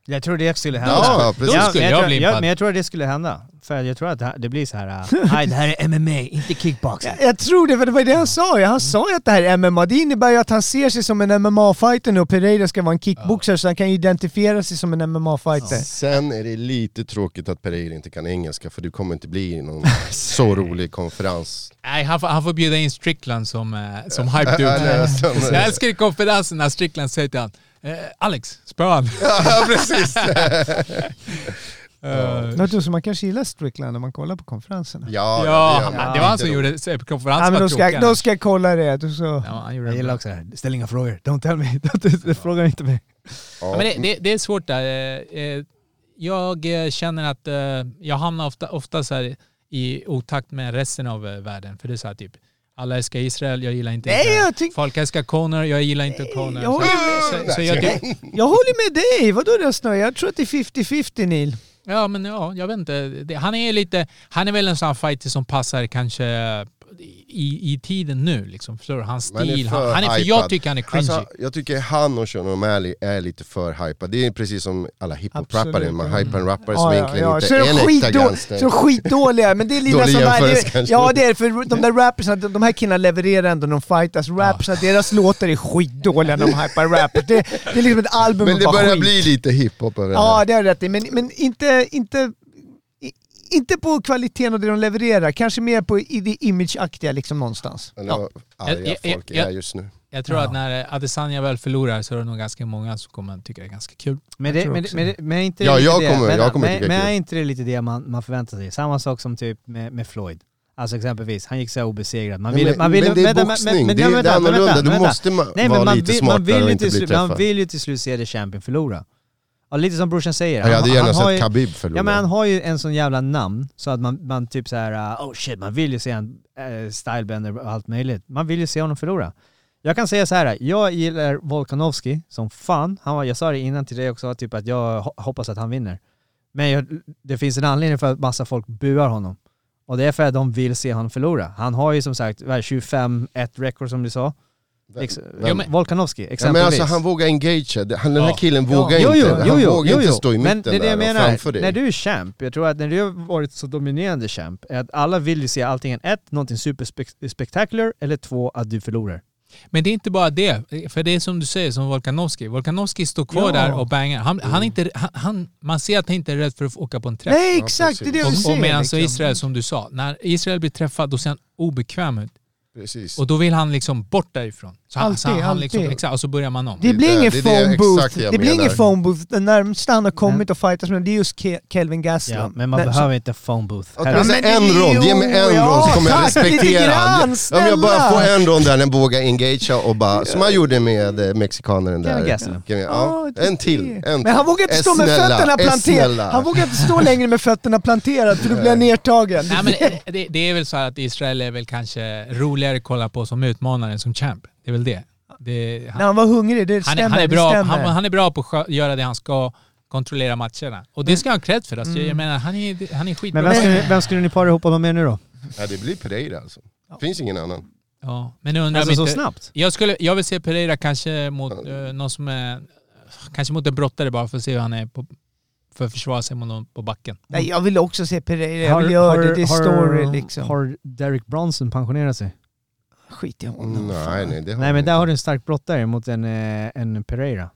F: Jag tror det skulle hända.
E: Ja,
G: Då
E: precis.
G: skulle
F: men
G: jag
F: tror,
G: bli
F: jag,
G: impad.
F: Men jag tror att det skulle hända. För jag tror att det, här- det blir så här, äh, nej det här är MMA, inte kickboxing.
D: Jag tror det, för det var det han sa ju. Han sa ju att det här är MMA. Det innebär ju att han ser sig som en MMA-fighter nu och Pereira ska vara en kickboxare så han kan identifiera sig som en MMA-fighter.
E: Sen är det lite tråkigt att Pereira inte kan engelska för du kommer inte bli någon så rolig konferens.
G: Nej, han får, han får bjuda in Strickland som, eh, som hype
E: Ja,
G: dude.
E: nej, som- eh,
G: Jag älskar konferensen när Strickland säger till honom eh, Alex, spöa han. Eh,
E: Ja, precis.
D: Något som man kanske gillar Strickland när man kollar på konferenserna.
E: Ja,
G: Ja,
E: gör man.
G: det var han som
E: Inte
G: gjorde se- konferensen.
D: Ja, men
G: var
D: då, ska,
G: tråkigare.
D: då ska jag kolla det. Då så.
G: Ja, han gjorde
F: Jag
G: det
F: gillar
G: bra.
F: också det här, ställ inga frågor, don't tell me, Don't- fråga inte mig.
G: Ja,
E: Ja,
G: men det, det, det är svårt där. Eh, eh, Jag eh, känner att eh, jag hamnar ofta, ofta så här i otakt med resten av eh, världen. För det är så här typ, alla älskar Israel, jag gillar inte
D: Nej,
G: Israel.
D: jag tyck- Eh,
G: Folk älskar Conor, jag gillar inte
D: jag
G: Conor. Så,
D: håller
G: så, så, jag, tyck-
D: Jag håller med dig. Vadå Rösnö? Jag tror att det är 50-50 Neil.
G: ja, men ja, jag vet inte. Det, han är ju lite, han är väl en sån här fighter som passar kanske i, i tiden nu liksom. Förstår du? Hans
E: Man är
G: stil.
E: för
G: han, han är, för
E: hypad.
G: jag tycker han är cringy.
E: Alltså, jag tycker han och Sean O'Malley är lite för hypade. Det är precis som alla hiphop-rappare,
D: Absolut,
E: man
D: mm.
E: hypar en rappare som egentligen
D: Så
E: inte
D: är
E: är
D: de
E: en äkta
D: skitdå- så
E: gangster.
D: är de skitdåliga, men det är lilla
E: Dålig
D: som är...
E: jämförelse
D: det-
E: kanske.
D: Ja det är för de där rappersna, de, de här killarna levererar ändå när de fightas. Rappersna, deras låtar är skitdåliga när de hypar rappers. Det, det är liksom ett album
E: Men
D: av
E: det
D: bara
E: börjar
D: skit.
E: bli lite hiphop över det
D: Ja,
E: här.
D: det har du rätt i. Men, men inte, inte, i- inte på kvaliteten och det de levererar. Kanske mer på i det imageaktiga liksom någonstans.
E: Men
D: Ja.
E: vad Arga
G: Jag- jag-
E: folk
G: jag-
E: är just nu.
G: Jag tror att när eh, Adesanya väl förlorar så är det nog ganska många som kommer att tycka det är ganska kul.
F: Men,
D: Jag
F: det,
D: tror
F: men,
D: också
F: men, men är inte
E: Ja,
F: det lite
E: jag
F: det?
E: kommer-
F: men,
E: jag kommer
F: men,
E: tycka det är
F: men
E: kul.
F: är inte det lite det man, man förväntar sig? Samma sak som typ med, med Floyd. Alltså exempelvis, han gick så här obesegrad. Man
E: Nej,
F: ville,
E: men-
F: man ville,
E: men det är
F: vänta,
E: boxning.
F: men-
E: Det är-
F: ja, vänta,
E: det är
F: men
E: annorlunda.
F: vänta,
E: Du
F: vänta.
E: måste ma-
F: Nej,
E: vara
F: men man
E: lite
F: vill-
E: smartare
F: man vill
E: och
F: ju
E: inte
F: till
E: bli
F: slut- Man
E: träffad.
F: vill ju till slut se The Champion förlora. Ja, lite som brorsan säger.
E: Ja, jag hade
F: Han-
E: gärna
F: han har
E: sett
F: ju-
E: Khabib förlora.
F: Ja men han har ju en sån jävla namn så att man, man typ så här, uh, oh shit, man vill ju se en uh, stylebender och allt möjligt. Man vill ju se honom förlora. Jag kan säga så här, jag gillar Volkanovski som fan. Han var, jag sa det innan till dig också, typ att jag ho- hoppas att han vinner. Men jag, det finns en anledning för att massa folk buar honom. Och det är för att de vill se honom förlora. Han har ju som sagt vad är det, 25-1 record som du sa. Ex-
G: Ja, men-
F: Volkanovski,
E: Ja, men
F: exempelvis.
E: alltså han vågar engagea, Det- han, den här
G: Ja.
E: killen
G: Ja.
E: vågar
F: Jo,
E: inte.
F: jo,
E: Han
F: jo, jo,
E: vågar
F: jo,
E: inte
F: jo.
E: stå i
F: Men
E: mitten
F: det är det jag
E: där och
F: menar.
E: framför dig.
F: När du är champ, jag tror att när du har varit så dominerande champ, är att alla vill ju se antingen ett, någonting superspektakulär, eller två, att du förlorar.
G: Men det är inte bara det, för det är som du säger, som Volkanovski. Volkanovski står kvar
F: Ja.
G: där och bangar. Han, han är inte, han, han, man ser att han inte är rädd för att åka på en träff.
D: Nej, exakt. Det är
E: precis.
D: det jag vill
G: och, och
D: säga.
G: medan så
D: liksom.
G: Israel, som du sa, när Israel blir träffad då ser han obekväm ut.
E: Precis.
G: Och då vill han liksom bort därifrån. Så han, så
D: Alltid,
G: han liksom,
D: alltid.
G: exakt, och så börjar man om.
D: Det
E: Det är
D: blir
E: där-
D: ingen
E: det är det
D: phone
E: exakt
D: booth.
E: det jag
D: Det blir
E: menar.
D: ingen phone booth. Den närmsta han har kommit och fightats med det är just Ke- Kelvin Gaslam.
F: Ja, men man
D: Nej,
F: behöver inte phone booth.
E: Okej,
F: Herregud.
E: men
D: men det-
E: en rond, ge mig en
D: jo,
E: rond så kommer jag
D: tack, lite
E: respektera
D: grann,
E: han. Ja, men jag bara
D: snälla.
E: får en rond där, den vågar engagea och bara, som han gjorde med eh, mexikanen
F: Kevin
E: där.
F: Gastelum.
E: Kevin- Ja,
D: det är
E: en till.
D: det.
E: En
D: Men han vågar inte
E: Eh,
D: stå med
E: snälla,
D: fötterna
E: eh,
D: planterade.
E: snälla.
D: Han vågar inte stå längre med fötterna planterade för då blir han nertagen.
G: Nej, men eh, det, det är väl så här att Israel är väl kanske roligare att kolla på som utmanare än som champ. Det är väl det. det han,
D: När han var hungrig, det
G: han,
D: stämmer.
G: är, han, är
D: det
G: bra,
D: stämmer.
G: han, han är bra på att skö- göra det han ska, kontrollera matcherna. Och det ska han ha cred för. Alltså. Jag menar, han är, han är skitbra.
F: Men vem skulle, vem skulle ni para ihop honom med nu då?
E: Ja, det blir Pereira alltså. Finns ingen annan.
G: ja, men jag undrar
F: Alltså
G: om
F: så
G: inte,
F: snabbt?
G: Jag, skulle, jag vill se Pereira kanske mot eh, någon som är... Kanske mot en brottare bara för att se hur han är på, för att försvara sig mot någon på backen.
D: Nej, jag vill också se Pereira. Jag vill göra det. Det är story liksom.
F: Har Derek Bronson pensionerat sig?
D: Skit i honom.
E: nej, nej, det har
F: Nej
E: han
F: men där
E: inte.
F: har du en stark brottare mot en, eh, en Pereira.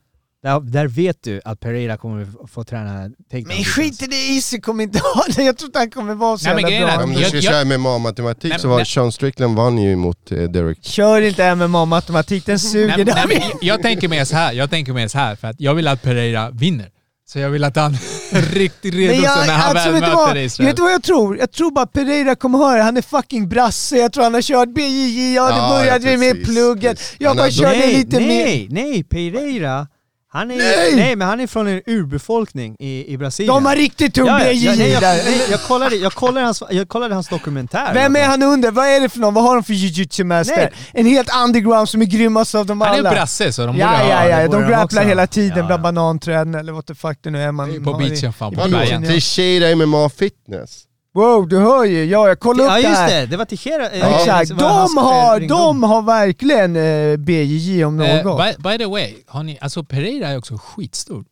F: Där, där vet du att Pereira kommer få träna takedown
D: Men skit i det, Isi kommer inte ha det. Jag tror inte han kommer vara så
G: Nej, men grejen
D: jävla
E: Ja,
G: är-
D: bra.
E: men Om du
G: Jag-
E: ska
G: jag-
E: köra MMA-matematik
G: Nej,
E: så var
G: men-
E: Sean Strickland vann ju mot eh, Derek.
D: Kör inte MMA-matematik, den
G: Nej,
D: suger.
G: men- nej,
D: Nej,
G: men jag- jag tänker mer så här, jag tänker mer så här för att jag vill att Pereira vinner. Så jag vill att han är riktigt redo sen när han väl
D: alltså, vet, du vad,
G: möter
D: jag
G: Israel.
D: vet du vad jag tror? Jag tror bara Pereira kommer ha det. Han är fucking brasse. Jag tror han har kört BJJ, ja det
E: Ja,
D: började
E: ja,
D: vi med
E: precis,
D: plugget.
E: precis.
D: Jag
E: Han
D: bara
E: har-
D: körde
F: nej,
D: lite mer.
F: nej, nej, Pereira. Han är, nej! men han är från en urbefolkning i, i Brasilien.
D: De har riktigt tung
F: ja, ja,
D: BJJ
F: ja, nej, jag,
D: där.
F: nej, jag, kollade, jag, kollade hans, jag kollade hans dokumentär.
D: Vem är han under? Vad är det för någon? Vad har de för jujutsu-master? En helt underground som är grymmast av dem alla.
G: Han är brasse så de borde
D: Ja, ja,
G: ha
D: ja.
F: det borde
D: De
F: de
D: grapplar
F: också.
D: hela tiden
F: Ja, ja.
D: bland bananträden eller what the fuck det nu är man
G: på
D: har i-
G: beachen fan.
D: i
G: På
D: beachen,
E: Vadå?
G: bergen.
D: ja.
E: Teixeira MMA fitness.
D: Wow, du hör ju. Ja, jag kollade upp
F: Ja
D: det
F: just
D: här.
F: det, det var Teixeira. eh,
D: Ja, Exakt.
F: liksom, vad hans,
D: De
F: eh,
D: har,
F: ringdom.
D: de har verkligen eh, BJJ om något.
G: Eh, by, by the way, har ni, alltså Pereira är också skitstor.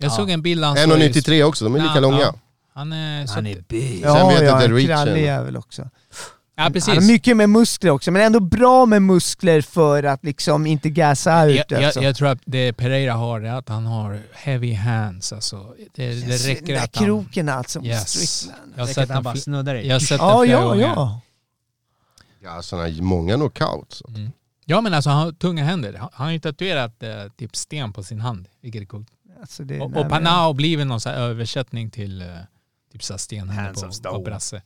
G: Jag såg en bild han
E: 1,93 också, de är lika
G: Ja,
E: långa.
G: ja. Han är,
F: Han är big.
D: ja,
E: sen vet jag
D: ja,
E: inte
D: en
E: reachen.
D: krallig jävel också.
G: Ja,
D: Han
G: precis.
D: har mycket med muskler också, men ändå bra med muskler för att liksom inte gasa ut.
G: Jag, jag,
D: alltså.
G: jag tror att det Pereira har är att han har heavy hands. Alltså. Det, det
D: Den
G: räcker
D: där
G: att han...
D: kroken alltså. mot
G: Yes.
D: Strickland.
G: Jag har
F: Säkert
G: sett
F: han
G: den,
F: bara
G: fl-
F: snuddar dig.
G: jag har sett den
D: Ja,
G: flera
D: ja,
G: gånger.
D: ja.
E: Ja, sådana många knockouts.
G: Ja men alltså han har tunga händer. Han- Han har ju tatuerat eh, typ sten på sin hand, vilket är coolt.
D: Alltså det,
G: Och,
D: nej,
G: och
D: men-
G: Panao har blivit någon så här översättning till eh, typ så här stenhänder
F: Hands of
G: på,
F: stone.
G: på brasse.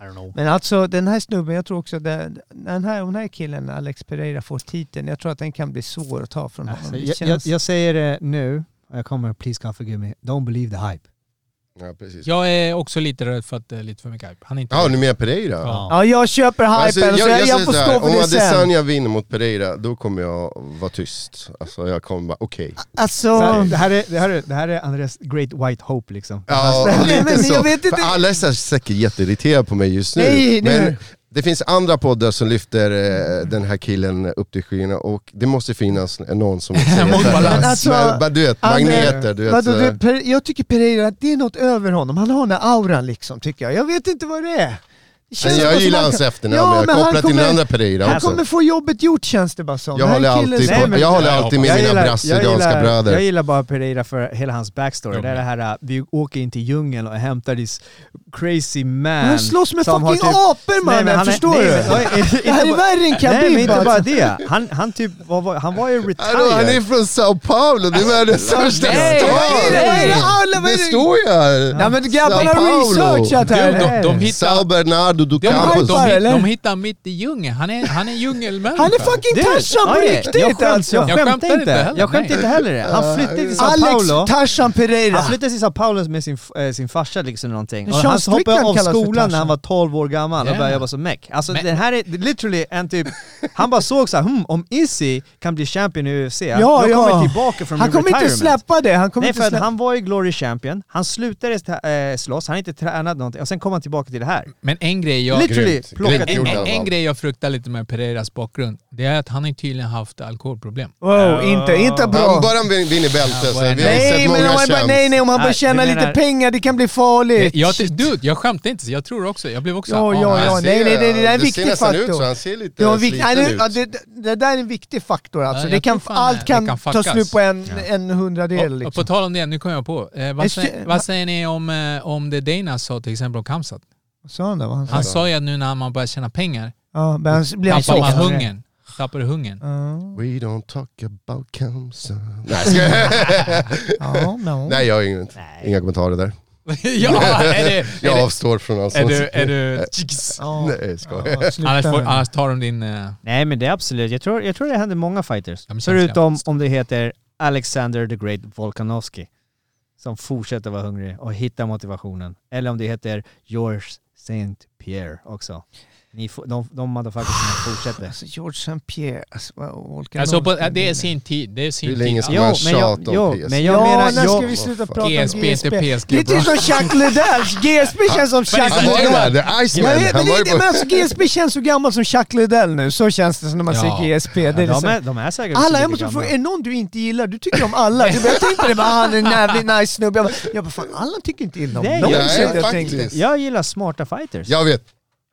F: I don't know.
D: Men alltså den här snubben, jag tror också att den den här, den här killen, Alex Pereira, får titeln. Jag tror att den kan bli svår att ta från honom.
F: Alltså,
D: Det
F: jag, jag,
D: känns-
F: jag säger det nu, och jag kommer, please God forgive me, don't believe the hype.
E: Ja, precis.
G: Jag är också lite rädd för att det är lite för mycket hype. Han är inte...
E: Ja, nu med Pereira?
G: Ja.
D: Ja, jag köper hypen,
E: Alltså,
D: så jag, jag,
E: säger
D: får
E: så här,
D: stå för
E: Om
D: det sen.
E: Adesanya vinner mot Pereira, då kommer jag vara tyst. Alltså jag kommer bara, okej.
D: Alltså,
F: Så här, det, här är, det, här är, det här är Andres great white hope liksom.
E: Ja,
D: men-
E: lite
D: men
E: så.
D: jag vet inte-
E: För alla är så här säkert jätteirriterade på mig just nu.
D: Nej, nej.
E: men Det finns andra poddar som lyfter eh, den här killen upp till skyarna och det måste finnas någon som
G: Mot
E: säger
G: balans.
E: Men
D: Alltså,
E: bara, du vet,
D: han är-
E: magneter. Du vet,
D: Vadå,
E: sådär.
D: det, Per- jag tycker Pereira, att det är något över honom. Han har den här auran liksom, tycker jag. Jag vet inte vad det är. Det känns
E: Men
D: bara
E: jag
D: som
E: gillar
D: han
E: hans
D: kan-
E: efternamn,
D: Ja,
E: jag
D: men
E: kopplar
D: han
E: till den
D: kommer-
E: andra Pereira
D: Han
E: också.
D: kommer få jobbet gjort känns det bara som. Den
E: Jag
D: här
E: håller
D: killen-
E: alltid,
F: Nej, men-
E: på, jag håller
G: Nej, jag
E: alltid
G: hoppas-
E: mina
F: Jag gillar- jag
E: brasilianska
F: gillar-
E: bröder.
F: Jag gillar bara Pereira för hela hans backstory.
G: Jag
F: Det är det här, uh, vi åker in till djungeln och hämtar this crazy man.
D: Han slåss med
F: som har typ-
D: fucking apor
F: Nej, men
D: mannen,
F: han är-
D: förstår
F: nej,
D: du?
F: men- oj, inte
D: Det här är
F: bara-
D: värre än
F: Nej men
D: Khabib
F: inte
D: alltså.
F: bara det. Han, han typ, vad var, han var ju
E: Hallå, han är
F: retired.
E: från Sao Paulo, det är världens största
G: Nej,
E: stad!
G: vad är
D: det? Vad är det? Alla- vad är
E: Det
D: det?
E: står ju här!
D: Nej men grabbarna
E: Sao
D: har
E: Paulo.
D: researchat
G: Du,
D: här.
G: de, de
E: Sao
G: hittar...
E: Bernardo do
G: De,
E: Campos.
G: de, de,
D: eller?
G: de hittar mitt i djungeln. Han är, han är djungelmänniska.
D: Han är fucking Tarzan på
F: oj, jag
D: riktigt
F: skämt-
D: alltså!
F: Jag
G: Jag
F: skämtar
G: skämtar inte
F: inte.
G: heller,
F: Jag skämtar
G: nej.
F: inte heller. det. Han flyttade till Sao
D: Alex
F: Paulo.
D: Tarzan Pereira!
F: Han
E: Alltså,
F: flyttade till Alltså, Sao Paulo med sin, f- eh, sin farsa liksom eller någonting.
D: Men
F: Och han
D: Charles
F: hoppade
D: Strickland
F: av
D: kallas för
F: skolan när
D: Tarzan.
F: han var 12 år gammal och
G: Yeah.
F: började jobba som mek. Alltså
G: Men-
F: den här är literally en typ... Han bara såg såhär, hmm, om Izzy kan bli champion i UFC,
D: Ja,
F: då
D: ja.
F: kommer jag tillbaka från
D: Han
F: min
D: kommer inte
F: retirement."
D: släppa det, han kommer
F: Nej
D: inte
F: för att
D: släppa...
F: han var ju glory champion, han slutade ta- eh, slåss, han har inte tränat någonting och sen kom han tillbaka till det här.
G: Men en grej jag...
F: literally
E: grymt.
F: plockat
E: Grymt
F: in
E: gjort
G: En,
F: honom.
E: av
G: en
E: honom.
G: grej jag fruktar lite med Pereiras bakgrund, det är att han har tydligen haft alkoholproblem.
D: Wow, inte, inte
E: Ja,
D: bra.
E: bara han vin- vinner bältet, så vi har ju
D: Nej
E: sett
D: men om
E: många
D: man bara, nej
E: champs.
D: nej, om han bara
F: Nej,
D: tjänar
F: du
D: lite
F: menar-
D: pengar, det kan bli farligt.
G: Jag, dude, jag skämtar inte, så jag tror också, jag blev också...
D: Ja, ja,
G: ah,
D: ja.
E: Han ser-
D: nej, nej, nej, det där är en
E: ser
D: viktig
E: nästan Ut,
D: faktor.
E: så han ser lite
D: Det, var en vik-
E: sliten
D: nej, det,
E: ut.
D: ja, det, det där är en viktig faktor alltså.
G: Ja,
D: det
G: jag
D: kan,
G: tror fan
D: allt
G: det
D: kan,
G: kan
D: ta
G: fuckas.
D: slut på en, en hundradel
G: Och, och
D: liksom.
G: på tal om det, nu kom jag på. Eh, vad,
D: Jag
G: sä,
D: kö-
G: vad säger ni om, eh, om det Dana sa till exempel om Kamsat?
D: Vad sa han då? Vad han sa?
G: Han sa ju att nu när man börjar tjäna pengar
D: Ja, men han blir han
G: tappar man
D: chockad.
G: hungern. Tappar du hungern.
D: Ja,
E: We don't talk about Kamsa. Nej, ska jag...
D: ja, no.
E: Nej, jag har inget. Inga kommentarer där.
G: ja, är det,
E: Jag
G: är,
E: avstår från allt
G: det, är
E: sånt.
G: du... Är du
D: Ja.
E: Nej, jag skojar.
D: Ja, sluta
G: annars, får,
D: nu.
G: annars tar de din... eh,
F: Nej men det är absolut, jag tror, jag tror det händer många fighters.
G: Ja, men känns
F: Förutom
G: jävligt.
F: om det heter Alexander the Great Volkanovski. Som fortsätter vara hungrig och hitta motivationen. Eller om det heter Georges Saint Pierre också. Ni, får- de, de motherfuckers som fortsätter.
D: Alltså George St. Pierre, alltså vad orkar
G: Alltså
D: någon
G: på,
D: spela
G: det är
D: in
G: sin tid. Det är
E: Hur
G: sin
E: länge
G: tid.
E: ska-
F: Jo,
E: Man
F: men jag,
E: tjatar om
F: jo,
E: PSG.
F: men
D: Ja,
F: jag menar...
D: när
F: jag,
D: ska vi sluta prata om
G: GSP, inte PSG,
D: Det är typ som Chuck Liddell, GSP känns som Chuck
E: Han var ju där,
D: Liddell.
E: the
D: Jag
E: Iceman.
D: vet,
E: Han
D: men,
E: var ju
D: det, men
E: på...
D: alltså, GSP känns så gammal som Chuck Liddell nu, så känns det som när man
G: Ja.
D: säger GSP. Det är
F: Ja,
D: liksom-
F: de, är, de är säkert
D: Alla,
F: lika
D: jag måste
F: gamla.
D: fråga, är det någon du inte gillar? Du tycker om alla. Du bara, jag tänkte det, bara, "Ah, han är en jävligt nice snubbe. Jag bara, jag bara, fan alla tycker inte illa om
F: Nej,
D: någon.
F: jag-
D: så jag
E: Nej,
D: tänkte.
E: faktiskt.
F: Jag gillar smarta fighters.
E: Jag vet.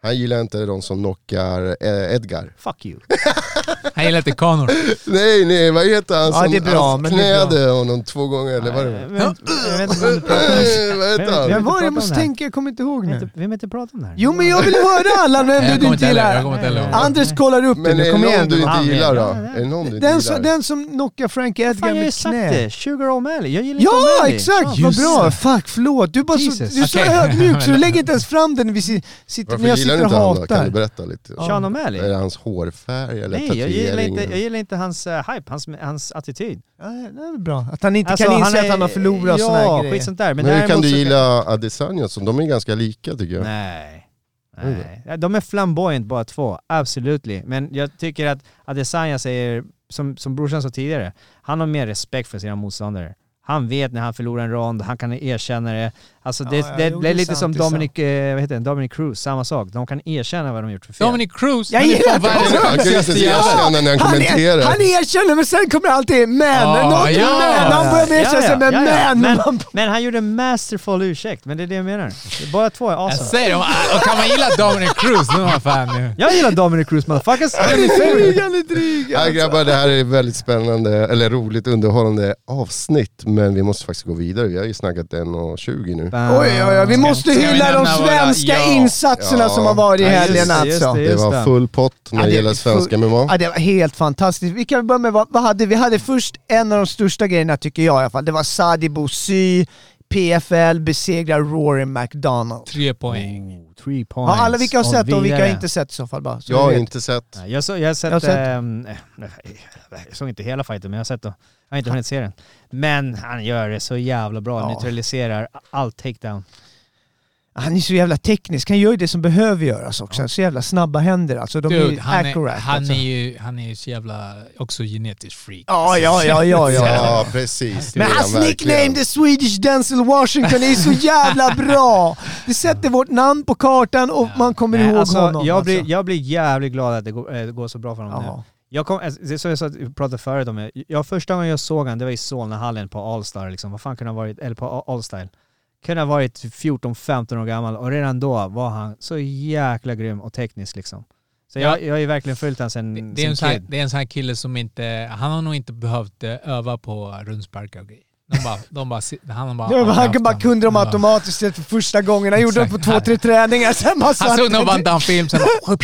E: Han gillar inte de som knockar eh, Edgar.
F: Fuck you.
G: Han gillar inte Conor.
E: Nej, nej, vad heter han
D: Ja,
E: som
D: det är bra,
E: han
D: men det är bra.
E: knäde honom två gånger? Eller vad,
F: Jag
E: det?
F: vet inte- jag vet inte vem du pratar om.
E: var? vad heter
D: Vem var
E: han?
D: det? Jag
F: Prata om
D: måste
F: det här.
D: tänka, jag kommer inte ihåg
F: Jag vet
D: nu.
F: inte- Vi vill inte prata om det här.
D: Jo men jag vill höra alla
G: Nej,
D: vem
G: jag
D: du
G: kommer
D: inte
G: inte heller- jag kommer
D: gillar.
G: inte heller ihåg.
D: Anders kollar upp det
E: Men är
D: nu,
E: det
D: kom
E: någon
D: igen.
E: du inte
F: Han vet.
E: gillar då?
F: Ja, ja.
E: Är det någon du inte
D: Den som,
E: gillar?
D: den som knockar Frank
F: Fan,
D: Edgar
F: jag har ju
D: med
F: sagt
D: knä.
F: det! Sugar O'Malley, jag gillar inte
D: Ja
F: O'Malley.
D: exakt,
F: Ja,
D: vad
F: just
D: bra!
F: det.
D: Fuck, förlåt. Du, är bara så,
F: Jesus.
D: du är så
G: Okej.
D: ödmjuk så du lägger inte ens fram den vid, si- sitter,
E: Varför
D: när jag
E: gillar du
D: sitter och
E: inte honom då? Kan du
D: hatar.
E: berätta lite?
F: Sean
E: Är
F: O'Malley?
E: det hans hårfärg eller
F: Nej, jag gillar,
E: tatuering?
F: inte, jag gillar inte hans eh, hype, hans, hans attityd.
D: Ja, det är bra. Att han inte
F: Alltså,
D: kan inse
F: är-
D: att han har förlorat
F: ja,
D: och såna här
F: skit
D: grejer.
F: sånt där.
E: Men
F: Men,
E: hur
F: däremot
E: kan du
F: så-
E: gilla Adesanya? som De är ganska lika tycker jag.
F: Nej. Nej. Ja, De är flamboyant bara två, absolutely. Men jag tycker att Adesanya säger, som, som brorsan sa tidigare, han har mer respekt för sina motståndare. Han vet när han förlorar en rond, han kan erkänna det. Alltså det,
D: Ja, ja,
F: det,
D: jo,
F: det
D: det
F: är
D: är
F: lite
D: sant,
F: som
D: det är sant.
F: Dominic, eh, vad heter den? Dominic Cruz, samma sak. De kan erkänna vad de gjort för fel.
G: Dominic Cruz!
D: Jag
G: han är alltså.
D: gillar
G: fan
D: inte
G: världens
E: honom.
G: sexigaste
E: Han kunde inte
G: jävel.
E: erkänna- när han kommenterar.
D: Han, är, han erkänner men sen kommer alltid men,
F: Ah,
G: Ja,
D: något
G: ja,
D: men, han börjar med erkänna sig med
F: ja, ja.
D: men.
F: men. Men han gjorde en masterful ursäkt, men det är det jag menar. Bara två är
G: Jag
F: awesome.
G: säger det, och kan man gilla Dominic Cruz, då är man fan eh, nu.
F: Jag gillar Dominic Cruz motherfuckers.
D: Han är dryg.
E: Ja, grabbar, det här är ett väldigt spännande, eller roligt, underhållande avsnitt. Men vi måste faktiskt gå vidare. Vi har ju snackat 1.20 nu.
D: Oj, oj, oj. Vi måste
G: Ska vi
D: hylla de
G: nämna våra-
D: svenska
G: ja.
D: insatserna
E: Ja.
D: som har varit i
F: Ja, just
D: helgen
F: det, just
D: alltså.
F: det.
E: Det var full pott när
D: Ja,
E: det
D: det-
E: gäller svenska MMA.
D: Ja, det var helt fantastiskt. Vi kan börja med vad, vad hade vi? Vi hade först en av de största grejerna tycker jag i alla fall. Det var Sadi Bousy, PFL besegrar Rory McDonald.
G: Tre poäng.
F: Three
D: Ja,
F: points.
D: alla vilka har
F: Och
D: sett och vilka har
F: vidare.
D: inte sett i så fall bara. Så
E: Jag
D: vi
E: har
D: vet.
E: inte sett.
F: Nej, Jag, så, jag har sett...
D: Jag har sett-
F: ehm, eh, jag såg inte hela fighten, men jag har sett då. Jag har inte hunnit se den. Men han gör det så jävla bra.
D: Ja.
F: Neutraliserar all takedown.
D: Han är så jävla teknisk, han gör ju det som behöver göras också. Han har så jävla snabba händer alltså. De är
G: Dude,
D: ju
G: han, är,
D: accurate.
G: han,
D: alltså.
G: är ju, han är ju så jävla också genetisk freak.
D: Ja, ja, ja, ja, ja.
E: Ja, precis. det
D: Men
E: är
D: hans
E: han verkligen.
D: nickname, The Swedish Denzel Washington, är så jävla bra! Det sätter vårt namn på kartan och man kommer
F: Nej,
D: ihåg
F: alltså,
D: honom.
F: jag, blir,
D: alltså.
F: jag blir jävligt glad att det går, eh, det går så bra för honom
D: Ja.
F: nu. Jag kom, alltså, det är som jag sa- vi pratade förut om, det. jag, första gången jag såg honom det var i Solnahallen på Allstar liksom. Vad fan kunde han ha varit, eller på A- Allstyle. Kunde ha varit 14-15 år gammal och redan då var han så jäkla grym och teknisk liksom. Så jag, jag har ju verkligen följt honom sen,
G: Det, det, är
F: sen
G: en sån här,
F: kid.
G: det är en sån här kille som inte, han har nog inte behövt eh, öva på rundsparkar och grejer. De bara, de bara, si- han har bara,
D: Ja, men han
G: haft
D: kan bara
G: den.
D: kunde dem
G: Alltså. Ja.
D: automatiskt för första gången. Han gjorde dem på två,
G: Exakt.
D: tre träningar, sen bara
G: Han
D: satt
G: såg någon Van Damme-film, sen bara,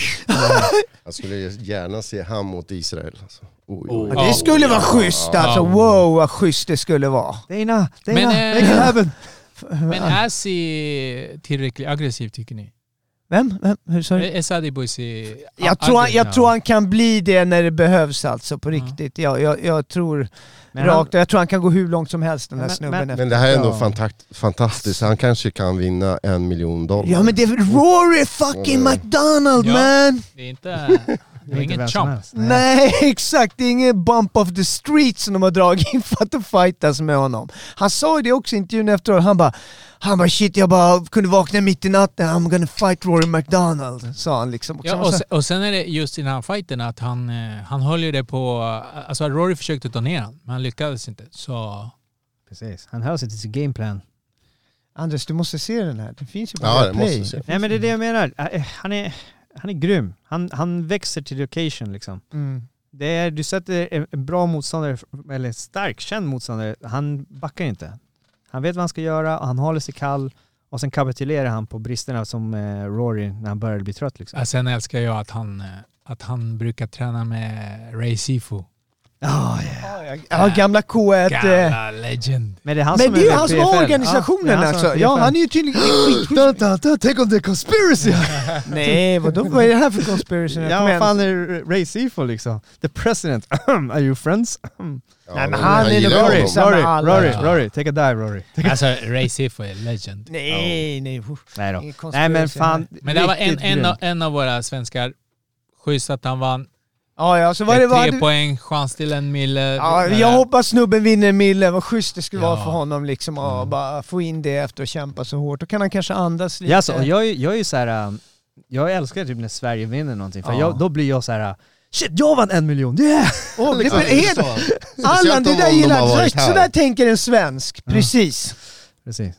E: Jag skulle gärna se han mot Israel. Alltså. Oj, oj.
D: Det skulle vara schysst alltså. Wow vad schysst det skulle vara.
F: Dana, Dana,
G: Men, eh,
F: make it happen!
G: men är si tillräckligt aggressiv tycker ni? Eh,
D: Vem? Vem? Hur sa du?
G: Är Sadi Boisi
D: Jag
G: ah,
D: tror, han, jag tror han kan bli det när det behövs alltså, på riktigt. Jag, jag, jag tror
F: Men han-
D: rakt jag tror han kan gå hur långt som helst den här
F: Men-
D: snubben.
F: men-
D: efter.
E: Men det här är ändå
F: Ja.
E: fantakt- fantastiskt. Han kanske kan vinna en miljon dollar.
D: Ja men det är Rory fucking McDonald
G: Ja.
D: man!
G: Det är inte... Det är
F: Inte vem
G: ingen
F: som
G: chump.
F: helst.
D: Nej exakt, det är ingen bump of the street som de har dragit in för att de fightas med honom. Han sa ju det också i intervjun efteråt, han bara han bara shit jag bara kunde vakna mitt i natten, I'm gonna fight Rory McDonald, sa han liksom. Och så-
G: Ja, och, sen, och sen är det just i den här fighten att han, eh, han höll ju det på... eh, Alltså Rory försökte ta ner honom, men han lyckades inte. Så...
F: Precis, han höll sig till sin gameplan.
D: Anders du måste se den här, den finns ju på
E: Ja, det måste
D: play.
E: jag se.
F: Nej men det är det jag menar, Eh, han är, han är grym. Han, han växer till location liksom.
D: Mm.
F: Det är, du sätter en- en bra motståndare, eller stark, känd motståndare, han backar inte. Han vet vad han ska göra och han håller sig kall och sen kapitulerar han på bristerna som eh, Rory när han började bli trött liksom.
G: Ja, sen älskar jag att han, eh, att han brukar träna med Ray Sifu.
F: Ah, yeah.
D: Ja, gamla K1. eh,
G: Gamla legend.
F: Men det är han
D: Men
F: som
D: det är ju
F: med
D: han som
F: PFL.
D: har
F: Ja,
D: organisationen
F: det är han som
D: alltså.
F: har
D: Ja,
F: PFL.
D: han är ju tydligen skitschysst.
F: Tänk om det är conspiracy!
D: Nej, vadå? Vad är det här för conspiracy?
F: ja,
D: Kom
F: vad
D: igen.
F: fan är Ray Sifo liksom? The president, are you friends?
E: Ja,
D: Nej, men han är
E: gillar
D: nog
E: honom.
F: Rory,
D: Samma
F: Rory,
D: alla.
F: Rory, Rory, take a dive Rory.
G: Alltså Ray Sifu är legend.
D: Nej, nej.
F: Nej då.
D: Ingen conspiracy
F: Nej men fan,
G: Men det var en,
F: riktigt
G: en,
F: grym.
G: av, en av våra svenskar. Schysst att han vann.
D: Ja, ja, så
G: Det
D: var det... Var
G: är tre
D: det
G: poäng, chans till en mille.
D: ja,
G: Men-
D: jag hoppas snubben vinner millen, vad schysst det skulle
G: Ja.
D: vara för honom liksom att bara få in det efter att kämpa så hårt. Då kan han kanske andas lite.
F: Ja, alltså, och jag, är- jag är ju såhär, um, jag älskar typ när Sverige vinner någonting, för
D: Ja.
F: jag, då blir jag så här. uh, Shit, jag vann en miljon! Yeah!
D: Åh, det är
E: Ja,
D: helt... Allan,
E: Speciellt
D: det
E: om
D: där
E: de
D: gillar
E: har
D: jag.
E: varit här.
D: Sådär tänker en svensk. Precis.
F: Precis.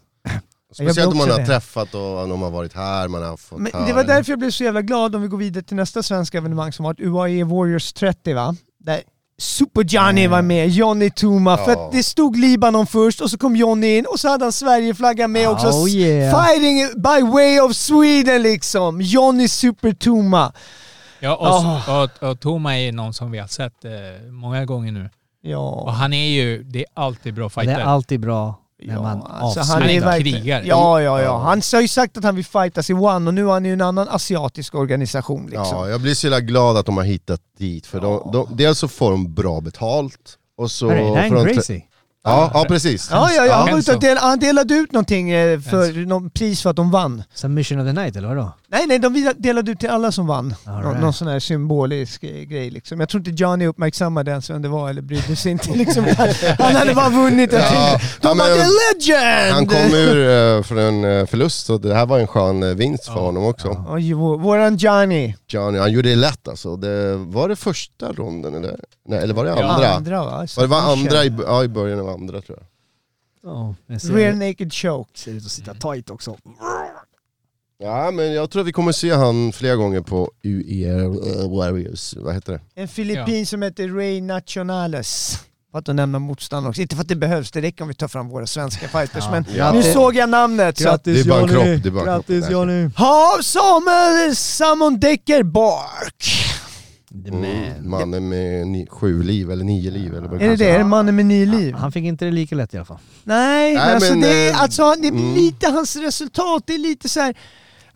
E: Speciellt om man
D: också
E: har
D: det.
E: träffat och de har varit här, man har fått
D: Men
E: höra.
D: det var därför jag blev så jävla glad om vi går vidare till nästa svenska evenemang som var ett UAE Warriors 30 va? Där Super Johnny var med, Johnny Tuma. För
E: Ja.
D: att det stod Libanon först och så kom Johnny in och så hade han Sverigeflaggan med också.
F: Oh, yeah.
D: Fighting by way of Sweden liksom. Johnny Super Tuma.
G: Ja, och, och, och Toma är någon som vi har sett eh, många gånger nu. Och
D: Ja,
G: han är ju, det är alltid bra
F: Det
G: fighter.
F: är alltid bra när
D: Ja,
F: man
D: alltså,
F: avslutar.
G: han är
D: ju
G: en
D: verkligen-
G: krigare.
D: ja, ja, ja. Han har ju sagt att han vill fightas i One och nu har han ju en annan asiatisk organisation liksom.
E: Ja, jag blir så jävla glad att de har hittat dit. För de, de, dels så får de bra betalt. Och så
F: Hörru, det här är
E: får de
F: en
E: trä-
F: Gracie.
E: Ja, ja, precis.
D: Ja, ja, ja. Han, var ute och
G: Henson.
D: del, han delade ut någonting eh, för någon pris för att de vann.
F: Submission of the night eller vadå?
D: Nej, nej, de vid- delade ut till alla som vann.
F: All
D: Nå-
F: right.
D: Någon sån här symbolisk eh, grej liksom. Jag tror inte Johnny uppmärksammade ens vem det var eller brydde sig inte liksom. Han, han hade bara vunnit. Jag
E: Ja,
D: tänkte, de
E: ja,
D: bara
E: men-
D: “The legend!”
E: Han kom ur eh, från en förlust så det här var en skön eh, vinst för honom också.
D: Oj, vå- våran Johnny.
E: Johnny, han gjorde det lätt alltså. Det, var det första ronden eller? Nej, eller var det andra?
D: andra va?
E: Var det var andra i, ja, i början av andra tror jag.
F: Oh, jag ser,
D: Rear naked choke.
F: ser ut att sitta tight också.
E: Ja, men jag tror att vi kommer se han flera gånger på UE Warriors, vad heter det?
D: En filippin som heter Ray Nationales. För att nämna motståndare också. Inte för att det behövs, det räcker om vi tar fram våra svenska fighters. Men
E: Ja.
D: nu såg jag namnet. Så att,
E: Det är bara en
F: Johnny.
E: kropp, det är bara en kropp.
F: Grattis Johnny!
D: ha, Samuel Samon Decker Bark.
F: The
E: Mm,
F: man.
E: mannen med ni, sju liv eller nio liv eller vad
D: Är det
E: kan
D: det?
E: säga.
D: Är det mannen med nio liv?
F: Han fick inte det lika lätt i alla fall.
D: Nej, men
E: Nej,
D: alltså,
E: men,
D: det, är,
E: eh,
D: alltså han- det är
E: mm.
D: lite hans resultat, det är lite så här.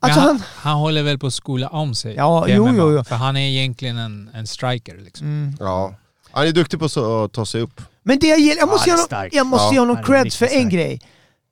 G: Men
D: Alltså
G: han,
D: han,
G: han, håller väl på att skola om sig.
D: Ja,
G: Det
D: jo,
G: med
D: jo,
G: man.
D: jo.
G: För han är egentligen en, en striker liksom.
E: Ja. Han är duktig på så- att ta sig upp.
D: men det jag gillar, jag
F: Ja,
D: måste
F: det är
D: ge honom,
F: starkt.
D: jag måste
E: Ja,
D: ge honom
F: han är
D: creds
F: riktigt
D: för en
F: stark.
D: grej.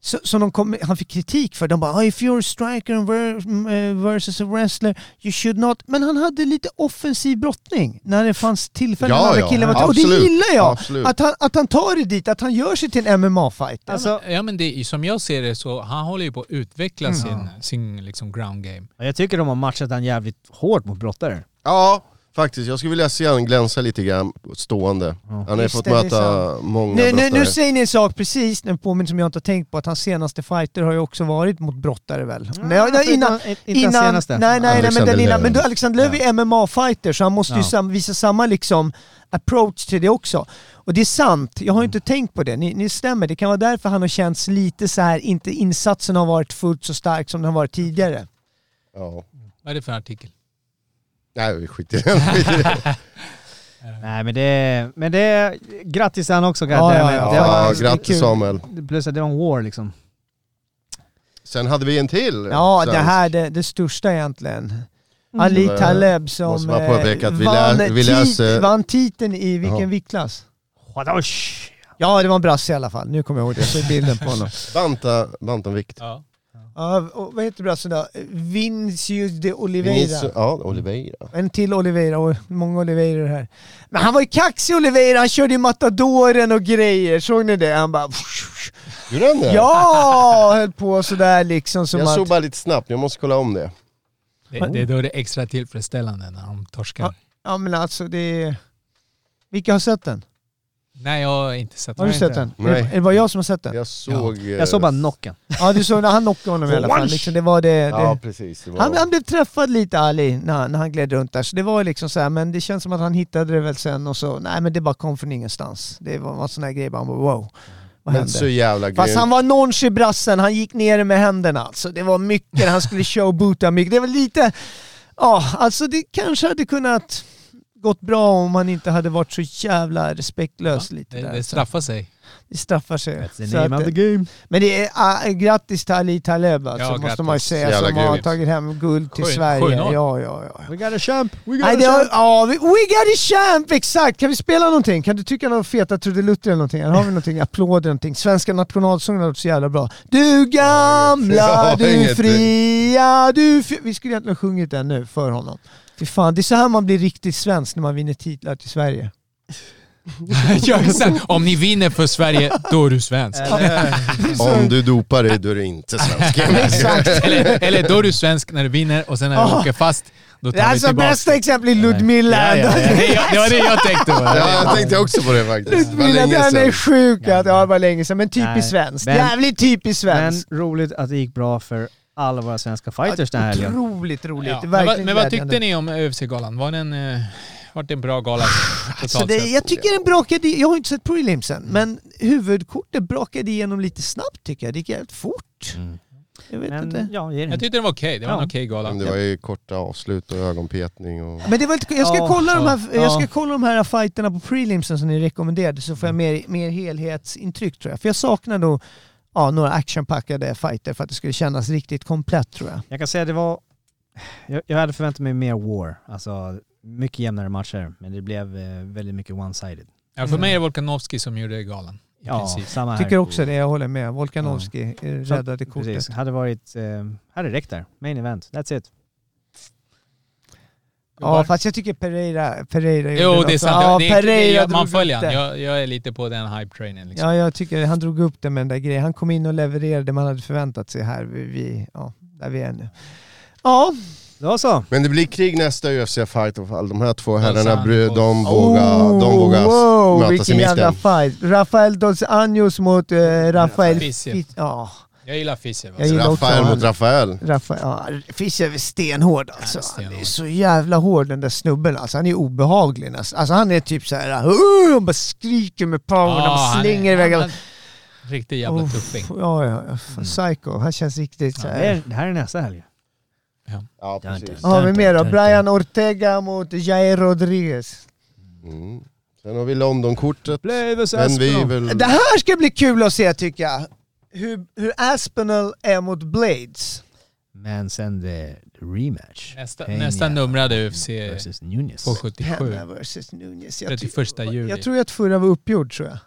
D: Så, som de kom, han fick kritik för. De bara "Ah, “If you're a striker and ver- m- eh, versus a wrestler, you should not...” Men han hade lite offensiv brottning när det fanns tillfällen
E: Ja,
D: när andra
E: ja,
D: killar var
E: ja,
D: Och det
E: absolut,
D: gillar jag!
E: absolut.
D: Att han, att han tar det dit, att han gör sig till en MMA-fighter.
F: Alltså,
G: Ja men det, som jag ser det så han håller ju på att utveckla
D: Mm.
G: sin, sin liksom ground game.
F: jag tycker de har matchat han jävligt hårt mot brottare.
E: Ja, faktiskt. Jag skulle vilja se han glänsa lite grann stående. Han har ju
D: Just
E: fått
D: det, det är
E: möta många
D: nu, nu, nu
E: brottare.
D: säger ni en sak precis, en påminner som jag inte har tänkt på, att hans senaste fighter har ju också varit mot brottare väl? nej, nej, innan,
F: Ah, inte den
D: innan,
F: senaste.
D: Nej, nej, nej men
E: Alexander
D: den innan.
E: Löv.
D: Men då, Alexander Löv är MMA-fighter så han måste ju
F: Ja.
D: sam, visa samma liksom approach till det också. Och det är sant, jag har ju inte tänkt på det. Ni, ni stämmer, det kan vara därför han har känts lite så här, inte insatsen har varit fullt så stark som den har varit tidigare.
E: Ja.
G: Vad är det för artikel?
E: Nej, vi skiter i det. Skit i det.
F: Nej men det, men det, grattis till han också.
D: Ja, ja,
F: goddammit.
D: ja.
F: Det var,
E: Ja,
D: det är
E: grattis
D: kul.
E: Samuel.
F: Plus att det var en war liksom.
E: Sen hade vi en till.
D: Ja,
E: svensk.
D: det här är det, det största egentligen. Ali
E: Mm.
D: Taleb som
E: Måste bara
D: eh,
E: påpeka att vi
D: vann,
E: lä- vi
D: tit-
E: läser-
D: vann titeln i vilken
E: Ja.
D: viktklass? Ja, det var en brasse i alla fall. Nu kommer jag ihåg det. Så är bilden på honom.
E: Banta, bantamvikt.
G: Ja.
D: Ja, och vad heter brassen då? Vincius de
E: Minns-
D: Oliveira.
E: Ja, Oliveira.
D: En till Oliveira och många Oliveira här. Men han var ju kaxig Oliveira, han körde ju matadoren och grejer. Såg ni det? Han bara...
E: Gjorde han det?
D: Ja! Höll på sådär liksom som
E: Jag
D: att...
E: såg bara lite snabbt, jag måste kolla om det.
G: Det, det är då det är extra tillfredsställande när de torskar.
D: Ja. Ja men alltså det är... Vilka har sett den?
G: Nej jag har inte sett
D: Har du
G: det.
D: sett den?
E: Nej.
D: Är det bara jag som har sett den?
E: Jag såg... eh,
F: Jag såg bara knocken.
D: Ja du såg när han knockade honom i alla fall. Liksom, det var det... det.
E: Ja, precis. Det var...
D: Han, han blev träffad lite Ali när, han- när han gled runt där, så det var ju liksom så här, men det känns som att han hittade det väl sen och så, nej men det bara kom från ingenstans. Det var var en sån här grej, bara, han bara wow, vad
E: Men så
D: hände?
E: jävla
D: Fast han
E: grym.
D: var nonch i brassen, han gick ner med händerna alltså. Det var mycket, han skulle showboota mycket. Det var lite, ja alltså det kanske hade kunnat gått bra om han inte hade varit så jävla respektlös lite
G: Det,
D: där.
G: det
D: så.
G: straffar sig.
D: det straffar sig.
F: That's
D: Så
F: the name
D: att,
F: of the game.
D: men det är ah, grattis till Ali Taleb alltså,
G: Ja,
D: måste
G: grattis.
D: man ju säga,
E: Jävla
D: som har
E: grymt.
D: tagit hem guld till
G: Sju-
D: Sverige.
G: 7-0.
D: Ja, ja, ja.
F: We got a champ! We got
D: Nej,
F: a
D: det har,
F: champ!
D: ja, vi- we got a champ! Exakt! Kan vi spela någonting? Kan du tycka någon feta trudelutter eller någonting? Här har vi någonting, applåder någonting. Svenska nationalsången har varit så jävla bra. Du gamla,
E: Ja,
D: du
E: ingenting.
D: fria, du fri... Vi skulle egentligen ha sjungit den nu för honom. Fy fan, det är så här man blir riktigt svensk när man vinner titlar till Sverige.
G: ja, exakt. Om ni vinner för Sverige, då är du svensk.
D: Alltså,
E: Om du dopar dig, då är du inte svensk. Exakt.
G: eller, eller då är du svensk när du vinner och sen när du
D: Ja.
G: åker fast, då tar vi
D: Alltså
G: tillbaka.
D: bästa exempel är Ludmilla.
G: Ja, ja, ja. Det, jag- det var det jag tänkte på.
E: Ja, jag tänkte också på det faktiskt. Det var
D: Ludmilla,
E: länge
D: den är
E: sedan.
D: sjuk! Att, ja, det var länge sedan, men
F: Nej,
D: typiskt svenskt.
F: men-
D: Jävligt typiskt
F: Men
D: svenskt.
F: roligt att det gick bra för alla våra svenska fighters den här helgen.
D: Otroligt roligt.
G: Ja. Men,
D: Verkligen
G: vad, men vad
D: glädjande.
G: tyckte ni om UFC-galan? Var den, eh, var det en bra gala totalt
D: Så Alltså, det,
G: sett?
D: jag tycker den brakade, jag har inte sett prelimsen, men huvudkortet brakade igenom lite snabbt tycker jag. Det gick jävligt fort. Jag vet inte.
F: Mm. Men ja, ge
G: Jag
D: Mm.
F: den.
G: tyckte den var okej. Det var
F: Ja.
G: en okej gala.
E: Men Det var ju korta avslut och ögonpetning och...
D: Men det var lite, jag, ska
F: Ja,
D: kolla de här,
F: ja.
D: jag ska kolla de här fighterna på prelimsen som ni rekommenderade så får jag
F: Mm.
D: mer, mer helhetsintryck tror jag. För jag saknar nog ja, några actionpackade fighter för att det skulle kännas riktigt komplett tror jag.
F: Jag kan säga det var... Jag, jag hade förväntat mig mer war. Alltså mycket jämnare matcher. Men det blev eh, väldigt mycket one-sided.
G: Ja, för mig är det Volkanovski som gjorde galan. I
F: Ja,
G: princip.
F: samma här.
D: Tycker också det, jag håller med. Volkanovski eh, räddade kortet.
F: Precis. Hade varit... Eh, hade räckt där. Main event. That's it.
D: Ja, fast jag tycker Pereira, Pereira gjorde
G: Jo,
D: något.
G: det är sant.
D: Ja,
G: det är, det, jag,
D: Pereira
G: man
D: drog
G: följer
D: upp
G: han.
D: det.
G: Jag, jag är lite på den hype-trainen. Liksom.
D: Ja, jag tycker han drog upp det med den där grejen. Han kom in och levererade det man hade förväntat sig här vi, vi, ja, där vi är nu. Ja,
F: Då så.
E: Men det blir krig nästa UFC-fight i alla fall. De här två herrarna,
G: Santos.
E: bry- de vågar, de
D: Oh,
E: vågar
D: wow,
E: mötas i
D: vilken jävla
E: mitten.
D: fight. Rafael Dos Anjos mot eh, Rafael
G: Fischer.
D: Fis- Ja,
G: Jag gillar Fischer. va?
D: Jag gillar-
E: Rafael
D: också.
E: mot Rafael.
D: Rafael, ja, Fischer är stenhård alltså.
G: Ja, stenhård.
D: Han är så jävla hård den där snubben alltså. Han är obehaglig nästan. Alltså han är typ såhär, uh, han bara skriker med power,
G: Ja, han
D: han
G: är-
D: slänger iväg
G: han-
D: allt.
G: han- Riktig jävla
D: Uff,
G: tuffing.
D: Ja, ja, ja. Fan,
G: Mm.
D: Psycho. Han känns riktigt
F: Det,
D: såhär.
F: är, det här är nästa helg.
E: Ja, precis.
D: Ja, men mer då? Brian Ortega mot Jair Rodriguez.
E: Mm. Sen har vi Londonkortet.
F: Play vs
E: Men vi är
F: Aspinall.
G: Mm.
E: väl...
D: Det här ska bli kul att se tycker jag. Hur, hur Aspinall är mot Blades.
F: Men sen the rematch.
G: Nästa,
F: Peña
G: nästa numrade UFC
F: Versus Nunes.
G: på 77.
D: Penna versus Nunes. Jag, ty-
G: 31 juli.
D: jag tror att förra var uppgjord tror jag.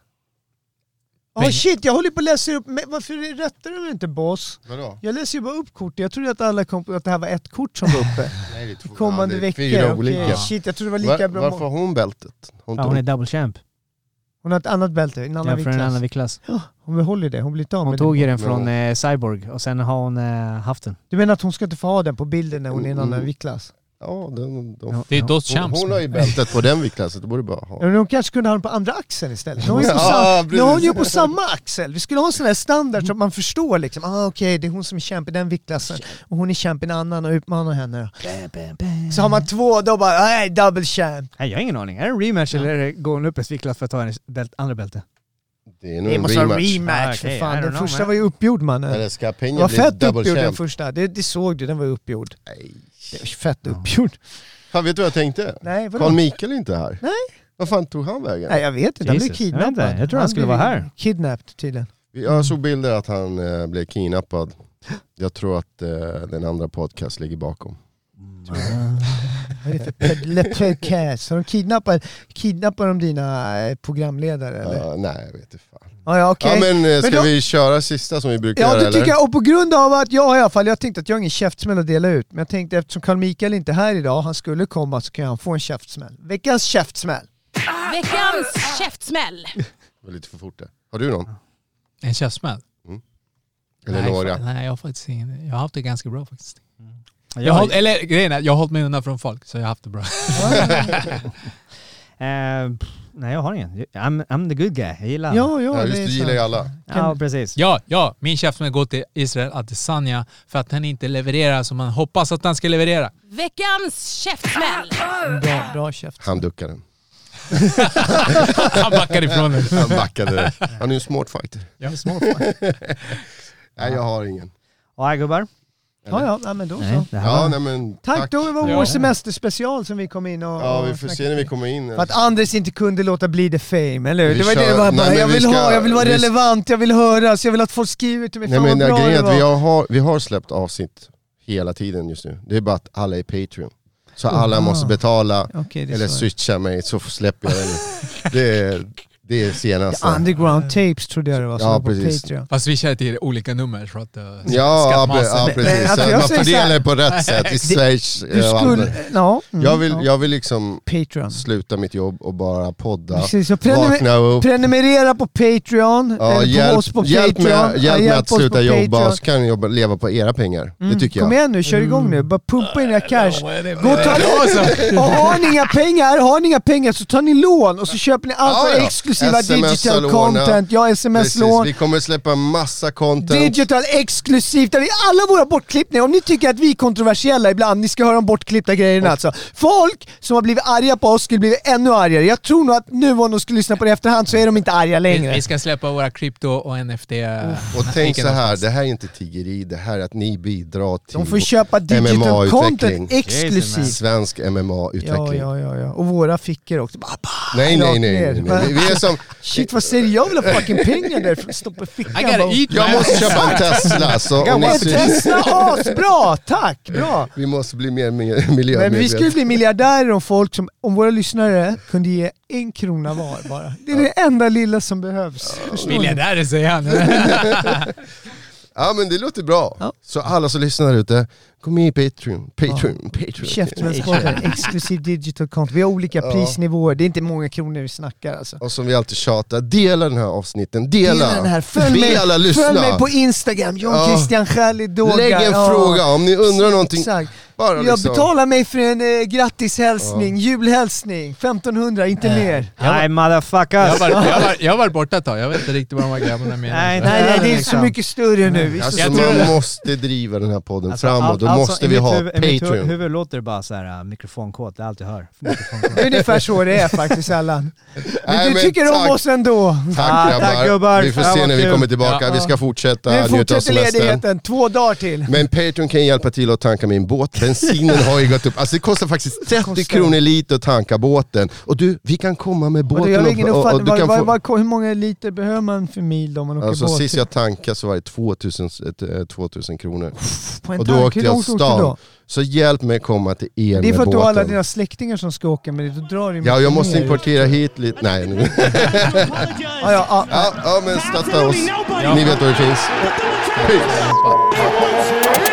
D: Ja shit, jag håller på att läsa upp, men varför rättar du mig inte boss?
E: Vadå?
D: Jag läser ju bara upp kortet, jag trodde att alla kom på att det här var ett kort som var uppe.
E: Nej, det är två-
D: Kommande
E: ja, det är
D: veckor,
E: Fyra
D: okej.
E: olika.
D: Shit, jag trodde det var
E: Var,
D: lika bra.
E: varför har
D: mål.
E: hon bältet? Har inte
F: Ja, hon är double champ.
D: Hon har ett annat bälte, en
F: Ja,
D: annan
F: från en annan
D: viktklass.
F: viktklass.
D: Hon behåller det, hon blir inte av
F: Hon
D: med
F: tog
D: det.
F: ju den från
E: hon-
F: eh, Cyborg och sen har hon eh, haft den.
D: Du menar att hon ska inte få ha den på bilden när hon är i en
E: Mm,
D: annan
E: mm.
D: viktklass?
E: Ja, den, de,
F: Ja.
G: Det är Dos
E: hon,
G: Champs.
E: hon har ju bältet på den viktklassen, det borde bara ha.
D: Ja, men Hon kanske kunde ha den på andra axeln istället. Nu har hon ju på,
E: Ja,
D: sam- nu har hon ju på
E: precis.
D: samma axel. Vi skulle ha en sån här standard så att man förstår liksom. Ah, Okej, det är hon som är kämp i den viktklassen och hon är kämp i en annan och utmanar henne. Så har man två, då bara nej, double champ.
F: Nej, jag har ingen aning. Är det en rematch eller är det- går hon upp en viktklass för att ta hennes bält, andra bälte?
E: Det är nog
D: Det
E: en
D: måste vara
E: rematch.
F: Ah,
D: rematch
F: okej,
D: för
F: I
D: fan.
F: don't
D: Den
F: know,
D: första
F: man.
D: var ju uppgjord mannen.
E: Eller ska
D: Den
E: Peña
D: var fett
E: bli double
D: uppgjord den
E: champ?
D: första. Det, det såg du, den var ju uppgjord. Det var fett uppgjord.
E: Fan, vet du vad jag tänkte?
D: Nej, vadå?
E: Carl Mikael är inte här.
D: Nej.
E: Vad fan tog han vägen?
D: Nej jag vet inte, han blev
F: Jesus, jag vet inte.
D: kidnappad.
F: Jag tror han skulle
D: blev
F: vara här.
D: Kidnapped tydligen.
E: Jag såg bilder att han eh, blev kidnappad. Jag tror att eh, den andra podcast ligger bakom.
D: Vad är det för ped- le podcast? Har de kidnappat, kidnappar de dina eh, programledare eller?
E: Ja, nej, jag vet inte fan.
D: Ja, ja okej.
E: Ja, men eh, ska
D: Men då-
E: vi köra sista som vi brukar
D: Ja
E: göra
D: det
E: eller?
D: tycker jag, och på grund av att jag i alla fall, jag tänkte att jag har ingen käftsmäll att dela ut, men jag tänkte eftersom Carl Mikael inte är här idag, han skulle komma så kan han få en käftsmäll. Veckans käftsmäll!
H: Veckans käftsmäll.
E: Det var lite för fort där. Har du någon?
G: En käftsmäll?
E: Eller
G: nej,
E: några?
G: fa- nej, jag har faktiskt ingen. Jag har haft det ganska bra faktiskt.
F: Jag,
G: Jag har, eller grejen är, jag har hållit mig undan från folk så jag har haft det bra.
F: eh, pff, nej, jag har ingen. I'm, I'm the good guy. Jag gillar honom.
D: Ja, ja,
E: Ja,
D: det är
E: just det, du gillar ju
D: sant.
E: alla.
F: Ja, precis.
G: Ja, ja, min käftsmäll går till Israel Adesanya för att han inte levererar som man hoppas att han ska leverera.
H: Veckans käftsmäll.
D: Bra, bra käft.
E: Han duckade den.
G: Han backar ifrån det.
E: Han backade den. Han är ju en smart fighter.
G: Jag är småfan.
E: Nej, jag har ingen.
F: Och här gubbar.
D: Ja, ja, nej, men då så.
F: Nej, det här
E: Ja,
F: var-
E: nej men
D: Tack,
E: tack.
D: då var
G: Ja.
D: vår semesterspecial som vi kom in och
E: Ja, vi
D: och
E: får
D: snackade
E: se när vi kommer in.
D: För att Anders inte kunde låta bli the fame, eller hur?
E: Vi
D: Det var det
E: kör-
D: det var
E: Nej,
D: bara,
E: men
D: jag
E: vi
D: vill
E: ska-
D: ha, jag vill vara
E: vi-
D: relevant, jag vill höras, jag vill att folk skriver till mig,
E: Nej
D: fan
E: men
D: vad bra det
E: grejen är
D: var.
E: att vi har, vi har släppt avsnitt hela tiden just nu. Det är bara att alla är Patreon. Så alla
D: Ah.
E: måste betala
D: Okej, det är
E: eller
D: så.
E: switcha mig så släpper jag den. Det är, det är senaste.
D: Underground tapes trodde jag det var, som
E: Ja,
D: var på
E: precis.
D: Patreon.
G: Fast vi kör till olika nummer för att uh,
E: Ja, ja, pre- ja
D: Men- men
E: precis.
D: alltså,
E: Så
D: jag
E: man
D: säger så här-
E: fördelar det på rätt sätt i Schweiz.
D: Du
E: eh, och andra.
D: skulle, ja, mm,
E: Jag vill,
D: ja.
E: jag vill liksom
D: Patreon.
E: sluta mitt jobb och bara podda.
D: Precis, så prenumer-
E: Vakna upp.
D: prenumerera på Patreon,
E: Ja,
D: eller på
E: hjälp,
D: oss på
E: hjälp,
D: Patreon.
E: med,
D: Ja,
E: hjälp med att
D: oss på
E: sluta jobba
D: Patreon. Mm,
E: och så kan ni jobba, leva på era pengar. Det tycker jag. Mm.
D: Kom igen nu, kör igång nu. Bara pumpa in era cash. Gå och ta
G: Alltså,
D: Och har ni inga pengar, har ni inga pengar så tar ni lån och så köper ni allt
E: Ja,
D: för
E: ja.
D: Alltså, exklusiva
E: SMS-lån,
D: digital
E: ja.
D: content. Ja,
E: Precis,
D: sms-lån.
E: vi kommer släppa massa content.
D: Digital exklusivt, där vi alla våra bortklippningar. Om ni tycker att vi är kontroversiella ibland, ni ska höra de bortklippta grejerna alltså. Folk som har blivit arga på oss skulle bli ännu argare. Jag tror nog att nu om de skulle lyssna på det i efterhand så är de inte arga
G: vi,
D: längre.
G: vi ska släppa våra krypto och NFT.
E: Och tänk så här, det här är inte tiggeri, det här är att ni bidrar till
D: De får köpa digital
E: MMA-utveckling.
D: content exklusivt.
E: svensk
D: Ja,
E: MMA-utveckling.
D: ja, ja, ja. Och våra fickor också. Bara, bara,
E: Nej, nej,
D: rakt
E: nej, nej,
D: ner.
E: nej. Vi- Vi är som,
D: Shit vad säger jag vill ha fucking pengar därifrån. Stoppa i fickan.
G: I E gotta
D: bara.
G: eat
E: jag
G: man.
E: måste köpa en Tesla, så om ni
D: Gammal
E: syns,
D: Tesla, asbra! Tack, bra!
E: vi måste bli mer mi-
D: Men vi skulle
E: miljömedvetna.
D: bli miljardärer om folk som, om våra lyssnare kunde ge en krona var bara. Det är det enda lilla som behövs. Förstår ni?
G: Miljardärer säger han.
E: Ja men det låter bra.
D: Ja.
E: Så alla som lyssnar där ute, gå med i Patreon, Patreon, Patreon.
D: Käftsmällspodden, exklusiv digital content. Vi har olika prisnivåer, det är inte många kronor vi snackar alltså.
E: Och som vi alltid tjatar, dela den här avsnitten, dela!
D: Gilla den här, följ mig,
E: dela, lyssna!
D: följ mig på Instagram, John
E: Ja.
D: Christian Scherli Doga.
E: Lägg en
D: Ja.
E: fråga om ni undrar någonting.
D: Exakt.
E: Bara
D: Jag
E: liksom.
D: betalar mig för en eh, grattishälsning, julhälsning, 1500, inte mer.
F: Nej,
G: Jag har
F: motherfuckers.
G: varit- jag har varit- jag har varit borta ett tag, jag vet inte riktigt vad de här grabbarna
F: Nej,
G: menar.
D: Nej, nej, det är så
F: Liksom.
D: mycket större nu. Vi
E: Alltså
G: Jag
E: man
G: tror-
E: måste driva den här podden
F: Alltså,
E: framåt,
F: allt-
E: då
F: allt som-
E: måste
F: i
E: vi
F: mitt
E: ha
F: huvud- I mitt hu-
E: Patreon.
F: huvud låter det bara så här äh, mikrofonkåt, det är allt jag hör.
D: Det är ungefär så det är faktiskt Allan. Men
E: Nej,
D: du
E: men
D: tycker
E: tack.
D: om oss ändå.
E: Tack,
F: Ah,
E: grabbar.
F: tack, gubbar.
E: Vi får
F: Fan,
E: se
F: vad
E: när vi
F: kul.
E: kommer tillbaka,
G: Ja.
E: vi ska fortsätta
D: Nu
E: njuta av
D: fortsätter
E: semestern.
D: ledigheten, två dagar till.
E: Men Patreon kan hjälpa till att tanka min båt. Bensinen har ju gått upp. Alltså det kostar faktiskt 30
D: Kostar.
E: kronor liter att tanka båten. Och du, vi kan komma med
D: Och jag
E: båten
D: har ingen
E: och, och, och
D: uppfattning,
E: du
D: vad,
E: kan
D: vad,
E: få...
D: vad, hur många liter behöver man för mil om man åker
E: Alltså
D: båt?
E: sist jag tankade så var det 2000, eh, 2000 kronor.
D: Typ på en
E: och då
D: tank?
E: åkte
D: hur
E: jag
D: långt stort åkte du då?
E: Så hjälp mig komma till er
D: Det är för
E: med
D: att du har alla
E: båten.
D: dina släktingar som ska åka med dig, då drar du
E: Ja, jag måste
D: ner.
E: importera hit lite... Nej, nu.
A: Apologize
D: Ja, ja, ja.
E: Ja, ja men
A: to
E: stötta oss.
A: absolutely nobody.
E: Ni vet var det finns.
A: But the return does not